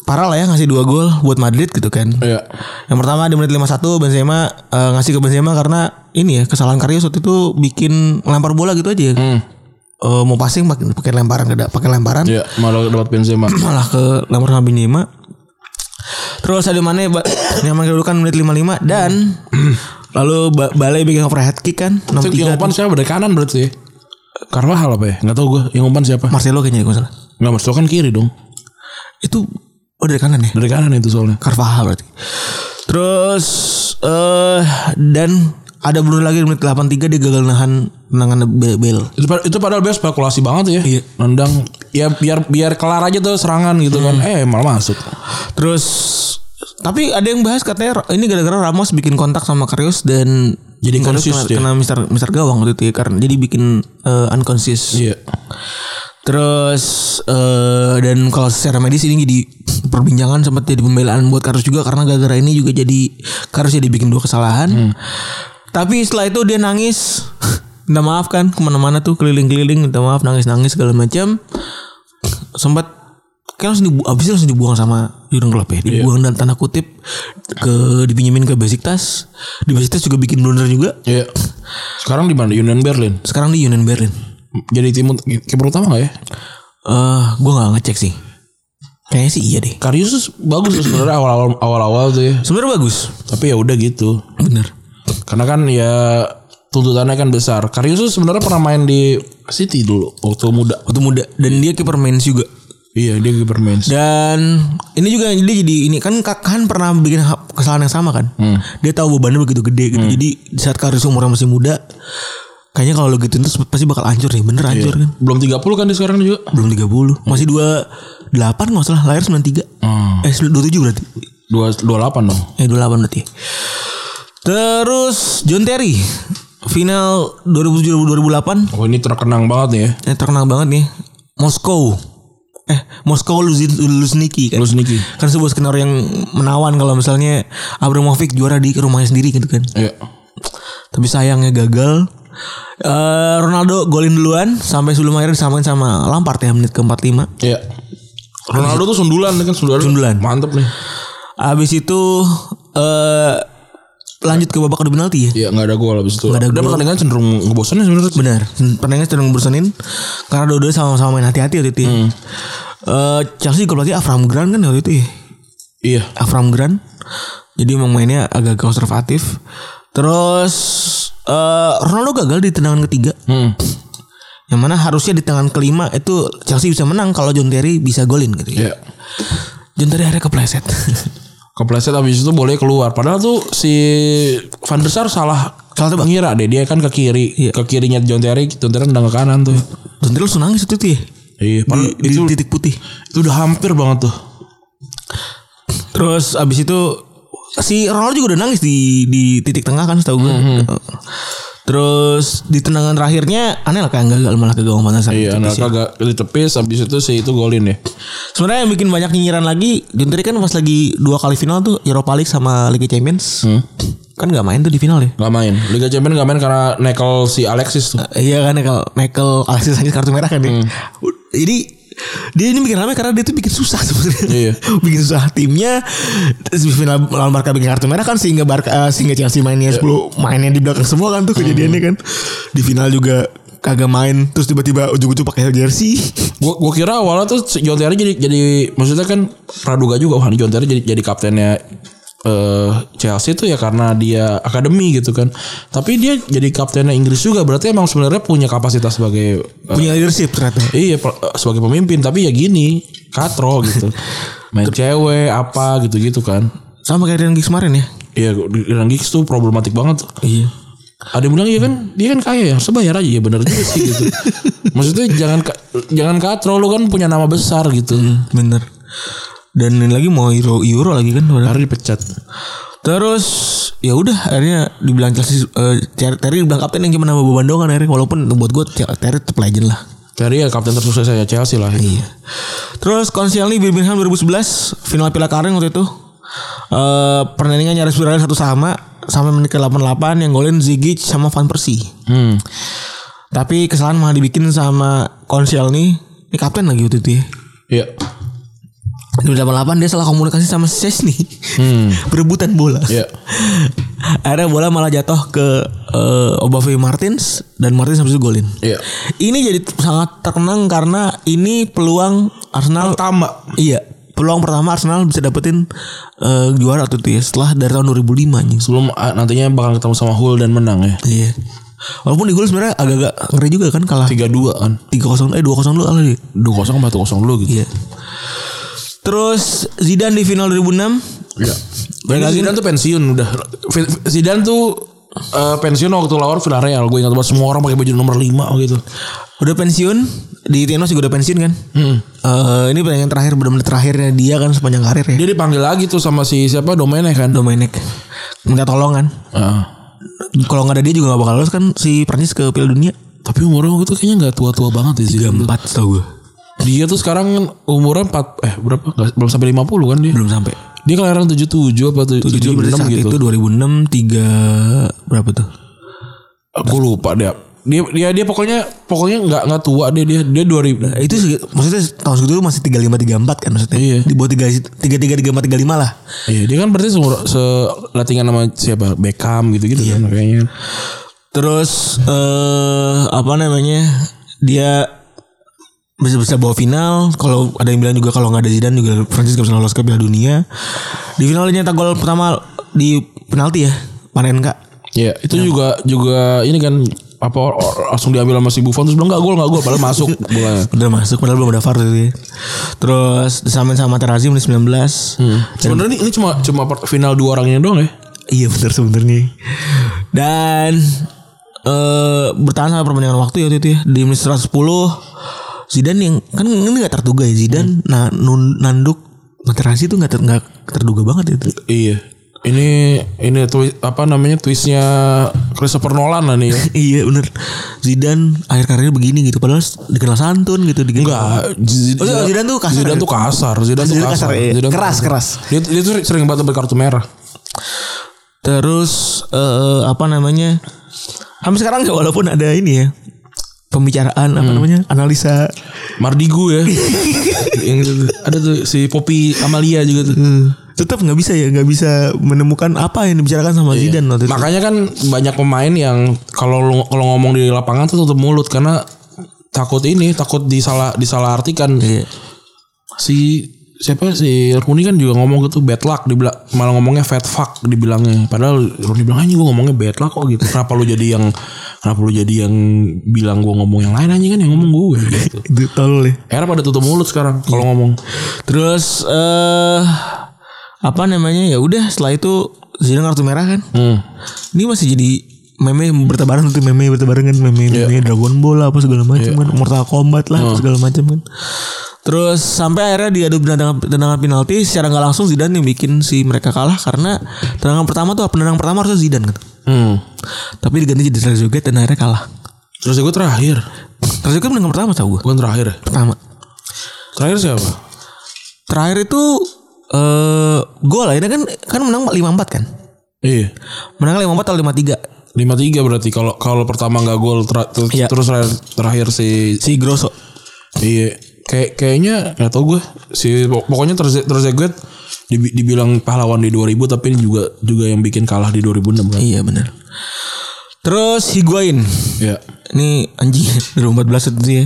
[SPEAKER 3] parah lah ya ngasih dua gol buat Madrid gitu kan.
[SPEAKER 2] Iya.
[SPEAKER 3] Yang pertama di menit 51 Benzema eh, ngasih ke Benzema karena ini ya kesalahan Karius waktu itu bikin lempar bola gitu aja.
[SPEAKER 2] Hmm.
[SPEAKER 3] Eh, mau passing pakai pakai lemparan ada pakai lemparan
[SPEAKER 2] Iya, malah dapat Benzema.
[SPEAKER 3] malah ke lempar sama Benzema. Terus ada mana ya, yang mengedudukan menit 55 dan lalu ba Balai bikin overhead kick kan
[SPEAKER 2] Itu yang
[SPEAKER 3] 63
[SPEAKER 2] umpan siapa dari kanan berarti ya? Carvajal apa ya? Gak tau gue yang umpan siapa.
[SPEAKER 3] Marcelo kayaknya kalau nggak salah.
[SPEAKER 2] Nggak Marcelo kan kiri dong.
[SPEAKER 3] Itu oh dari kanan ya.
[SPEAKER 2] Dari kanan itu soalnya.
[SPEAKER 3] Carvajal berarti. Terus eh dan ada Bruno lagi di menit 83 dia gagal nahan tendangan Bel. Bel.
[SPEAKER 2] Itu, pad- itu padahal biar spekulasi banget ya. Iya. Nendang ya biar biar kelar aja tuh serangan gitu kan. Eh malah masuk.
[SPEAKER 3] Terus tapi ada yang bahas katanya ini gara-gara Ramos bikin kontak sama Karius dan
[SPEAKER 2] Jadi
[SPEAKER 3] Karius
[SPEAKER 2] inconsist
[SPEAKER 3] kena,
[SPEAKER 2] dia.
[SPEAKER 3] kena Mister Mister Gawang waktu itu ya, karena jadi bikin eh, unconscious.
[SPEAKER 2] Iya.
[SPEAKER 3] Terus eh dan kalau secara medis ini jadi perbincangan sempat jadi pembelaan buat Karus juga karena gara-gara ini juga jadi Karus jadi bikin dua kesalahan. Tapi setelah itu dia nangis, minta maaf kan kemana-mana tuh keliling-keliling minta maaf nangis-nangis segala macam. Sempat kan langsung dibu abis itu langsung dibuang sama Jurgen Klopp ya dibuang dan tanda kutip ke dipinjemin ke Besiktas di Besiktas juga bikin blunder juga
[SPEAKER 2] Iya. Sekarang di mana? Union Berlin.
[SPEAKER 3] sekarang di Union Berlin
[SPEAKER 2] Jadi tim ut- kiper utama gak ya?
[SPEAKER 3] eh gua nggak ngecek sih kayaknya sih iya deh
[SPEAKER 2] Karius tuh bagus tuh sebenarnya awal-awal awal-awal tuh ya.
[SPEAKER 3] Sebenarnya bagus.
[SPEAKER 2] Tapi ya udah gitu.
[SPEAKER 3] Bener.
[SPEAKER 2] Karena kan ya tuntutannya kan besar. Karius tuh sebenarnya pernah main di City dulu waktu muda.
[SPEAKER 3] Waktu muda dan dia kiper Mainz juga.
[SPEAKER 2] Iya, dia kiper Mainz.
[SPEAKER 3] Dan ini juga yang dia jadi ini kan Kakan pernah bikin ha- kesalahan yang sama kan. Dia tahu bebannya begitu gede gitu. Jadi di saat Karius umurnya masih muda kayaknya kalau lo gitu terus pasti bakal hancur ya. Bener hancur kan.
[SPEAKER 2] Belum 30 kan dia sekarang juga.
[SPEAKER 3] Belum 30. Masih 28 nggak salah lahir 93.
[SPEAKER 2] Hmm.
[SPEAKER 3] Eh 27 berarti.
[SPEAKER 2] Dua 28 dong.
[SPEAKER 3] Eh 28 berarti. Terus John Terry final 2007 2008
[SPEAKER 2] Oh, ini terkenang banget nih ya.
[SPEAKER 3] Yang Eh, terkenal banget nih Moskow Eh Moskow Luzin- Luzniki kan
[SPEAKER 2] Terus Niki.
[SPEAKER 3] Kan sebuah skenario yang menawan Kalau misalnya Abramovich juara di rumahnya sendiri gitu kan
[SPEAKER 2] Iya.
[SPEAKER 3] Tapi sayangnya gagal Eh, Ronaldo golin duluan Sampai sebelum akhirnya disamain sama Lampard ya Menit ke 45
[SPEAKER 2] Iya. Ronaldo tuh sundulan kan sundulan.
[SPEAKER 3] Sundulan.
[SPEAKER 2] Mantep nih.
[SPEAKER 3] Abis itu eh Lanjut ke babak adu penalti ya
[SPEAKER 2] Iya, nggak ada gol habis itu.
[SPEAKER 3] Nggak ada
[SPEAKER 2] Dan
[SPEAKER 3] gol.
[SPEAKER 2] pertandingan cenderung ngebosenin sebenarnya.
[SPEAKER 3] Benar. Pertandingan cenderung bersenin karena dua-dua sama-sama main hati-hati waktu itu. ya.
[SPEAKER 2] Hmm.
[SPEAKER 3] Eh, Chelsea juga berarti Avram Grant kan waktu itu ya.
[SPEAKER 2] Iya.
[SPEAKER 3] Avram Grant. Jadi emang mainnya agak konservatif. Terus eh, Ronaldo gagal di tendangan ketiga.
[SPEAKER 2] Hmm.
[SPEAKER 3] Yang mana harusnya di tangan kelima itu Chelsea bisa menang kalau John Terry bisa golin gitu ya.
[SPEAKER 2] Iya.
[SPEAKER 3] John Terry akhirnya kepleset.
[SPEAKER 2] Kepleset habis itu boleh keluar. Padahal tuh si Van der Sar salah
[SPEAKER 3] Salah tebak.
[SPEAKER 2] ngira deh dia kan ke kiri,
[SPEAKER 3] Iya.
[SPEAKER 2] ke kirinya John Terry, John Terry nendang ke kanan tuh.
[SPEAKER 3] John Terry langsung nangis itu tuh ya.
[SPEAKER 2] Iya,
[SPEAKER 3] Di,
[SPEAKER 2] padahal
[SPEAKER 3] di
[SPEAKER 2] itu
[SPEAKER 3] titik putih.
[SPEAKER 2] itu udah hampir banget tuh.
[SPEAKER 3] Terus abis itu si Ronaldo juga udah nangis di di titik tengah kan setahu gue. Terus di tendangan terakhirnya Anel kayak gagal malah ke gawang Makassar.
[SPEAKER 2] Iya,
[SPEAKER 3] Tipis ya.
[SPEAKER 2] Anelka agak ditepis habis itu si itu golin ya.
[SPEAKER 3] Sebenarnya yang bikin banyak nyinyiran lagi Juntri kan pas lagi dua kali final tuh Europa League sama Liga Champions. Kan nggak main tuh di final ya.
[SPEAKER 2] Gak main. Liga Champions gak main karena nekel si Alexis tuh.
[SPEAKER 3] Eh, Iya kan kalau Michael Alexis Sanchez kartu merah kan ya. Jadi dia ini bikin rame karena dia tuh bikin susah sebenarnya.
[SPEAKER 2] Iya.
[SPEAKER 3] bikin susah timnya. Terus di final lawan Barca bikin kartu merah kan sehingga Barca eh, sehingga Chelsea mainnya 10 mainnya di belakang semua kan tuh kejadiannya kan. Di final juga kagak main terus tiba-tiba ujung-ujung pakai jersey.
[SPEAKER 2] Gua, gua kira awalnya tuh si John Terry jadi jadi maksudnya kan Praduga juga wah John Terry jadi jadi kaptennya eh Chelsea tuh ya karena dia akademi gitu kan. Tapi dia jadi kaptennya Inggris juga berarti emang sebenarnya punya kapasitas sebagai eh,
[SPEAKER 3] Punya leadership ternyata.
[SPEAKER 2] iya pe- eh, sebagai pemimpin tapi ya gini katro gitu. Main cewek apa gitu-gitu kan.
[SPEAKER 3] Sama kayak Ryan Giggs kemarin ya.
[SPEAKER 2] Iya, Ryan Giggs tuh problematik banget.
[SPEAKER 3] Iya.
[SPEAKER 2] Ada yang bilang iya kan dia kan kaya ya, sebayar aja ya bener juga sih gitu. Maksudnya jangan ka- jangan katro lu kan punya nama besar gitu.
[SPEAKER 3] Bener. Dan ini lagi mau Euro, Euro lagi kan padahal.
[SPEAKER 2] Hari dipecat.
[SPEAKER 3] Terus ya udah akhirnya dibilang Chelsea eh, Ter- Terry dibilang kapten yang cuma nama beban doang kan akhirnya walaupun buat gue Ter- Terry tetap legend lah.
[SPEAKER 2] Terry ya kapten tersukses saya Chelsea lah.
[SPEAKER 3] Iya. Terus Konsiali Birmingham 2011 final Piala Kareng waktu itu. Eh pertandingan nyaris viral satu sama sampai menit ke 88 yang golin Zigic sama Van Persie.
[SPEAKER 2] Hmm.
[SPEAKER 3] Tapi kesalahan malah dibikin sama Konsiali. Ini kapten lagi waktu itu ya.
[SPEAKER 2] Iya.
[SPEAKER 3] Di 88 dia salah komunikasi sama Sesni. Berebutan bola.
[SPEAKER 2] Hmm. Iya.
[SPEAKER 3] Akhirnya bola malah jatuh ke eh, Obafemi Martins dan Martins habis itu golin.
[SPEAKER 2] Iya.
[SPEAKER 3] Ini jadi t- sangat terkenang karena ini peluang Arsenal
[SPEAKER 2] Pertama.
[SPEAKER 3] Iya, peluang pertama Arsenal bisa dapetin eh, juara tuh tuh ya setelah dari tahun 2005 anjing.
[SPEAKER 2] Sebelum ah, nantinya bakal ketemu sama Hull dan menang ya.
[SPEAKER 3] Iya. Walaupun di gol sebenarnya agak-agak ngeri juga kan kalah
[SPEAKER 2] 3-2 kan.
[SPEAKER 3] 3-0 eh 2-0 lu kali.
[SPEAKER 2] 2-0 sama 1-0 dulu gitu.
[SPEAKER 3] Iya. Terus Zidane di final 2006
[SPEAKER 2] Iya. Ini Zidane tuh pensiun udah. Fi- Fi- Zidane tuh eh, pensiun waktu lawan Villarreal. Gue ingat banget semua orang pakai baju nomor 5 gitu.
[SPEAKER 3] udah pensiun di Tienos juga udah pensiun kan. Eh, ini pertandingan terakhir benar-benar terakhirnya dia kan sepanjang karir ya.
[SPEAKER 2] Dia dipanggil lagi tuh sama si siapa Domenech kan.
[SPEAKER 3] Dominic minta tolongan.
[SPEAKER 2] Ah.
[SPEAKER 3] Kalau nggak ada dia juga nggak bakal lolos kan si Prancis ke Piala Dunia.
[SPEAKER 2] Tapi umurnya waktu itu kayaknya nggak tua-tua banget ya sih.
[SPEAKER 3] Empat tau gue.
[SPEAKER 2] Dia tuh sekarang umurnya 4 eh berapa? Nggak, belum sampai 50 kan dia.
[SPEAKER 3] Belum sampai.
[SPEAKER 2] Dia kelahiran 77 apa tuh?
[SPEAKER 3] Tujuh
[SPEAKER 2] 76
[SPEAKER 3] berarti saat
[SPEAKER 2] gitu.
[SPEAKER 3] itu 2006 tiga berapa tuh?
[SPEAKER 2] Aku lupa dia. Dia dia, dia pokoknya pokoknya nggak nggak tua dia dia dia 2000.
[SPEAKER 3] Nah, Itu segi- maksudnya tahun segitu lu masih 35 34 kan maksudnya.
[SPEAKER 2] Iya.
[SPEAKER 3] Di bawah 3 33 34 35 lah.
[SPEAKER 2] Iya, dia kan berarti seumur se latingan sama siapa? Beckham gitu-gitu kan kayaknya.
[SPEAKER 3] Terus eh apa namanya? Dia bisa bisa bawa final kalau ada yang bilang juga kalau nggak ada Zidane juga Prancis gak bisa lolos ke Piala Dunia di final dia nyetak gol pertama di penalti ya Panenka
[SPEAKER 2] Iya, itu juga juga ini kan apa or- or- langsung diambil sama si Buffon terus bilang nggak gol nggak gol padahal masuk bolanya.
[SPEAKER 3] udah masuk padahal belum ada VAR tuh ya. terus disamain sama Materazzi menit 19 Dan-
[SPEAKER 2] Sebenarnya ini, ini cuma cuma per- final dua orangnya doang ya.
[SPEAKER 3] Iya benar sebenarnya. Dan eh bertahan sampai perpanjangan waktu ya waktu itu ya di menit 110 Zidane yang kan ini nggak terduga ya Zidane nah nun- nanduk Materazzi itu nggak ter- nggak terduga banget ya, itu.
[SPEAKER 2] Iya. Ini ini twi- apa namanya twistnya Christopher Nolan lah nih ya.
[SPEAKER 3] iya bener Zidane akhir karirnya begini gitu padahal dikenal santun gitu dikenal.
[SPEAKER 2] Enggak, Z-
[SPEAKER 3] Oh, Zidane tuh kasar.
[SPEAKER 2] Zidane tuh kasar, Zidane tuh
[SPEAKER 3] Zidane
[SPEAKER 2] kasar.
[SPEAKER 3] kasar, iya.
[SPEAKER 2] Zidane tuh
[SPEAKER 3] Keras,
[SPEAKER 2] kasar.
[SPEAKER 3] keras.
[SPEAKER 2] Dia, dia tuh sering banget dapat kartu merah.
[SPEAKER 3] Terus eh, apa namanya? Sampai sekarang ya walaupun ada ini ya pembicaraan apa namanya analisa
[SPEAKER 2] Mardigu ya. Yang itu tuh. ada tuh si Poppy Amalia juga tuh.
[SPEAKER 3] Hmm. tetap nggak bisa ya nggak bisa menemukan apa yang dibicarakan sama Zidane waktu itu.
[SPEAKER 2] Makanya kan banyak pemain yang kalau lu- kalau ngomong di lapangan tuh tutup mulut karena takut ini, takut disalah disalahartikan.
[SPEAKER 3] Iya.
[SPEAKER 2] Si siapa si Rooney kan juga ngomong gitu bad luck dibilang malah ngomongnya fat fuck dibilangnya padahal Rooney bilang anjing gue ngomongnya bad luck kok gitu kenapa lu jadi yang kenapa lu jadi yang bilang gue ngomong yang lain anjing kan yang ngomong gue gitu
[SPEAKER 3] Itu tolol ya.
[SPEAKER 2] era pada tutup mulut sekarang
[SPEAKER 3] Iya.
[SPEAKER 2] kalau ngomong
[SPEAKER 3] Terus eh apa namanya ya udah setelah itu Zidane kartu merah kan.
[SPEAKER 2] hmm.
[SPEAKER 3] Ini masih jadi meme yang bertebaran tuh meme bertebaran kan meme meme Dragon Ball lah, apa segala macam kan Mortal Kombat lah apa segala macam kan. Terus sampai akhirnya diadu tendangan, tendangan penalti secara nggak langsung Zidane yang bikin si mereka kalah karena tendangan pertama tuh penendang pertama harusnya Zidane kan.
[SPEAKER 2] Hmm.
[SPEAKER 3] Tapi diganti jadi Trezeguet dan akhirnya kalah.
[SPEAKER 2] Terus gue terakhir.
[SPEAKER 3] Trezeguet menang pertama tau gue.
[SPEAKER 2] Bukan terakhir ya?
[SPEAKER 3] Pertama.
[SPEAKER 2] Terakhir siapa?
[SPEAKER 3] Terakhir itu eh gol akhirnya kan kan menang 5-4 kan.
[SPEAKER 2] Iya.
[SPEAKER 3] Menang 5-4 atau 5-3
[SPEAKER 2] lima tiga berarti kalau kalau pertama nggak gol ter- ter-
[SPEAKER 3] Iya.
[SPEAKER 2] terus terakhir, terakhir si
[SPEAKER 3] si Grosso.
[SPEAKER 2] Iya, kayak kayaknya nggak tau gue si pok- pokoknya terus Trezeguet dibi- dibilang pahlawan di 2000 tapi ini juga juga yang bikin kalah di 2006 kan.
[SPEAKER 3] Iya benar. Terus Higuain.
[SPEAKER 2] Iya.
[SPEAKER 3] Ini anjing 2014 itu ya.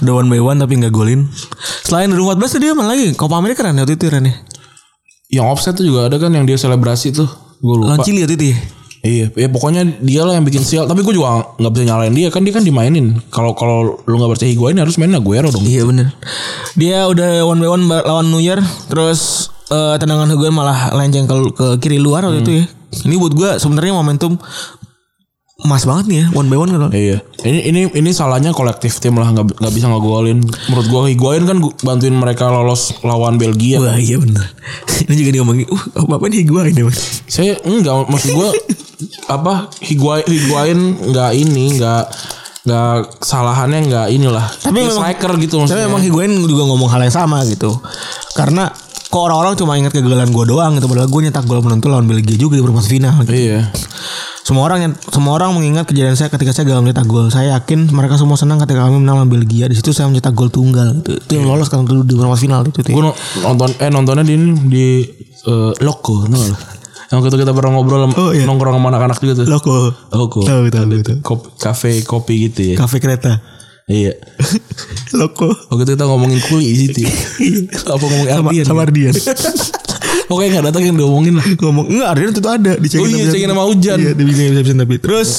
[SPEAKER 3] Udah one by one tapi nggak golin. Selain 2014 dia mana lagi? Copa America kan waktu itu Ren ya.
[SPEAKER 2] Yang offset tuh juga ada kan yang dia selebrasi tuh. Gue lupa.
[SPEAKER 3] Lawan Chili waktu itu ya.
[SPEAKER 2] Iya, ya pokoknya dia lah yang bikin sial. Tapi gue juga nggak bisa nyalain dia kan dia kan dimainin. Kalau kalau lu nggak percaya gue ini harus mainin Aguero dong.
[SPEAKER 3] Iya benar. Dia udah one by one ba- lawan New Year terus eh, tendangan Higuain malah lenceng ke, ke kiri luar waktu itu ya. Ini buat gua sebenarnya momentum emas banget nih ya one by one kan.
[SPEAKER 2] Iya. Ini ini ini salahnya kolektif tim lah nggak nggak bisa ngegolin. Menurut gue Higuain kan gu- bantuin mereka lolos lawan Belgia.
[SPEAKER 3] Wah iya benar. Ini juga diomongin, uh apa nih Higuain ya mas?
[SPEAKER 2] Saya enggak maksud gua apa higuain higuain enggak ini enggak enggak kesalahannya enggak inilah.
[SPEAKER 3] Tapi
[SPEAKER 2] Dia
[SPEAKER 3] memang-
[SPEAKER 2] striker gitu
[SPEAKER 3] Tapi
[SPEAKER 2] maksudnya.
[SPEAKER 3] emang Higuain juga ngomong hal yang sama gitu. Karena kok orang-orang cuma ingat kegagalan gue doang gitu. Padahal gue nyetak gol penentu lawan Belgia juga di perempat final. Gitu.
[SPEAKER 2] iya.
[SPEAKER 3] Semua orang yang semua orang mengingat kejadian saya ketika saya gagal mencetak gol. Saya yakin mereka semua senang ketika kami menang lawan Belgia. Di situ saya mencetak gol tunggal. Gitu. Itu yang lolos kan dulu di perempat final itu. Gitu.
[SPEAKER 2] Gua no- nonton eh nontonnya di ini, di eh, Loko, tau gak lu? Yang kita kita pernah ngobrol sama-
[SPEAKER 3] Oh, iya.
[SPEAKER 2] nongkrong sama anak-anak juga tuh.
[SPEAKER 3] Loko.
[SPEAKER 2] Loko.
[SPEAKER 3] Tahu tahu gitu.
[SPEAKER 2] Kopi, kafe kopi gitu ya.
[SPEAKER 3] Kafe kereta.
[SPEAKER 2] Iya.
[SPEAKER 3] Loko.
[SPEAKER 2] Waktu itu kita ngomongin kuli di situ. Apa ngomongin
[SPEAKER 3] Sama,
[SPEAKER 2] Ardian?
[SPEAKER 3] sama Ardian.
[SPEAKER 2] Pokoknya gak datang yang diomongin lah.
[SPEAKER 3] Ngomong enggak Ardian itu ada dicekin.
[SPEAKER 2] Oh iya,
[SPEAKER 3] abis-abisan.
[SPEAKER 2] cekin sama hujan.
[SPEAKER 3] Iya, dia bilang abis-abisan tapi. Terus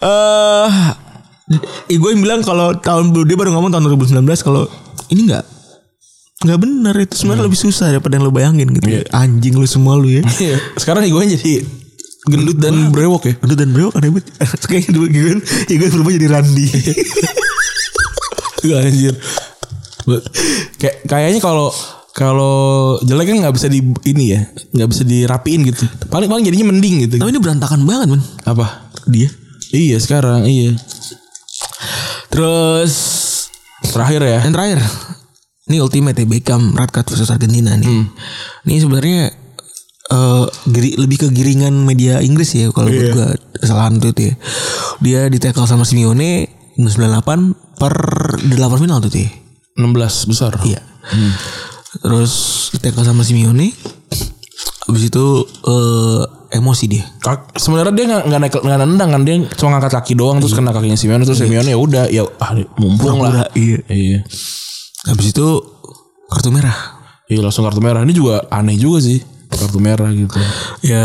[SPEAKER 3] eh Iguain bilang kalau tahun dia baru ngomong tahun 2019 kalau ini enggak Enggak benar itu sebenarnya lebih susah daripada yang lo bayangin gitu.
[SPEAKER 2] Iya.
[SPEAKER 3] Anjing lu semua lu ya.
[SPEAKER 2] Iya. Sekarang Higuain jadi gendut dan brewok ya.
[SPEAKER 3] Gendut dan kan, bro aneh banget. Kayaknya gitu dua Higuain Higuain Ya, berubah jadi Randi.
[SPEAKER 2] Gak Iya, anjir. Buat- Kayak kayaknya kalau kalau jelek kan nggak bisa di ini ya, nggak bisa dirapiin gitu. Paling paling jadinya mending gitu.
[SPEAKER 3] Tapi ini berantakan banget men
[SPEAKER 2] Apa?
[SPEAKER 3] dia.
[SPEAKER 2] Iya sekarang iya.
[SPEAKER 3] Terus
[SPEAKER 2] Terakhir ya.
[SPEAKER 3] yang terakhir ini ultimate ya Beckham red card versus Argentina nih. Ini sebenarnya eh giri- lebih ke giringan media Inggris ya kalau buat gua kesalahan itu tuh ya. Dia ditekel sama Simeone 98 per di delapan final tuh tuh ya.
[SPEAKER 2] 16 besar.
[SPEAKER 3] Iya. Terus ditekel sama Simeone Habis itu eh emosi dia.
[SPEAKER 2] Kak- Sebenarnya dia nggak nggak naik nggak nendang kan dia cuma ngangkat kaki doang terus
[SPEAKER 3] Iya.
[SPEAKER 2] kena kakinya Simeone terus Simeone ya udah ya ah, mumpung lah.
[SPEAKER 3] Pura-pura, iya.
[SPEAKER 2] Iya.
[SPEAKER 3] Habis itu kartu merah.
[SPEAKER 2] Iya langsung kartu merah. Ini juga aneh juga sih kartu merah gitu.
[SPEAKER 3] Ya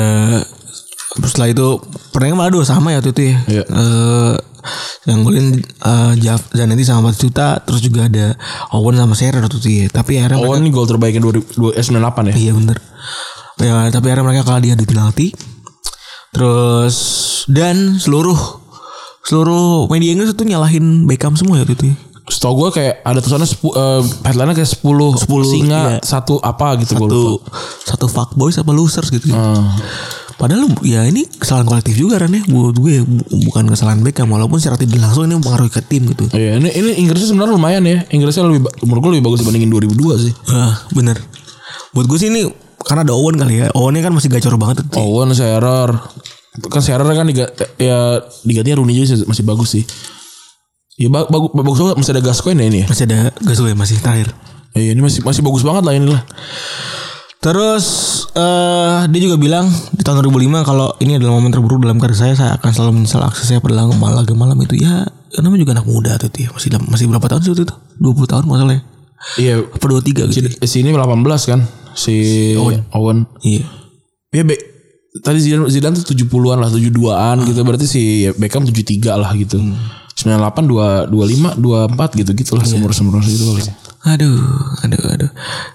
[SPEAKER 3] terus setelah itu pernah malah dua sama ya waktu itu ya.
[SPEAKER 2] Iya.
[SPEAKER 3] Eh, yang golin eh, Jaf Zanetti sama 4 juta terus juga ada Owen sama Serra waktu itu ya. Tapi akhirnya mereka-
[SPEAKER 2] Owen Oh, ini gol terbaiknya 2000 eh, 98 ya.
[SPEAKER 3] iya bener. Ya, tapi akhirnya mereka kalah di adu penalti. Terus dan seluruh seluruh media Inggris itu nyalahin Beckham semua ya waktu itu. ya.
[SPEAKER 2] Setahu gue kayak ada tulisannya sepu, eh, headline-nya kayak 10,
[SPEAKER 3] 10,
[SPEAKER 2] singa
[SPEAKER 3] iya.
[SPEAKER 2] satu apa gitu gue lupa.
[SPEAKER 3] Satu satu fuckboy sama losers gitu.
[SPEAKER 2] Hmm.
[SPEAKER 3] Padahal ya ini kesalahan kolektif juga Ran ya Buat gue bu- bukan kesalahan Beckham Walaupun secara tidak langsung ini mempengaruhi ke tim gitu
[SPEAKER 2] Iya, ini ini Inggrisnya sebenarnya lumayan ya. Inggrisnya lebih ba- menurut gue lebih bagus dibandingin 2002 sih.
[SPEAKER 3] Ah bener Buat gue sih ini karena ada Owen kali ya Owennya kan masih gacor banget tuh.
[SPEAKER 2] Owen Shearer kan Shearer kan diga, ya digantinya Rooney juga sih, masih bagus sih. Ya ba- bagus bagus banget masih ada Gascoigne ya ini ya.
[SPEAKER 3] Masih ada Gasol ya masih terakhir
[SPEAKER 2] Iya, ini masih masih bagus banget lah ini lah.
[SPEAKER 3] Terus eh dia juga bilang di tahun 2005 kalau ini adalah momen terburuk dalam karir saya saya akan selalu menyesal akses saya pada lagu laga malam itu ya namanya juga anak muda tuh ya masih dalam- masih berapa tahun sih waktu itu 20 tahun masalahnya
[SPEAKER 2] Iya,
[SPEAKER 3] ya. apa 23 gitu ya.
[SPEAKER 2] si ini 18 kan si Owen.
[SPEAKER 3] Iya
[SPEAKER 2] Iya, Be- tadi Zidane, Zidane tuh 70-an lah, 72-an gitu. Berarti si Beckham 73 lah gitu. 98, 2, 25, 24 gitu-gitu lah. Sumur-sumur gitu kali.
[SPEAKER 3] Aduh, aduh, aduh.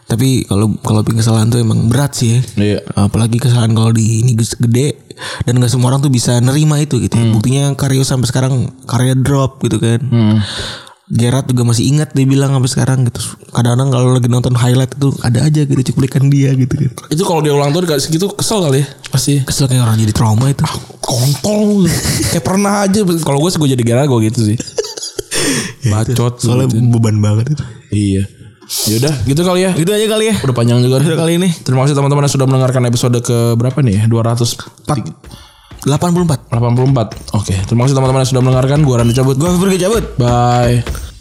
[SPEAKER 3] Tapi kalau kalau bikin kesalahan tuh emang berat sih. Ya.
[SPEAKER 2] Iya.
[SPEAKER 3] Apalagi kesalahan kalau di ini ges- gede dan gak Hmm. semua orang tuh bisa nerima itu gitu. ya. Buktinya Karyo sampai sekarang karya drop gitu kan. Gerard juga masih ingat dia bilang sampai sekarang gitu. Kadang-kadang kalau lagi nonton highlight itu ada aja gitu cuplikan dia gitu kan.
[SPEAKER 2] Itu kalau dia ulang tahun kayak segitu kesel kali ya. Pasti
[SPEAKER 3] Kesel kayak orang jadi trauma itu.
[SPEAKER 2] kontol lu. kayak pernah aja kalau gue sih gue jadi gara gue gitu sih. Bacot lu
[SPEAKER 3] Soalnya
[SPEAKER 2] gitu.
[SPEAKER 3] beban banget itu.
[SPEAKER 2] Iya. Yaudah gitu kali ya.
[SPEAKER 3] Gitu aja kali ya.
[SPEAKER 2] Udah panjang juga
[SPEAKER 3] Udah kali ini.
[SPEAKER 2] Terima kasih teman-teman yang sudah mendengarkan episode ke berapa nih? ya? 284.
[SPEAKER 3] 84.
[SPEAKER 2] Oke, terima kasih teman-teman yang sudah mendengarkan. Gua Randy cabut.
[SPEAKER 3] Gue pergi cabut.
[SPEAKER 2] Bye.